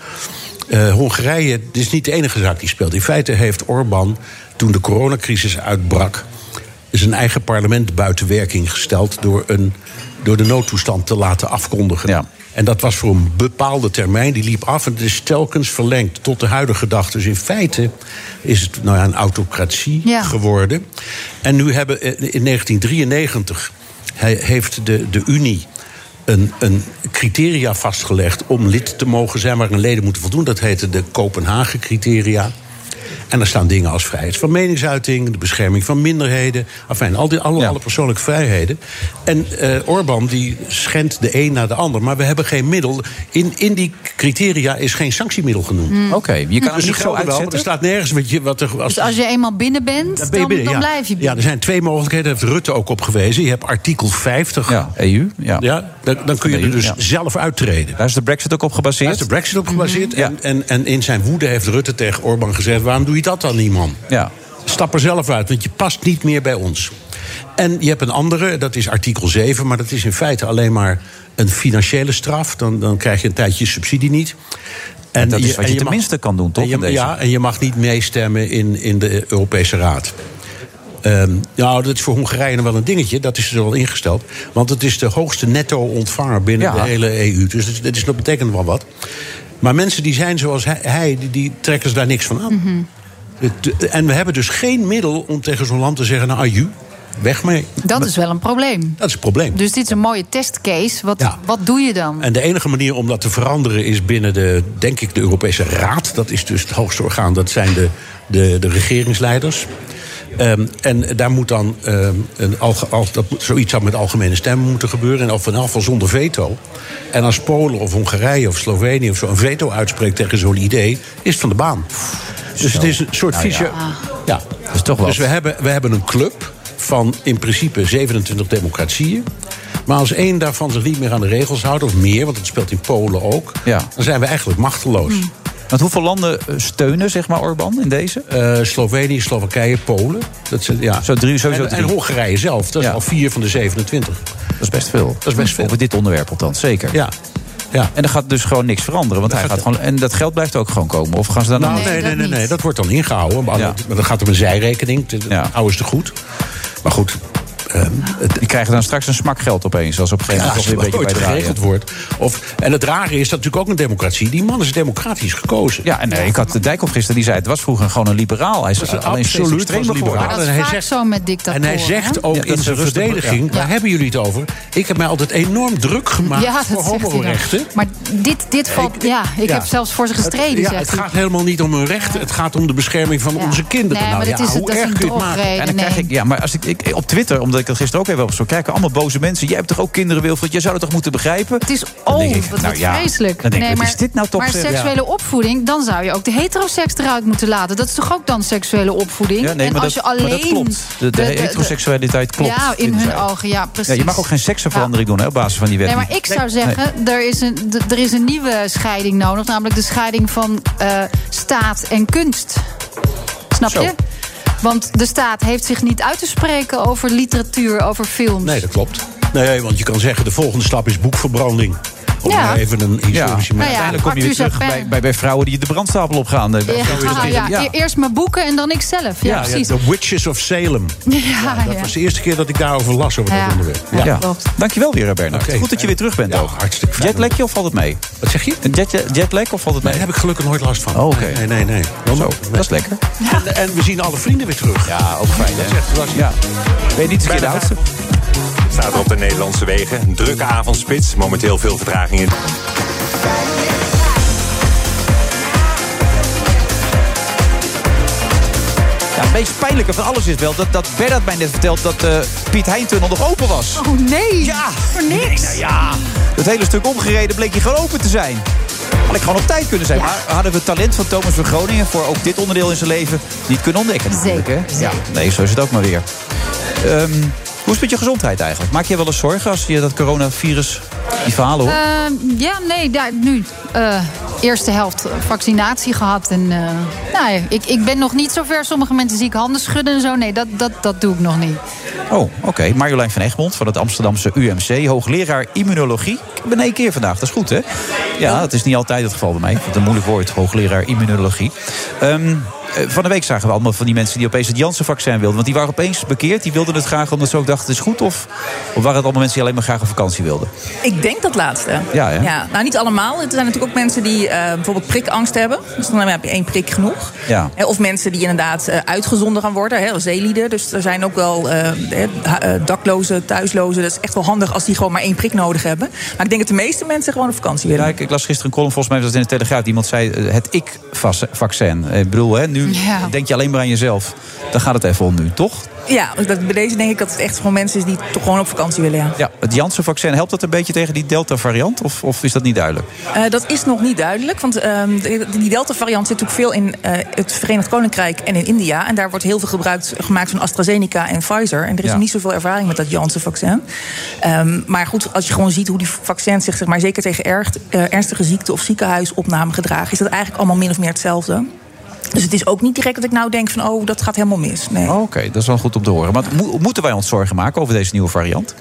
Eh, Hongarije dit is niet de enige zaak die speelt. In feite heeft Orbán, toen de coronacrisis uitbrak... zijn eigen parlement buiten werking gesteld door, een, door de noodtoestand te laten afkondigen. En dat was voor een bepaalde termijn, die liep af en het is telkens verlengd tot de huidige dag. Dus in feite is het nou ja, een autocratie
Ja.
geworden. En nu hebben eh, in 1993 hij- heeft de, de Unie een, een criteria vastgelegd om lid te mogen zijn, waar een leden moeten voldoen. Dat heette de Kopenhagen-criteria. En daar staan dingen als vrijheid van meningsuiting, de bescherming van minderheden. Enfin, al die, alle, alle persoonlijke vrijheden. En eh Orbán die schendt de een na de ander. Maar we hebben geen middel. In, in die criteria is geen sanctiemiddel genoemd.
Mm. Oké, je kan hem
ze
niet zo
gelden wel, maar
uitzetten?
Er staat nergens wat, je, wat er...
Dus als je eenmaal binnen bent, dan,
ben je binnen,
dan
ja.
blijf je binnen.
Ja, er zijn twee mogelijkheden. Daar heeft Rutte ook op gewezen. Je hebt artikel 50.
EU. Ja. E
dan, dan kun je er dus
ja.
zelf uittreden.
Daar is de brexit ook op gebaseerd.
Daar is
Mhm.
de brexit op gebaseerd. en, en, en in zijn woede heeft Rutte tegen Orbán gezegd... waarom doe je dat dan niet, man?
Ja.
Stap er zelf uit, want je past niet meer bij ons. En je hebt een andere, dat is artikel 7... maar dat is in feite alleen maar een financiële straf. Dan, dan krijg je een tijdje subsidie niet.
En dat is wat je
mag-
tenminste kan doen, toch,
en je-
in deze?
Ja, en je mag niet meestemmen in, in de Europese Raad. Ehm, nou, dat is voor Hongarije nog wel een dingetje. Dat is er al ingesteld. Want het is de hoogste netto-ontvanger binnen
Ja.
de hele EU. Dus dat, dat, is, dat betekent wel wat. Maar mensen die zijn zoals hij, hij, die, die trekken ze daar niks van aan.
Mhm.
Het- en we hebben dus geen middel om tegen zo'n land te zeggen... nou, aju, weg mee.
Dat is wel een probleem.
Dat is een probleem.
Dus dit is een mooie testcase. Wat, wat doe je dan?
En de enige manier om dat te veranderen is binnen de, denk ik, de Europese Raad. Dat is dus het hoogste orgaan, dat zijn de, de, de regeringsleiders. Ehm, en daar moet dan ehm, een alge- al, dat, moet- zoiets zou met algemene stemmen moeten gebeuren. En of in elk geval zonder veto. En als Polen of Hongarije of Slovenië of zo een veto uitspreekt tegen zo'n idee, is het van de baan. Dus het is een soort
Nou ja.
visie. Ja.
is toch wel.
Dus we hebben, we hebben een club van in principe 27 democratieën. Maar als één daarvan zich niet meer aan de regels houdt, of meer, want dat speelt in Polen ook, dan zijn we eigenlijk machteloos.
Hmm. Ah. Want hoeveel landen eh, steunen, zeg maar, Orbán in deze?
Eh, Slovenië, Slowakije, Polen. Dat zijn, ja.
Zo drie, sowieso
en,
drie.
en Hongarije zelf, dat is al vier van de 27.
Dat is best veel. Dat
is best veel.
Over dit onderwerp althans, zeker.
Ja. ja.
En er gaat dus gewoon niks veranderen. Want hij gaat gewoon, en dat geld blijft ook gewoon komen. Of gaan ze daar
Nou,
nog-
nee, nee, nee, nee, dat wordt dan ingehouden. Maar dat- maar dat gaat om een zijrekening. Het- het Houden ze te goed. Maar goed. ehm,
Die krijgen dan straks een smak geld opeens. Als op een gegeven
Ja,
moment
als
toch
het
weer een beetje bij
ooit
de radio-
geregeld wordt. Of, en het rare is dat natuurlijk ook een democratie. Die man is democratisch gekozen.
Ja, en nee, ik had de Dijkhoff gisteren, die zei... het was vroeger gewoon een liberaal. Hij is,
Dat is een
alleen steeds
absoluut
extremer
was een
geworden.
liberaal.
Dat is
hij
vaak
zegt-
zo met dictatoren.
En hij zegt
hè?
ook
Ja, dat
in
is
zijn
een rustige-
verdediging,
ja.
waar hebben jullie het over? Ik heb mij altijd enorm druk gemaakt
ja, dat
voor
zegt hij
homorechten.
dan. Maar dit, dit valt... Ja, ik
Ja.
heb zelfs voor ze
Het,
gestreden,
ja,
zegt
het
hij.
gaat helemaal niet om hun rechten. Het gaat om de bescherming van onze kinderen.
Nee,
nou,
maar dat
ja,
is het-
hoe
dat is
erg
een
kun je het maken?
drogreden,
En dan krijg ik, ja, maar als ik, ik op Twitter, omdat ik dat gisteren ook even op zo kijken, allemaal boze mensen. Jij hebt toch ook kinderen, Wilfried? Jij zou het toch moeten begrijpen? Het
is
oh,
Oh, wat, wat vreselijk.
Dan denk ik,
Nee,
wat is dit nou toch?
Maar
zeg?
seksuele opvoeding, dan zou je ook de heteroseks eruit moeten laten. Dat is toch ook dan seksuele opvoeding?
Ja, nee,
en
maar
als
dat-
je alleen...
maar dat klopt. De, de heteroseksualiteit klopt.
Ja, in
vinden
hun
zij.
ogen, ja, precies.
Ja, je mag ook geen seksenverandering doen hè, op basis van die wet.
Nee, maar ik zou zeggen, er, is een, d- er is een nieuwe scheiding nodig. Namelijk de scheiding van eh, staat en kunst. Snap
Zo.
je? Want de staat heeft zich niet uit te spreken over literatuur, over films.
Nee, dat klopt. Nee, want je kan zeggen, de volgende stap is boekverbranding. Om
Ja.
maar even een historische...
Nou ja,
uiteindelijk kom je weer
Arthur
terug
Japin.
bij, bij, bij vrouwen die de brandstapel opgaan. eh, bij-
Ja,
zo is het.
ja, e- Eerst mijn boeken en dan ik zelf. Ja,
Ja, ja,
precies.
The Witches of Salem.
Ja,
Dat
ja.
was de eerste keer dat ik daarover las, over
Ja.
dat onderwerp.
Ja. Dankjewel weer, Bernard. Goed dat je weer terug bent. ook.
hartstikke fijn.
Jetlagje of valt het mee?
Wat zeg je?
Een jet, jetlag of valt het mee?
Daar heb ik gelukkig nooit last van.
Oh, oké.
Nee, nee, nee.
Zo, dat is lekker.
En, en we zien alle vrienden weer terug.
Ja, ook fijn,
Dat is echt klasse.
Ja. Ben je niet
eens een keer de oudste?
Staat er op de Nederlandse wegen. Een drukke avondspits. Momenteel veel vertragingen.
Ja, het meest pijnlijke van alles is wel dat, dat Bernard mij net vertelt dat de Piet Heintunnel nog open was.
Oh nee,
ja.
voor niks.
Nou ja, dat hele stuk omgereden bleek hier gewoon open te zijn. Had ik gewoon op tijd kunnen zijn. Maar hadden we het talent van Thomas van Groningen voor ook dit onderdeel in zijn leven niet kunnen ontdekken. natuurlijk, hè? Ja, nee, zo is het ook maar weer. Ehm, hoe is het met je gezondheid eigenlijk? Maak je wel eens zorgen als je dat coronavirus, die verhalen hoort?
Eh, ja, nee, daar, nu. eh, eerste helft vaccinatie gehad. En, eh, nou, ja, ik, ik ben nog niet zover. Sommige mensen zie ik handen schudden en zo. Nee, dat, dat, dat doe ik nog niet.
Oh, oké. Marjolein van Egmond van het Amsterdamse UMC, hoogleraar immunologie. Ik ben één keer vandaag, dat is goed hè? Ja, dat is niet altijd het geval bij mij. Ik vind het een moeilijk woord, hoogleraar immunologie. Ehm, eh, van de week zagen we allemaal van die mensen die opeens het Janssen-vaccin wilden. Want die waren opeens bekeerd, die wilden het graag omdat ze ook dachten het is goed. Of, of waren het allemaal mensen die alleen maar graag op vakantie wilden?
Ik denk dat laatste.
Ja, hè?
nou, niet allemaal. Er zijn natuurlijk ook mensen die eh, bijvoorbeeld prikangst hebben. Dus dan heb je één prik genoeg.
Ja.
Hè, Of mensen die inderdaad eh, uitgezonden gaan worden, hè, als zeelieden. Dus er zijn ook wel eh, hè, ha- eh, daklozen, thuislozen. Dat is echt wel handig als die gewoon maar één prik nodig hebben. Maar ik denk dat de meeste mensen gewoon op vakantie willen.
Ja, ik, ik las gisteren een column, volgens mij was dat in de Telegraaf. Iemand zei eh, het ik-vaccin. Ik bedoel, hè, nu
Ja.
denk je alleen maar aan jezelf. Dan gaat het even om nu, toch?
Ja, dus dat, bij deze denk ik dat het echt gewoon mensen is die toch gewoon op vakantie willen. Ja.
Ja, het Janssen-vaccin, helpt dat een beetje tegen die Delta-variant? Of, of is dat niet duidelijk?
Eh, dat is nog niet duidelijk, want ehm, de- die Delta-variant zit natuurlijk veel in eh, het Verenigd Koninkrijk en in India. En daar wordt heel veel gebruikt gemaakt van AstraZeneca en Pfizer. En er is
Ja.
nog niet zoveel ervaring met dat Janssen-vaccin. Ehm, maar goed, als je gewoon ziet hoe die vaccins zich, zeg maar, zeker tegen erg, eh, ernstige ziekte of ziekenhuisopname gedragen, is dat eigenlijk allemaal min of meer hetzelfde. Dus het is ook niet direct dat ik nou denk van, oh, dat gaat helemaal mis. Nee.
Oké, dat is wel goed om te horen. Maar mo- moeten wij ons zorgen maken over deze nieuwe variant?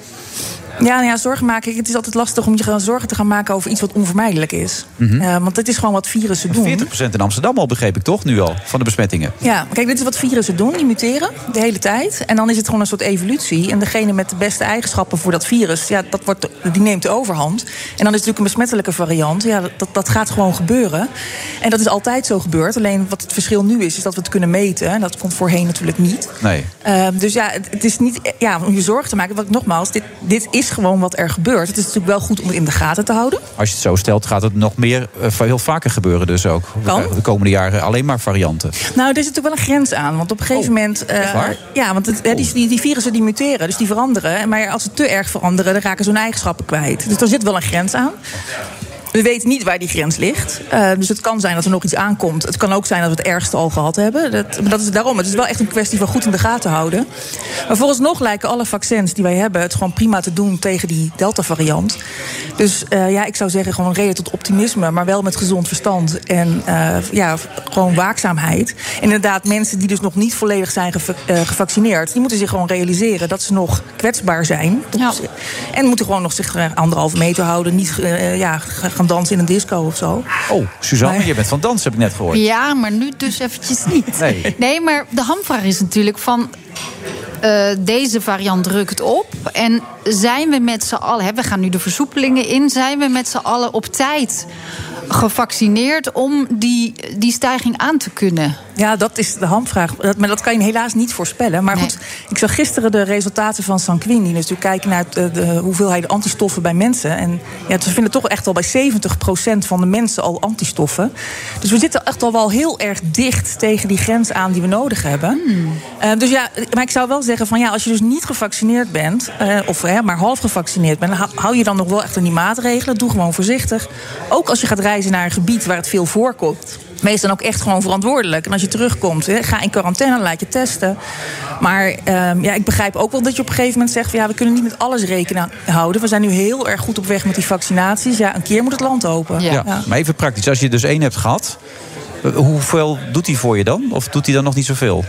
Ja, nou ja, zorgen maken. Het is altijd lastig om je gaan zorgen te gaan maken over iets wat onvermijdelijk is. Eh, want dat is gewoon wat virussen doen.
40% in Amsterdam al, begreep ik toch, nu al, van de besmettingen.
Ja, kijk, dit is wat virussen doen. Die muteren de hele tijd. En dan is het gewoon een soort evolutie. En degene met de beste eigenschappen voor dat virus, ja, dat wordt, die neemt de overhand. En dan is het natuurlijk een besmettelijke variant. Ja, dat, dat gaat gewoon gebeuren. En dat is altijd zo gebeurd. Alleen wat het verschil nu is, is dat we het kunnen meten. En dat komt voorheen natuurlijk niet.
Nee.
Ehm, dus ja, het, het is niet ja, om je zorgen te maken. Want nogmaals, dit, dit is gewoon wat er gebeurt. Het is natuurlijk wel goed om het in de gaten te houden.
Als je het zo stelt, gaat het nog meer, eh, heel vaker gebeuren dus ook. We
Kan.
krijgen De komende jaren alleen maar varianten.
Nou, er zit natuurlijk wel een grens aan. Want op een gegeven moment. eh,
waar?
ja, want het, hè, die, die, die virussen die muteren, dus die veranderen. Maar als ze te erg veranderen, dan raken ze hun eigenschappen kwijt. Dus daar zit wel een grens aan. We weten niet waar die grens ligt. Eh, dus het kan zijn dat er nog iets aankomt. Het kan ook zijn dat we het ergste al gehad hebben. Dat, maar dat is daarom. Het is wel echt een kwestie van goed in de gaten houden. Maar vooralsnog lijken alle vaccins die wij hebben het gewoon prima te doen tegen die Delta-variant. Dus eh, ja, ik zou zeggen gewoon reden tot optimisme, maar wel met gezond verstand en eh, ja, gewoon waakzaamheid. En inderdaad, mensen die dus nog niet volledig zijn geva- eh, gevaccineerd, die moeten zich gewoon realiseren dat ze nog kwetsbaar zijn. En moeten gewoon nog zich eh, anderhalve meter houden, niet eh, ja, gaan dansen in een disco of zo.
Oh, Suzanne, je bent van dans, heb ik net gehoord.
Ja, maar nu dus eventjes niet.
Nee.
maar de hamvraag is natuurlijk van... eh, deze variant rukt op. En zijn we met z'n allen... Hè, we gaan nu de versoepelingen in. Zijn we met z'n allen op tijd gevaccineerd... om die, die stijging aan te kunnen?
Ja, dat is de hamvraag. Dat, maar dat kan je helaas niet voorspellen. Maar goed, ik zag gisteren de resultaten van Sanquin. Die natuurlijk kijken naar de, de hoeveelheid antistoffen bij mensen. En ja, ze vinden toch echt al bij 70% van de mensen al antistoffen. Dus we zitten echt al wel heel erg dicht tegen die grens aan die we nodig
Hmm.
hebben. Eh, dus ja, maar ik zou wel zeggen van ja, als je dus niet gevaccineerd bent, eh, of hè, maar half gevaccineerd bent, hou- hou je dan nog wel echt aan die maatregelen. Doe gewoon voorzichtig. Ook als je gaat reizen naar een gebied waar het veel voorkomt. Wees dan ook echt gewoon verantwoordelijk. En als je terugkomt, hè, ga in quarantaine, laat je testen. Maar ehm, ja, ik begrijp ook wel dat je op een gegeven moment zegt... van, ja, we kunnen niet met alles rekening houden. We zijn nu heel erg goed op weg met die vaccinaties. Ja, een keer moet het land open.
Ja. Maar even praktisch, als je dus één hebt gehad, eh, hoeveel doet hij voor je dan? Of doet hij dan nog niet zoveel?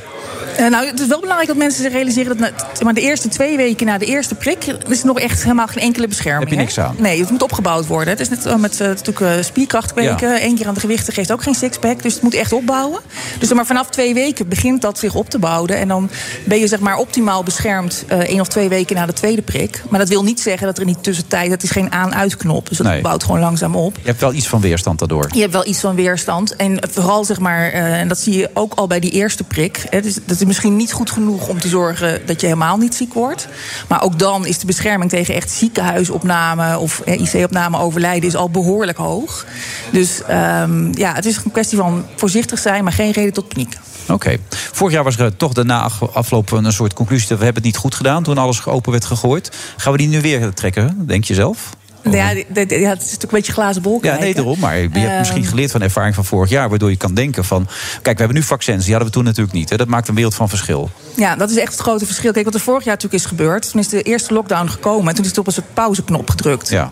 Eh, nou, het is wel belangrijk dat mensen zich realiseren dat na, maar de eerste twee weken na de eerste prik is er nog echt helemaal geen enkele bescherming.
Heb je
hè?
niks aan.
Nee, het moet opgebouwd worden. Het is net eh, met eh, natuurlijk eh, spierkracht kweken. Eén keer aan de gewichten geeft ook geen sixpack. Dus het moet echt opbouwen. Dus maar vanaf twee weken begint dat zich op te bouwen. En dan ben je zeg maar optimaal beschermd eh, één of twee weken na de tweede prik. Maar dat wil niet zeggen dat er in die tussentijd, dat is geen aan-uitknop. Dus dat
Nee.
bouwt gewoon langzaam op.
Je hebt wel iets van weerstand daardoor.
Je hebt wel iets van weerstand. En vooral, zeg maar, eh, en dat zie je ook al bij die eerste prik. Hè, dus dat is misschien niet goed genoeg om te zorgen dat je helemaal niet ziek wordt. Maar ook dan is de bescherming tegen echt ziekenhuisopname of eh, IC-opname overlijden is al behoorlijk hoog. Dus ehm, ja, het is een kwestie van voorzichtig zijn, maar geen reden tot paniek.
Oké. Vorig jaar was er eh, toch daarna af- afloop een soort conclusie dat we hebben het niet goed gedaan toen alles open werd gegooid. Gaan we die nu weer trekken, denk je zelf?
Nou Ja, dit- dit- ja, het is natuurlijk een beetje glazen bol.
Oh. Ja, nee,
kijken.
daarom. Maar je hebt
Ehm.
misschien geleerd van de ervaring van vorig jaar... waardoor je kan denken van... kijk, we hebben nu vaccins, die hadden we toen natuurlijk niet. Hè. Dat maakt een wereld van verschil.
Ja, dat is echt het grote verschil. Kijk, wat er vorig jaar natuurlijk is gebeurd. Toen is de eerste lockdown gekomen. En toen is het op een soort pauzeknop gedrukt.
Ja.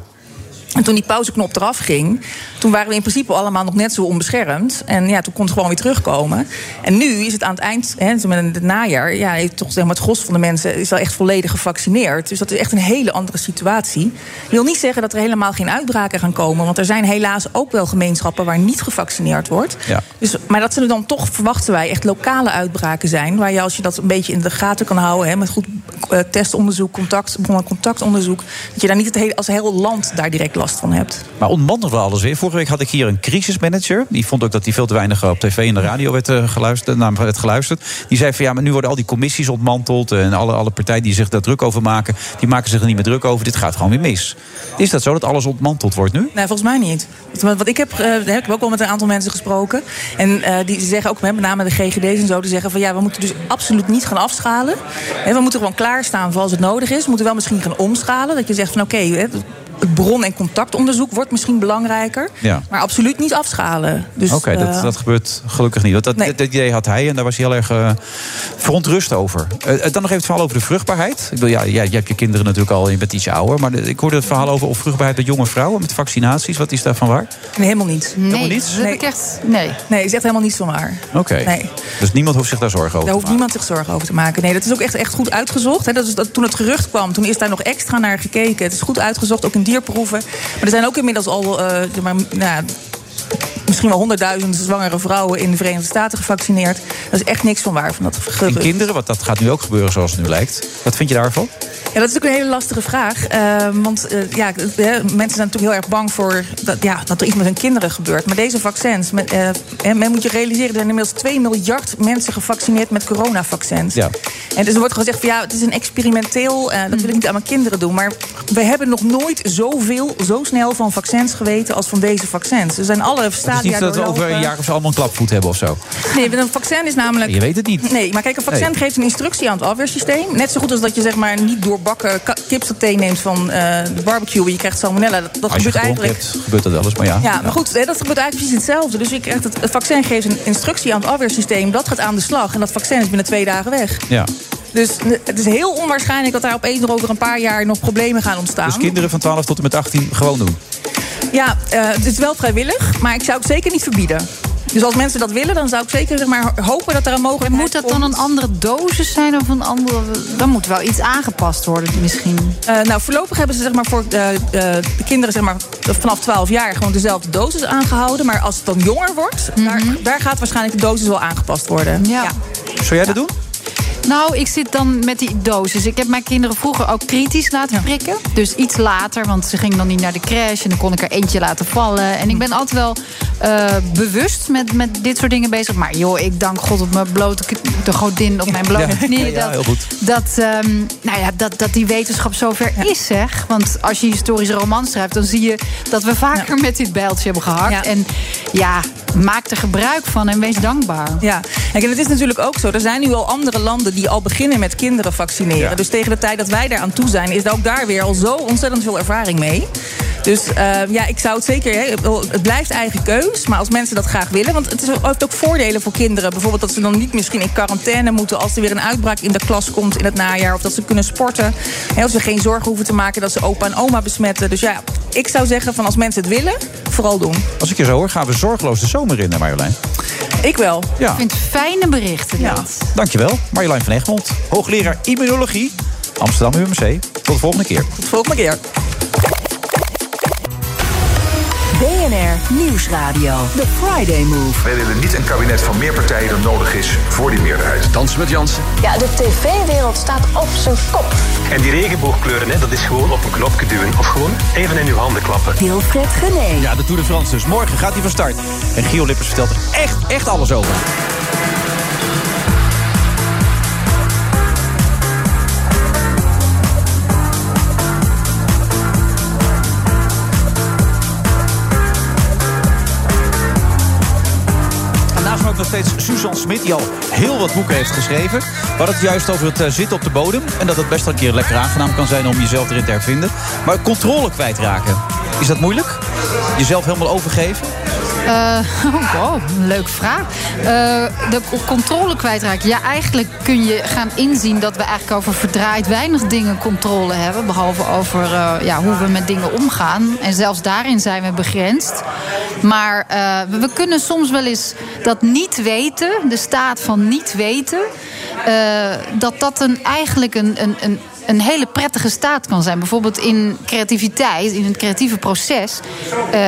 En toen die pauzeknop eraf ging, toen waren we in principe allemaal nog net zo onbeschermd. En ja, toen kon het gewoon weer terugkomen. En nu is het aan het eind, hè, zo met het najaar, ja, heeft toch zeg maar, het gros van de mensen is al echt volledig gevaccineerd. Dus dat is echt een hele andere situatie. Ik wil niet zeggen dat er helemaal geen uitbraken gaan komen. Want er zijn helaas ook wel gemeenschappen waar niet gevaccineerd wordt.
Ja.
Dus, maar dat zullen dan toch, verwachten wij, echt lokale uitbraken zijn. Waar je als je dat een beetje in de gaten kan houden. Hè, met goed eh, testonderzoek, contact, bron- en contactonderzoek. Dat je daar niet het hele, als heel land daar direct last van hebt.
Maar ontmantelen we alles weer. Vorige week had ik hier een crisismanager. Die vond ook dat hij veel te weinig op tv en de radio werd, eh, geluisterd, naar hem werd geluisterd. Die zei van ja, maar nu worden al die commissies ontmanteld. En alle, alle partijen die zich daar druk over maken, die maken zich er niet meer druk over. Dit gaat gewoon weer mis. Is dat zo dat alles ontmanteld wordt nu?
Nee, volgens mij niet. Want wat ik heb, eh, daar heb ik ook wel met een aantal mensen gesproken. En eh, die zeggen ook, hè, met name de GGD's en zo, die zeggen van ja, we moeten dus absoluut niet gaan afschalen. Hè, we moeten gewoon klaarstaan voor als het nodig is. We moeten wel misschien gaan omschalen. Dat je zegt van oké, hè, het bron- en contactonderzoek wordt misschien belangrijker.
Ja.
Maar absoluut niet afschalen. Dus,
Oké, dat,
eh,
dat gebeurt gelukkig niet. Want dat, dat idee had hij en daar was hij heel erg eh, verontrust over. Eh, eh, dan nog even het verhaal over de vruchtbaarheid. Ik bedoel, ja, jij, jij hebt je kinderen natuurlijk al, je bent iets ouder. Maar de- ik hoorde het verhaal over of vruchtbaarheid bij jonge vrouwen met vaccinaties. Wat is daarvan waar?
nee, helemaal niet.
Nee, dat heb ik echt... Nee.
Nee, is echt helemaal niet van waar.
Oké.
Nee.
Dus niemand hoeft zich daar zorgen over
Daar
te
hoeft
maken.
niemand zich zorgen over te maken. Nee, dat is ook echt, echt goed uitgezocht. Hè. Dat is, dat, toen het gerucht kwam, toen is daar nog extra naar gekeken. Het is goed uitgezocht, ook in dierproeven. Maar er zijn ook inmiddels al eh, zeg maar, nou, ja, misschien wel honderdduizend zwangere vrouwen in de Verenigde Staten gevaccineerd. Dat is echt niks van waar van dat gerucht.
En kinderen, want dat gaat nu ook gebeuren zoals het nu lijkt. Wat vind je daarvan?
Ja, dat is ook een hele lastige vraag. eh, want eh, ja, eh, mensen zijn natuurlijk heel erg bang voor dat, ja, dat er iets met hun kinderen gebeurt. Maar deze vaccins, met, eh, hè, men moet je realiseren, er zijn inmiddels 2 miljard mensen gevaccineerd met coronavaccins.
Ja.
En dus er wordt gezegd van ja, het is een experimenteel, eh,
Mhm.
dat wil ik niet aan mijn kinderen doen. Maar we hebben nog nooit zoveel, zo snel van vaccins geweten als van deze vaccins. Er zijn alle
Het is
stadia
niet dat we over een
doorlopen.
jaar of zo allemaal een klapvoet hebben of zo.
Nee, want een vaccin is namelijk.
Je weet het niet.
Nee, maar kijk, een vaccin
Nee.
geeft een instructie aan het afweersysteem. Net zo goed als dat je zeg maar niet doorbakken ka- kipsaté neemt van eh, de barbecue. en Je krijgt salmonella. Dat, dat
Als je
gebeurt
gedronken
eigenlijk.
hebt, gebeurt dat wel eens. Maar ja.
Ja, maar goed, hè, dat gebeurt eigenlijk precies hetzelfde. Dus je krijgt het, het vaccin geeft een instructie aan het afweersysteem. Dat gaat aan de slag. En dat vaccin is binnen twee dagen weg.
Ja.
Dus n- het is heel onwaarschijnlijk dat daar opeens nog over een paar jaar nog problemen gaan ontstaan.
Dus kinderen van 12 tot en met 18 gewoon doen.
Ja, eh, het is wel vrijwillig, maar ik zou het zeker niet verbieden. Dus als mensen dat willen, dan zou ik zeker zeg maar, hopen dat er een mogelijkheid
Moet dat dan een andere dosis zijn of een andere... Dan moet wel iets aangepast worden misschien.
Eh, nou, voorlopig hebben ze zeg maar, voor eh, eh, de kinderen zeg maar, vanaf 12 jaar gewoon dezelfde dosis aangehouden. Maar als het dan jonger wordt, daar, daar gaat waarschijnlijk de dosis wel aangepast worden.
Mhm. Ja.
Zou jij dat doen?
Nou, ik zit dan met die dosis. Ik heb mijn kinderen vroeger ook kritisch laten prikken. Dus iets later, want ze gingen dan niet naar de crash... en dan kon ik er eentje laten vallen. En ik ben altijd wel eh, bewust met, met dit soort dingen bezig. Maar joh, ik dank God op mijn blote... kn- de godin op mijn blote knieën.
ja,
dat-
heel goed.
dat, ehm, nou ja, dat, dat die wetenschap zover is, zeg. Want als je historische romans schrijft, dan zie je dat we vaker met dit bijltje hebben gehakt. En ja, maak er gebruik van en wees dankbaar.
Ja, Kijk, en het is natuurlijk ook zo. Er zijn nu al andere landen die al beginnen met kinderen vaccineren. Dus tegen de tijd dat wij daar aan toe zijn, is er ook daar weer al zo ontzettend veel ervaring mee. Dus eh, ja, ik zou het zeker. Hè, ik bedoel, het blijft eigen keus. Maar als mensen dat graag willen. Want het is- heeft ook voordelen voor kinderen. Bijvoorbeeld dat ze dan niet misschien in quarantaine moeten. als er weer een uitbraak in de klas komt in het najaar. Of dat ze kunnen sporten. Hè, of ze geen zorgen hoeven te maken dat ze opa en oma besmetten. Dus ja, ik zou zeggen van als mensen het willen, vooral doen.
Als ik je zo hoor, gaan we zorgeloos de zomer in, hè, Marjolein.
Ik wel.
Ja.
Ik vind het fijne berichten. Ja.
Dankjewel, Marjolein van Egmond, hoogleraar immunologie, Amsterdam UMC. Tot de volgende keer.
Tot de volgende keer.
BNR Nieuwsradio. The Friday Move.
Wij willen niet een kabinet van meer partijen dan nodig is voor die meerderheid. Dans met Jansen.
Ja, de tv-wereld staat op zijn kop.
En die regenboogkleuren, hè, dat is gewoon op een knopje duwen. Of gewoon even in uw handen klappen.
Wilfred Genee.
Ja, de Tour de France dus. Morgen gaat hij van start. En Gio Lippers vertelt er echt, echt alles over. En Naast me ook nog steeds Suzanne Smit, die al heel wat boeken heeft geschreven. We hadden het juist over het eh, zitten op de bodem. En dat het best wel een keer lekker aangenaam kan zijn om jezelf erin te hervinden. Maar controle kwijtraken, is dat moeilijk? Jezelf helemaal overgeven?
Eh, oh, wow, een leuke vraag. Eh, de co- controle kwijtraken. Ja, eigenlijk kun je gaan inzien dat we eigenlijk over verdraaid weinig dingen controle hebben. Behalve over eh, ja, hoe we met dingen omgaan. En zelfs daarin zijn we begrensd. Maar eh, we- we kunnen soms wel eens dat niet weten, de staat van niet weten, eh, dat dat een, eigenlijk een, een, een, een hele prettige staat kan zijn. Bijvoorbeeld in creativiteit, in het creatieve proces, eh,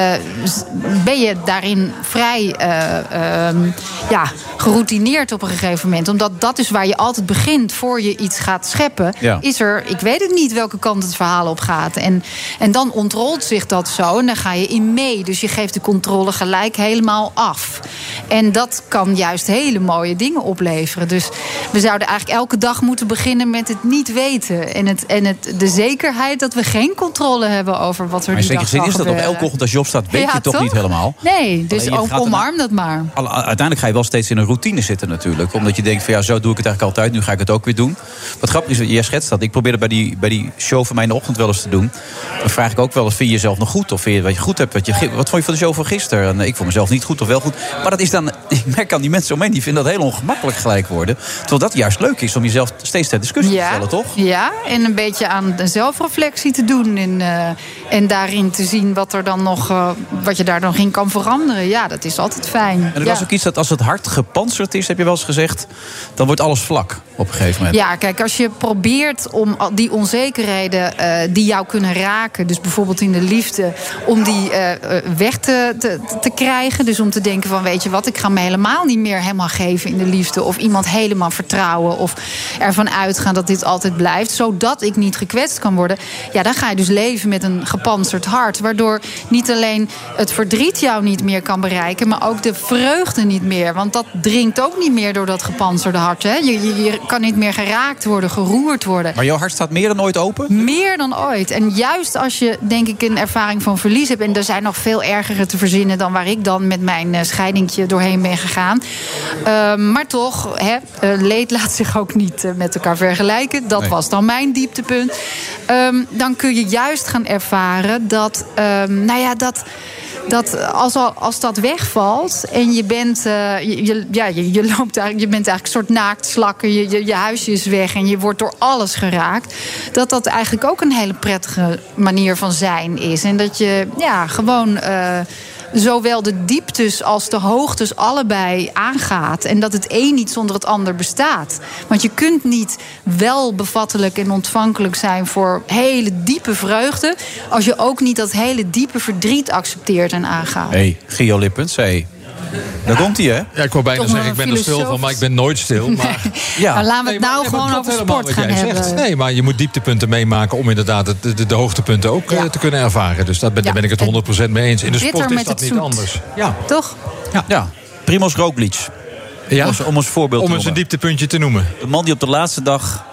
z- ben je daarin vrij eh, ehm, ja, geroutineerd op een gegeven moment. Omdat dat is waar je altijd begint voor je iets gaat scheppen.
Ja.
Is er, ik weet het niet welke kant het verhaal op gaat. En, en dan ontrolt zich dat zo en daar ga je in mee. Dus je geeft de controle gelijk helemaal af. En dat kan juist hele mooie dingen opleveren. Dus we zouden eigenlijk elke dag moeten beginnen met het niet weten. En, het, en het, de zekerheid dat we geen controle hebben over wat er
Maar in
die
zekere
dag
zin
zal
is dat op
gebeuren.
elke ochtend als je opstaat, weet
Ja,
je toch, niet helemaal.
Nee, dus
Alleen je
ook
gaat
omarm dat maar.
Alle- Uiteindelijk ga je wel steeds in een routine zitten natuurlijk. Omdat je denkt van ja, zo doe ik het eigenlijk altijd. Nu ga ik het ook weer doen. Wat grappig is, jij schetst dat. Ik probeerde bij die, bij die show van mij in de ochtend wel eens te doen. Dan vraag ik ook wel eens, vind je jezelf nog goed? Of vind je wat je goed hebt? Wat, je, gi- wat vond je van de show van gisteren? En eh, ik vond mezelf niet goed of wel goed. Maar dat is dan, ik merk aan die mensen omheen, die vinden dat heel ongemakkelijk gelijk worden. Terwijl dat juist leuk is om jezelf steeds ter discussie te stellen, toch?
Ja, en een beetje aan de zelfreflectie te doen. En, eh, en daarin te zien wat, er dan nog, eh, wat je daar dan in kan veranderen. Ja, dat is altijd fijn.
En er
ja.
was ook iets dat als het hart gepantserd is, heb je wel eens gezegd, dan wordt alles vlak op een gegeven moment.
Ja, kijk, als je probeert om al die onzekerheden eh, die jou kunnen raken, dus bijvoorbeeld in de liefde, om die eh, eh, weg te, te, te krijgen. Dus om te denken van, weet je wat, ik ga me helemaal niet meer helemaal geven in de liefde. Of iemand helemaal vertrouwen. Of ervan uitgaan dat dit altijd blijft. Zodat ik niet gekwetst kan worden. Ja, dan ga je dus leven met een gepantserd hart. Waardoor niet alleen het verdriet jou niet meer kan bereiken, maar ook de vreugde niet meer. Want dat dringt ook niet meer door dat gepantserde hart. Hè? Je, je, je kan niet meer geraakt worden, geroerd worden.
Maar jouw hart staat meer dan ooit open?
Meer dan ooit. En juist als je, denk ik, een ervaring van verlies hebt. En er zijn nog veel ergere te verzinnen dan waar ik dan met mijn eh, scheidingtje doorheen ben gegaan. Ehm, maar toch, hè, eh, leed laat zich ook niet eh, met elkaar vergelijken. Dat
Nee.
was dan mijn dieptepunt. Ehm, dan kun je juist gaan ervaren dat, ehm, nou ja, dat. Dat als, al- als dat wegvalt en je bent, eh, je, je- ja, je, je, loopt eigenlijk, je bent eigenlijk een soort naakt slakken, je, je, je huisje is weg en je wordt door alles geraakt. Dat dat eigenlijk ook een hele prettige manier van zijn is. En dat je ja, gewoon eh, zowel de dieptes als de hoogtes allebei aangaat. En dat het een niet zonder het ander bestaat. Want je kunt niet wel bevattelijk en ontvankelijk zijn voor hele diepe vreugde. als je ook niet dat hele diepe verdriet accepteert en aangaat.
Hé, hey, Gio Lippens, hey. Daar komt hij, hè?
Ja, ik wou bijna
Toch
zeggen, ik ben er stil
filosofisch.
van, maar ik ben nooit stil. Maar
Ja. Maar laten we het nou gewoon over sport gaan
jij
hebben.
zegt, nee, maar je moet dieptepunten meemaken om inderdaad het- de, de, de hoogtepunten ook eh, te kunnen ervaren. Dus daar ben, daar ben ik het 100% mee eens. In de
Bitter
sport is
met
dat
het
niet
zoet.
anders. Ja.
Toch?
Ja. Primoz Roglic.
Ja?
Om, om ons voorbeeld
Om
te
eens een
noemen.
dieptepuntje te noemen.
De man die op de laatste dag...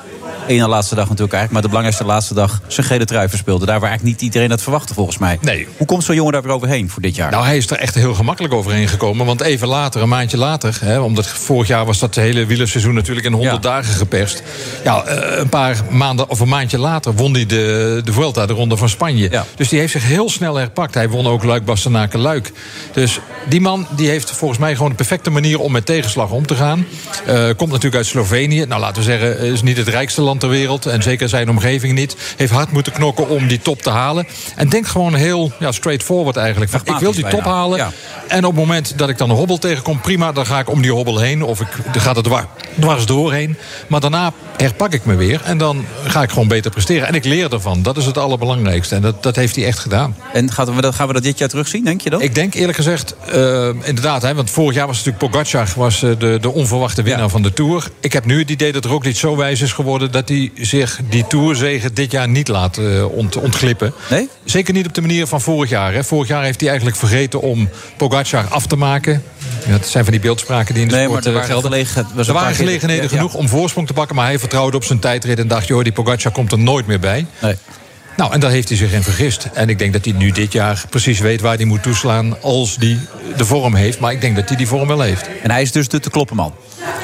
één na laatste dag natuurlijk eigenlijk... maar de belangrijkste laatste dag zijn gele trui verspeelde. Daar waar eigenlijk niet iedereen dat verwachtte volgens mij. Nee. Hoe komt zo'n jongen daar weer overheen voor dit jaar?
Nou, hij is er echt heel gemakkelijk overheen gekomen. Want even later, een maandje later, hè, omdat vorig jaar was dat hele wielerseizoen natuurlijk in 100 dagen geperst. Ja, eh, een paar maanden of een maandje later won hij de, de Vuelta, de Ronde van Spanje. Dus die heeft zich heel snel herpakt. Hij won ook Luik, Bastenaken, Luik. Dus die man die heeft volgens mij gewoon de perfecte manier om met tegenslag om te gaan. Eh, komt natuurlijk uit Slovenië. Nou, laten we zeggen, is niet het rijkste land ter wereld. En zeker zijn omgeving niet. Heeft hard moeten knokken om die top te halen. En denkt gewoon heel ja, straightforward eigenlijk. Van, ik wil die top bijna. halen. En op het moment dat ik dan een hobbel tegenkom, prima, dan ga ik om die hobbel heen. Of ik dan gaat er dwar- dwars doorheen. Maar daarna herpak ik me weer. En dan ga ik gewoon beter presteren. En ik leer ervan. Dat is het allerbelangrijkste. En dat, dat heeft hij echt gedaan.
En gaan we, dat, gaan we dat dit jaar terugzien, denk je dan?
Ik denk eerlijk gezegd, eh, inderdaad. Hè, want vorig jaar was natuurlijk Pogacar was, eh, de, de onverwachte winnaar van de Tour. Ik heb nu het idee dat Roglic zo wijs is geworden... dat hij zich die Tourzegen dit jaar niet laat eh, ont- ontglippen.
Nee?
Zeker niet op de manier van vorig jaar. Hè. Vorig jaar heeft hij eigenlijk vergeten om Pogacar af te maken. Ja, dat zijn van die beeldspraken die in de
Nee,
sport
maar er
eh,
waren
gelden.
gelegen- was een
er
paar
waren
keer-
gelegenheden
ja, ja.
genoeg om voorsprong te pakken... maar hij vertrouwde op zijn tijdrit en dacht... joh, die Pogacar komt er nooit meer bij. Nou, en daar heeft hij zich in vergist. En ik denk dat hij nu dit jaar precies weet waar hij moet toeslaan als hij de vorm heeft. Maar ik denk dat hij die vorm wel heeft.
En hij is dus de te kloppen man.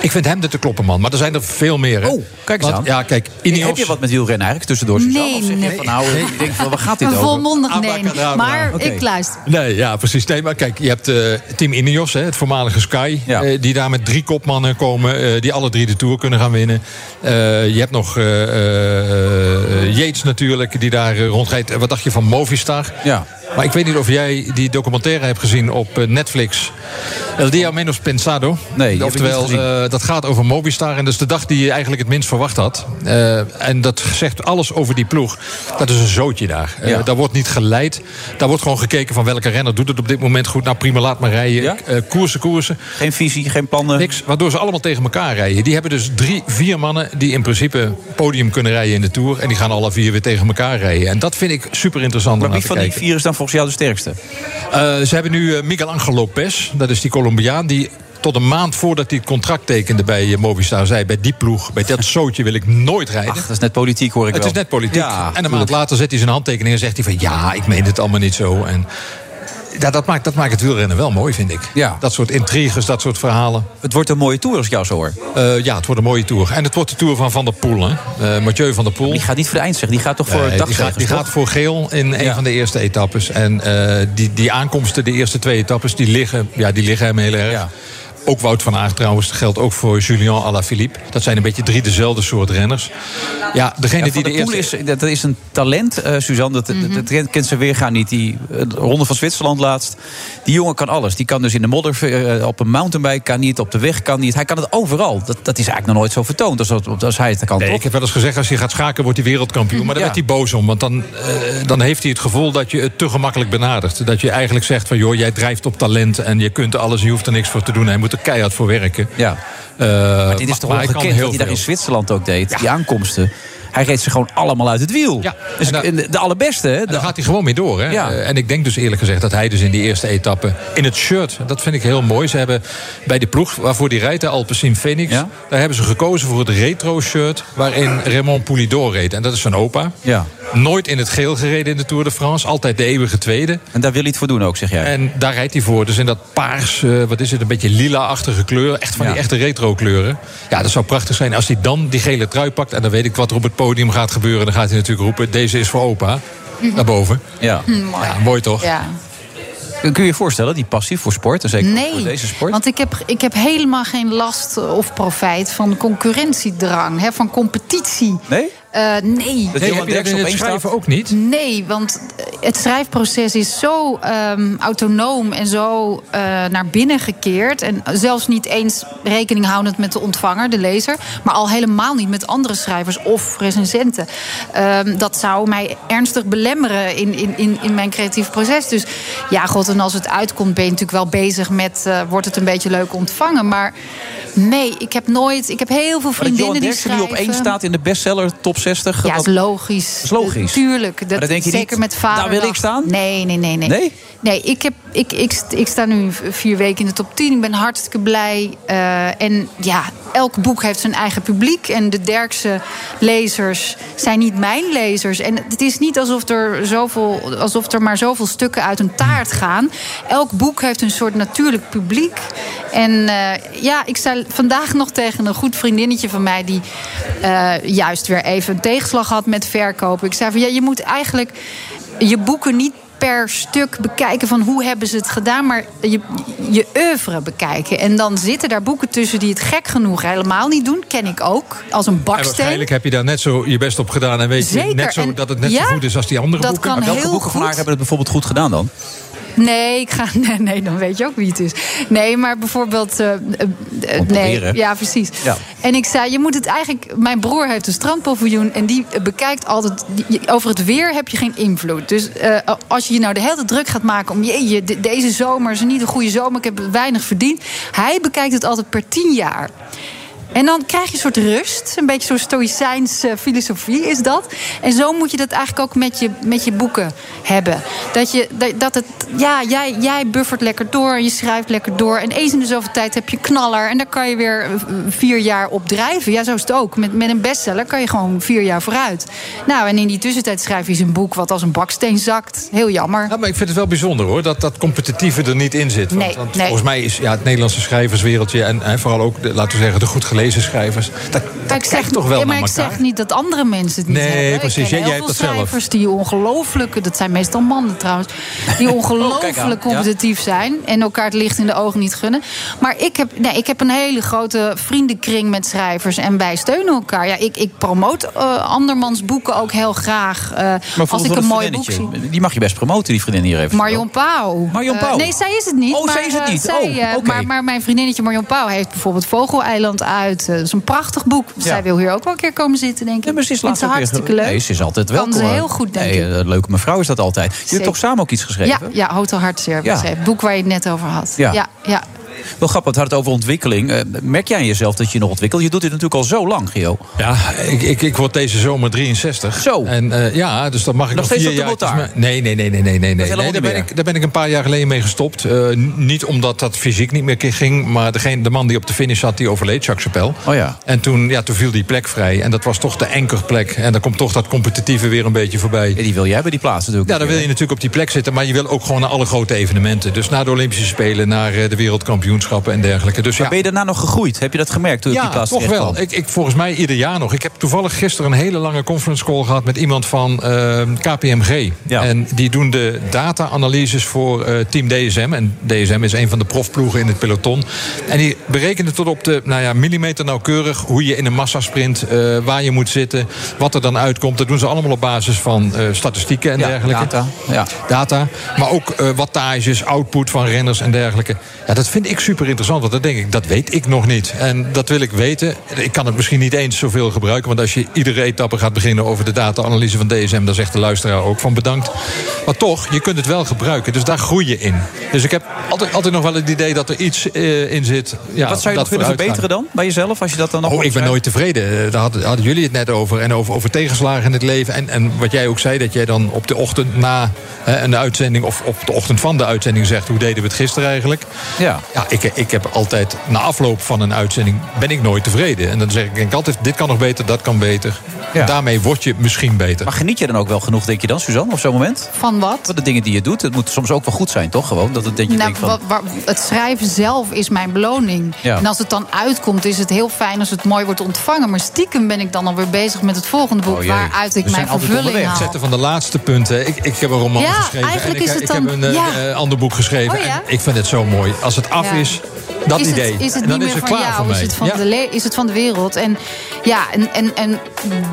Ik vind hem de te kloppen man, maar er zijn er veel meer. hè.
Oh, kijk eens
Want-
aan.
Ja, kijk, Ineos...
Heb je wat met wielrennen eigenlijk tussendoor?
Nee, nee.
Van, nou, ik denk van, waar gaat dit
Een
over?
volmondig nee.
Abracadabra.
Maar
Oké.
ik luister.
Nee, ja, precies. Nee, maar kijk, je hebt eh, Team Ineos, hè, het voormalige Sky... eh, die daar met drie kopmannen komen, eh, die alle drie de Tour kunnen gaan winnen. Eh, je hebt nog eh, eh, eh, Yates natuurlijk, die daar eh, rondrijdt. En Wat dacht je van Movistar?
Ja.
Maar ik weet niet of jij die documentaire hebt gezien op eh, Netflix. El Dia Menos Pensado.
Nee, die heb ik niet
Oftewel,
gezien.
eh, dat gaat over Movistar. En dat is de dag die je eigenlijk het minst verwacht had. Eh, en dat zegt alles over die ploeg. Dat is een zootje daar. Eh,
Ja.
daar wordt niet geleid. Daar wordt gewoon gekeken van welke renner doet het op dit moment goed. Nou prima, laat maar rijden. Eh, koersen, koersen.
Geen visie, geen plannen.
Niks. Waardoor ze allemaal tegen elkaar rijden. Die hebben dus drie, vier mannen die in principe podium kunnen rijden in de Tour. En die gaan alle vier weer tegen elkaar rijden. En dat vind ik super interessant
Maar
om naar
wie
te
van
kijken.
die vier is dan volgens jou de sterkste?
Eh, ze hebben nu eh, Miguel Angel Lopez, dat is die Colombiaan die tot een maand voordat hij het contract tekende bij eh, Movistar zei... bij die ploeg, bij dat zootje wil ik nooit rijden.
Dat is net politiek, hoor ik
het
wel.
is net politiek.
Ja,
en een maand
tuurlijk.
later zet hij zijn handtekening en zegt hij van... ja, ik meen het allemaal niet zo. En ja, dat, maakt, dat maakt het wielrennen wel mooi, vind ik. Dat soort intriges, dat soort verhalen.
Het wordt een mooie tour als ik jou zo hoor.
Eh, ja, het wordt een mooie tour. En het wordt de tour van Van der Poel, hè. Eh, Mathieu van der Poel.
Die gaat niet voor de eindzeg, die gaat toch voor
Nee,
het
die, gaat, die gaat voor geel in een
Ja.
van de eerste etappes. En eh, die, die aankomsten, de eerste twee etappes, die liggen, ja, die liggen hem heel erg. Ook Wout van Aert trouwens, dat geldt ook voor Julien Alaphilippe. Dat zijn een beetje drie dezelfde soort renners. Ja, degene
Ja,
die
van
de,
der Poel
eerste...
is, dat is een talent, eh Suzanne. Dat, dat, dat kent ze weer gaan niet. Die eh, de Ronde van Zwitserland laatst. Die jongen kan alles. Die kan dus in de modder, eh, op een mountainbike kan niet, op de weg kan niet. Hij kan het overal. Dat, dat is eigenlijk nog nooit zo vertoond als, dat- als hij het kan.
Nee,
toch?
ik heb wel eens gezegd, als hij gaat schaken wordt hij wereldkampioen. Maar daar
Ja.
werd hij boos om. Want dan, eh, dan heeft hij het gevoel dat je het te gemakkelijk benadert. Dat je eigenlijk zegt van, joh, jij drijft op talent... en je kunt alles, je hoeft er niks voor te doen. Hij moet er keihard voor werken.
Ja.
maar
Dit is toch wel
maar hij kan
gekend
heel
wat hij daar in
veel.
Zwitserland ook deed. Die aankomsten. Hij reed ze gewoon allemaal uit het wiel. Dus en de- de allerbeste. Hè,
En daar gaat hij gewoon mee door. Hè? Eh, En ik denk dus eerlijk gezegd dat hij dus in die eerste etappe in het shirt, dat vind ik heel mooi. Ze hebben bij de ploeg waarvoor die rijdt, de Alpecin Phoenix, daar hebben ze gekozen voor het retro shirt waarin Raymond Poulidor reed. En dat is zijn opa.
Ja.
Nooit in het geel gereden in de Tour de France. Altijd de eeuwige tweede.
En daar wil hij het voor doen ook, zeg jij?
En daar rijdt hij voor. Dus in dat paars, eh, wat is het, een beetje lila-achtige kleur. Echt van die echte retro kleuren. Ja, dat zou prachtig zijn als hij dan die gele trui pakt. En dan weet ik wat er op het podium gaat gebeuren. Dan gaat hij natuurlijk roepen, deze is voor opa.
Mhm.
Naar boven.
Ja.
Mooi.
Ja, mooi toch?
Ja.
Kun je je voorstellen, die passie voor sport? En zeker voor
Nee,
deze sport?
want ik heb, ik heb helemaal geen last eh, of profijt van concurrentiedrang, hè, van competitie.
Nee?
Eh, nee.
Dat Johan Derksen op één staat?
ook niet?
Nee, want het schrijfproces is zo ehm, autonoom en zo eh, naar binnen gekeerd. En zelfs niet eens rekening houdend met de ontvanger, de lezer. Maar al helemaal niet met andere schrijvers of recensenten. Ehm, dat zou mij ernstig belemmeren in, in, in, in mijn creatief proces. Dus ja, god, en als het uitkomt ben je natuurlijk wel bezig met... eh, wordt het een beetje leuk ontvangen, maar... Nee, ik heb nooit. Ik heb heel veel
Maar dat
vriendinnen
Johan
die
Derksen nu
schrijven.
op één staat in de bestseller top 60.
Ja,
dat-
is logisch.
is logisch.
Tuurlijk. Dat,
Maar dat denk je
zeker
niet,
met vader.
daar wil ik staan?
Nee, nee, nee. Nee,
Nee?
Nee, ik, heb, ik, ik, st- ik sta nu v- vier weken in de top 10. Ik ben hartstikke blij. Eh, en ja, elk boek heeft zijn eigen publiek. En de Derkse lezers zijn niet mijn lezers. En het is niet alsof er, zoveel, alsof er maar zoveel stukken uit een taart gaan. Elk boek heeft een soort natuurlijk publiek. En eh, ja, ik sta vandaag nog tegen een goed vriendinnetje van mij... die eh, juist weer even een tegenslag had met verkopen. Ik zei van, ja, je moet eigenlijk je boeken niet per stuk bekijken van hoe hebben ze het gedaan, maar je, je oeuvre bekijken. En dan zitten daar boeken tussen die het gek genoeg helemaal niet doen, ken ik ook, als een
En
baksteen.
waarschijnlijk heb je daar net zo je best op gedaan. En weet je
Zeker,
net zo
en-
dat het net
ja,
zo goed is als die andere
dat
boeken.
kan Maar welke heel boeken van goed. haar hebben
het bijvoorbeeld goed gedaan dan?
Nee, ik ga, nee, nee, dan weet je ook wie het is. Nee, maar bijvoorbeeld, eh, eh, eh, nee,
proberen.
ja, precies.
Ja.
En ik zei, je moet het eigenlijk. Mijn broer heeft een strandpaviljoen en die bekijkt altijd. die- je- over het weer heb je geen invloed. Dus eh, als je je nou de hele tijd druk gaat maken om. Jeetje, de- deze zomer is niet een goede zomer, ik heb weinig verdiend. Hij bekijkt het altijd per tien jaar. En dan krijg je een soort rust. Een beetje zo'n stoïcijns eh, filosofie is dat. En zo moet je dat eigenlijk ook met je, met je boeken hebben. Dat, je, dat, dat het, ja, jij, jij buffert lekker door en je schrijft lekker door. En eens in de zoveel tijd heb je knaller. En daar kan je weer eh, vier jaar op drijven. Ja, zo is het ook. Met, met een bestseller kan je gewoon vier jaar vooruit. Nou, en in die tussentijd schrijf je eens een boek wat als een baksteen zakt. Heel jammer.
Ja, maar ik vind het wel bijzonder hoor, dat dat competitieve er niet in zit. Want,
Nee,
want
nee.
volgens mij is ja, het Nederlandse schrijverswereldje... en, en vooral ook, de, laten we zeggen, de goed gelezen schrijvers... dat,
Maar ik zeg,
kijkt toch wel
ja, maar
naar
ik zeg
elkaar?
niet dat andere mensen het niet
Nee,
hebben. Ik
precies. Jij-
ken heel
jij hebt
veel
dat zelf.
schrijvers die ongelooflijk... dat zijn meestal mannen trouwens...
kijk
Oh,
die
aan, ja.
ongelooflijk competitief zijn... en elkaar het licht in de ogen niet gunnen. Maar ik heb, nee, ik heb een hele grote vriendenkring met schrijvers... en wij steunen elkaar. Ja, ik, ik promoot eh, andermans boeken ook heel graag. eh, als
bijvoorbeeld
ik
dat
een mooi boek zie.
vriendinnetje, Die mag je best promoten, die vriendin hier even.
Marion Pauw.
Marion
Eh,
Pauw.
nee, zij is het niet.
Oh,
maar,
zij is het
eh,
niet.
zij,
Oh,
eh,
oké.
maar, maar mijn vriendinnetje Marion Pauw heeft bijvoorbeeld Vogeleiland uit. Eh, dat is een prachtig boek. Zij wil hier ook wel een keer komen zitten, denk ik. Ja,
Ze is laatst ook weer ge-
hartstikke leuk.
Nee, ze is altijd
Kan
welkom.
ze heel goed, denk
nee,
ik.
eh, leuke mevrouw is dat altijd. Je
Zeker.
hebt toch samen ook iets geschreven?
Ja, ja, Hotel Hartzeer.
Ja.
was Het boek waar je het net over had.
Ja.
ja, ja.
Wel grappig, het had het over ontwikkeling. Eh, merk jij aan jezelf dat je nog ontwikkelt? Je doet dit natuurlijk al zo lang, Gio.
Ja, ik, ik, ik word deze zomer 63. Zo. En eh, ja, dus dat mag ik
Nog
nog,
steeds
vier
op de
jaar.
motar?
maar- Nee, nee, nee, nee, nee, nee. nee.
helemaal
daar,
niet
ben
meer.
ik, daar ben ik een paar jaar geleden mee gestopt. Eh, n- niet omdat dat fysiek niet meer ging, maar degene, de man die op de finish zat, die overleed, Jacques Chappelle.
Oh ja.
En toen, ja, toen viel die plek vrij. En dat was toch de enkerplek. En dan komt toch dat competitieve weer een beetje voorbij.
die wil jij bij die plaats natuurlijk.
Ja, dan wil je natuurlijk op die plek zitten. Maar je wil ook gewoon naar alle grote evenementen. Dus naar de Olympische Spelen, naar eh, de wereldkampioenschappen en dergelijke. Dus ja,
Ben je daarna nog gegroeid? Heb je dat gemerkt toen je
ja,
op die plaats
toch
terecht
wel.
kwam?
Ik, ik, volgens mij ieder jaar nog. Ik heb toevallig gisteren een hele lange conference call gehad... met iemand van ehm, KPMG. En die doen de data-analyses voor eh, Team DSM. En DSM is een van de profploegen in het peloton. En die berekenen tot op de nou ja, millimeter nauwkeurig... hoe je in een massasprint, eh, waar je moet zitten... wat er dan uitkomt. Dat doen ze allemaal op basis van eh, statistieken en
Ja,
dergelijke.
data, ja.
data. Maar ook eh, wattages, output van renners en dergelijke. Ja, dat vind ik super interessant. Want dat denk ik, dat weet ik nog niet. En dat wil ik weten. Ik kan het misschien niet eens zoveel gebruiken. Want als je iedere etappe gaat beginnen over de data-analyse van DSM... dan zegt de luisteraar ook van bedankt. Maar toch, je kunt het wel gebruiken. Dus daar groei je in. Dus ik heb altijd, altijd nog wel het idee dat er iets eh, in zit. Ja,
Wat zou je nog willen
dat vooruitgaat.
verbeteren dan? Bij jezelf? Als je dat dan nog
Oh, ik ben nooit tevreden. Eh, Daar hadden, hadden jullie het net over. En over, over tegenslagen in het leven. En, en wat jij ook zei, dat jij dan op de ochtend na hè, een uitzending... of op de ochtend van de uitzending zegt... hoe deden we het gisteren eigenlijk?
Ja.
Ja, ik, ik heb altijd... na afloop van een uitzending ben ik nooit tevreden. En dan zeg ik denk ik altijd... dit kan nog beter, dat kan beter.
Ja.
Daarmee word je misschien beter.
Maar geniet je dan ook wel genoeg, denk je dan, Suzanne, op zo'n moment?
Van wat?
Van de dingen die je doet. Het moet soms ook wel goed zijn, toch? Gewoon dat, het, dat je
Nou,
denkt van...
wa- wa- het schrijven zelf is mijn beloning.
Ja.
En als het dan uitkomt, is het heel fijn als het mooi wordt ontvangen. Maar stiekem ben ik dan alweer bezig met het volgende boek...
Oh, jee.
waaruit ik mijn vervulling
Het
haal.
zetten van de laatste punten. Ik, ik heb een roman
Ja,
geschreven.
eigenlijk
en ik,
is het
ik
dan-
heb een eh,
ja.
eh, ander boek geschreven.
Oh, ja?
En ik vind het zo mooi. Als het af
Ja.
is, dat
is
idee.
Het, is het
dan
niet
is
meer
het
van
klaar
jou,
voor mij.
Is het, van
Ja.
de le- is het van de wereld? En ja, en, en, en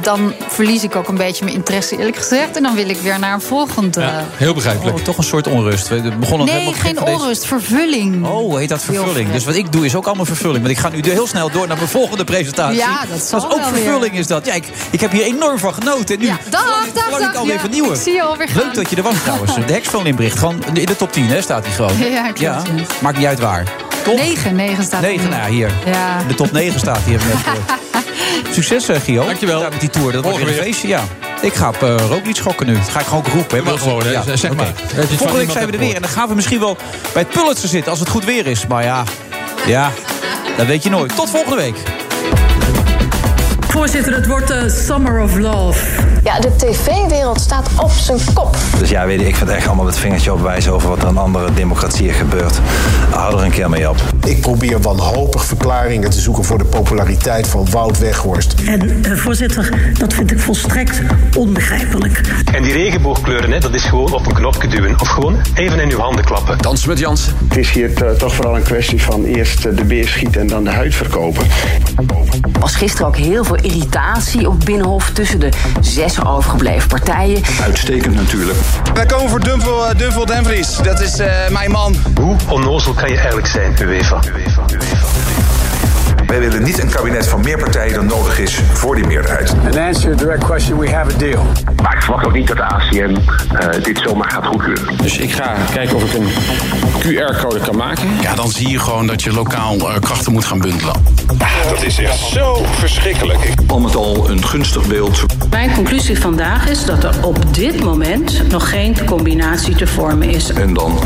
dan verlies ik ook een beetje mijn interesse, eerlijk gezegd. En dan wil ik weer naar een volgende.
Heel begrijpelijk.
Oh, toch een soort onrust. We begonnen helemaal
nee,
gek
geen
van deze-
onrust, vervulling.
eh,
Oh, heet dat vervulling. Dus wat ik doe is ook allemaal vervulling. Want ik ga nu heel snel door naar mijn volgende presentatie.
Ja, dat zal
is ook
wel weer.
vervulling is dat. Ja, ik, ik heb hier enorm van genoten. En nu
Ja, dag,
verlang ik-
dag,
verlang ik
dag.
alweer
Ja,
van nieuwe.
ik zie je alweer gaan.
Leuk dat je er was trouwens. De heksvulling inbericht. Gewoon in de top 10 hè, staat hij gewoon.
Ja, ja, klopt, ja.
Maakt niet uit waar. Top
9, 9 staat er
9,
nu.
nou hier.
Ja.
In De top 9 staat hier. hebben we net gehoord. Succes eh, Gio. Dankjewel. Daar met die tour. Dat wordt
Morgen
weer een
weer.
feestje. Ja. Ik ga op eh, rook niet schokken nu. Dat ga ik gewoon ook roepen. hè.
Doe maar gewoon, hè. Zeg maar.
oké.
Dat je het van
Volgende week
niemand
zijn we er
hebt
weer. En dan gaan we misschien wel bij het Pulitzer zitten als het goed weer is. Maar ja, ja dat weet je nooit. Tot volgende week.
Voorzitter, het wordt de Summer of Love.
Ja, de tv-wereld staat op zijn kop.
Dus ja, weet je, ik vind echt allemaal het vingertje opwijzen over wat er aan andere democratieën gebeurt. Hou er een keer mee op.
Ik probeer wanhopig verklaringen te zoeken voor de populariteit van Wout Weghorst.
En eh, voorzitter, dat vind ik volstrekt onbegrijpelijk.
En die regenboogkleuren, hè, dat is gewoon op een knopje duwen. Of gewoon even in uw handen klappen.
Dans met Jansen. Het is hier eh, toch vooral een kwestie van eerst eh, de beer schieten en dan de huid verkopen.
was gisteren ook heel veel irritatie op Binnenhof tussen de zes overgebleven partijen.
Uitstekend natuurlijk.
Wij komen voor Dumvel, eh, Dumvel Denvries. Dat is eh, mijn man.
Hoe onnozel kan je eigenlijk zijn, UEFA? UEFA, UEFA. UEFA.
Wij willen niet een kabinet van meer partijen dan nodig is voor die meerderheid.
And to answer your direct question, we have a deal.
Maar ik verwacht ook niet dat de ACM eh, dit zomaar gaat goedkeuren.
Dus ik ga kijken of ik een QR-code kan maken. Ja, dan zie je gewoon dat je lokaal eh, krachten moet gaan bundelen.
Dat is echt zo verschrikkelijk. Al met al een gunstig beeld.
Mijn conclusie vandaag is dat er op dit moment nog geen combinatie te vormen is.
En dan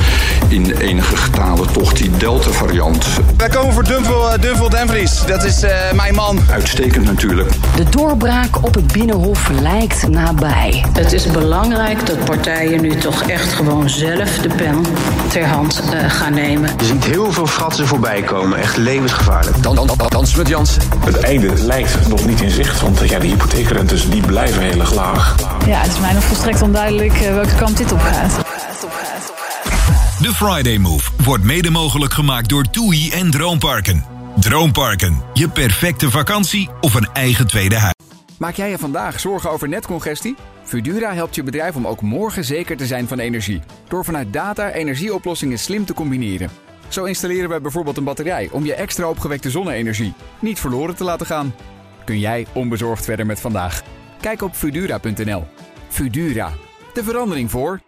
in enige getale toch die Delta-variant.
Wij komen voor Dumvel, Dumvel Denvries. Dat is eh, mijn man.
Uitstekend natuurlijk.
De doorbraak op het Binnenhof lijkt nabij.
Het is belangrijk dat partijen nu toch echt gewoon zelf de pen ter hand eh, gaan nemen.
Je ziet heel veel fratsen voorbij komen. Echt levensgevaarlijk. Dan, dan, dan, dansen met Jansen.
Het einde lijkt nog niet in zicht, want eh, ja, de hypotheekrentes die dus blijven heel erg laag.
Ja, het is mij nog volstrekt onduidelijk eh, welke kant dit op gaat.
De Friday Move wordt mede mogelijk gemaakt door TUI en Droomparken. Droomparken, je perfecte vakantie of een eigen tweede huis.
Maak jij je vandaag zorgen over netcongestie? Fudura helpt je bedrijf om ook morgen zeker te zijn van energie. Door vanuit data energieoplossingen slim te combineren. Zo installeren wij bijvoorbeeld een batterij om je extra opgewekte zonne-energie niet verloren te laten gaan. Kun jij onbezorgd verder met vandaag? Kijk op Fudura.nl. Fudura, de verandering voor.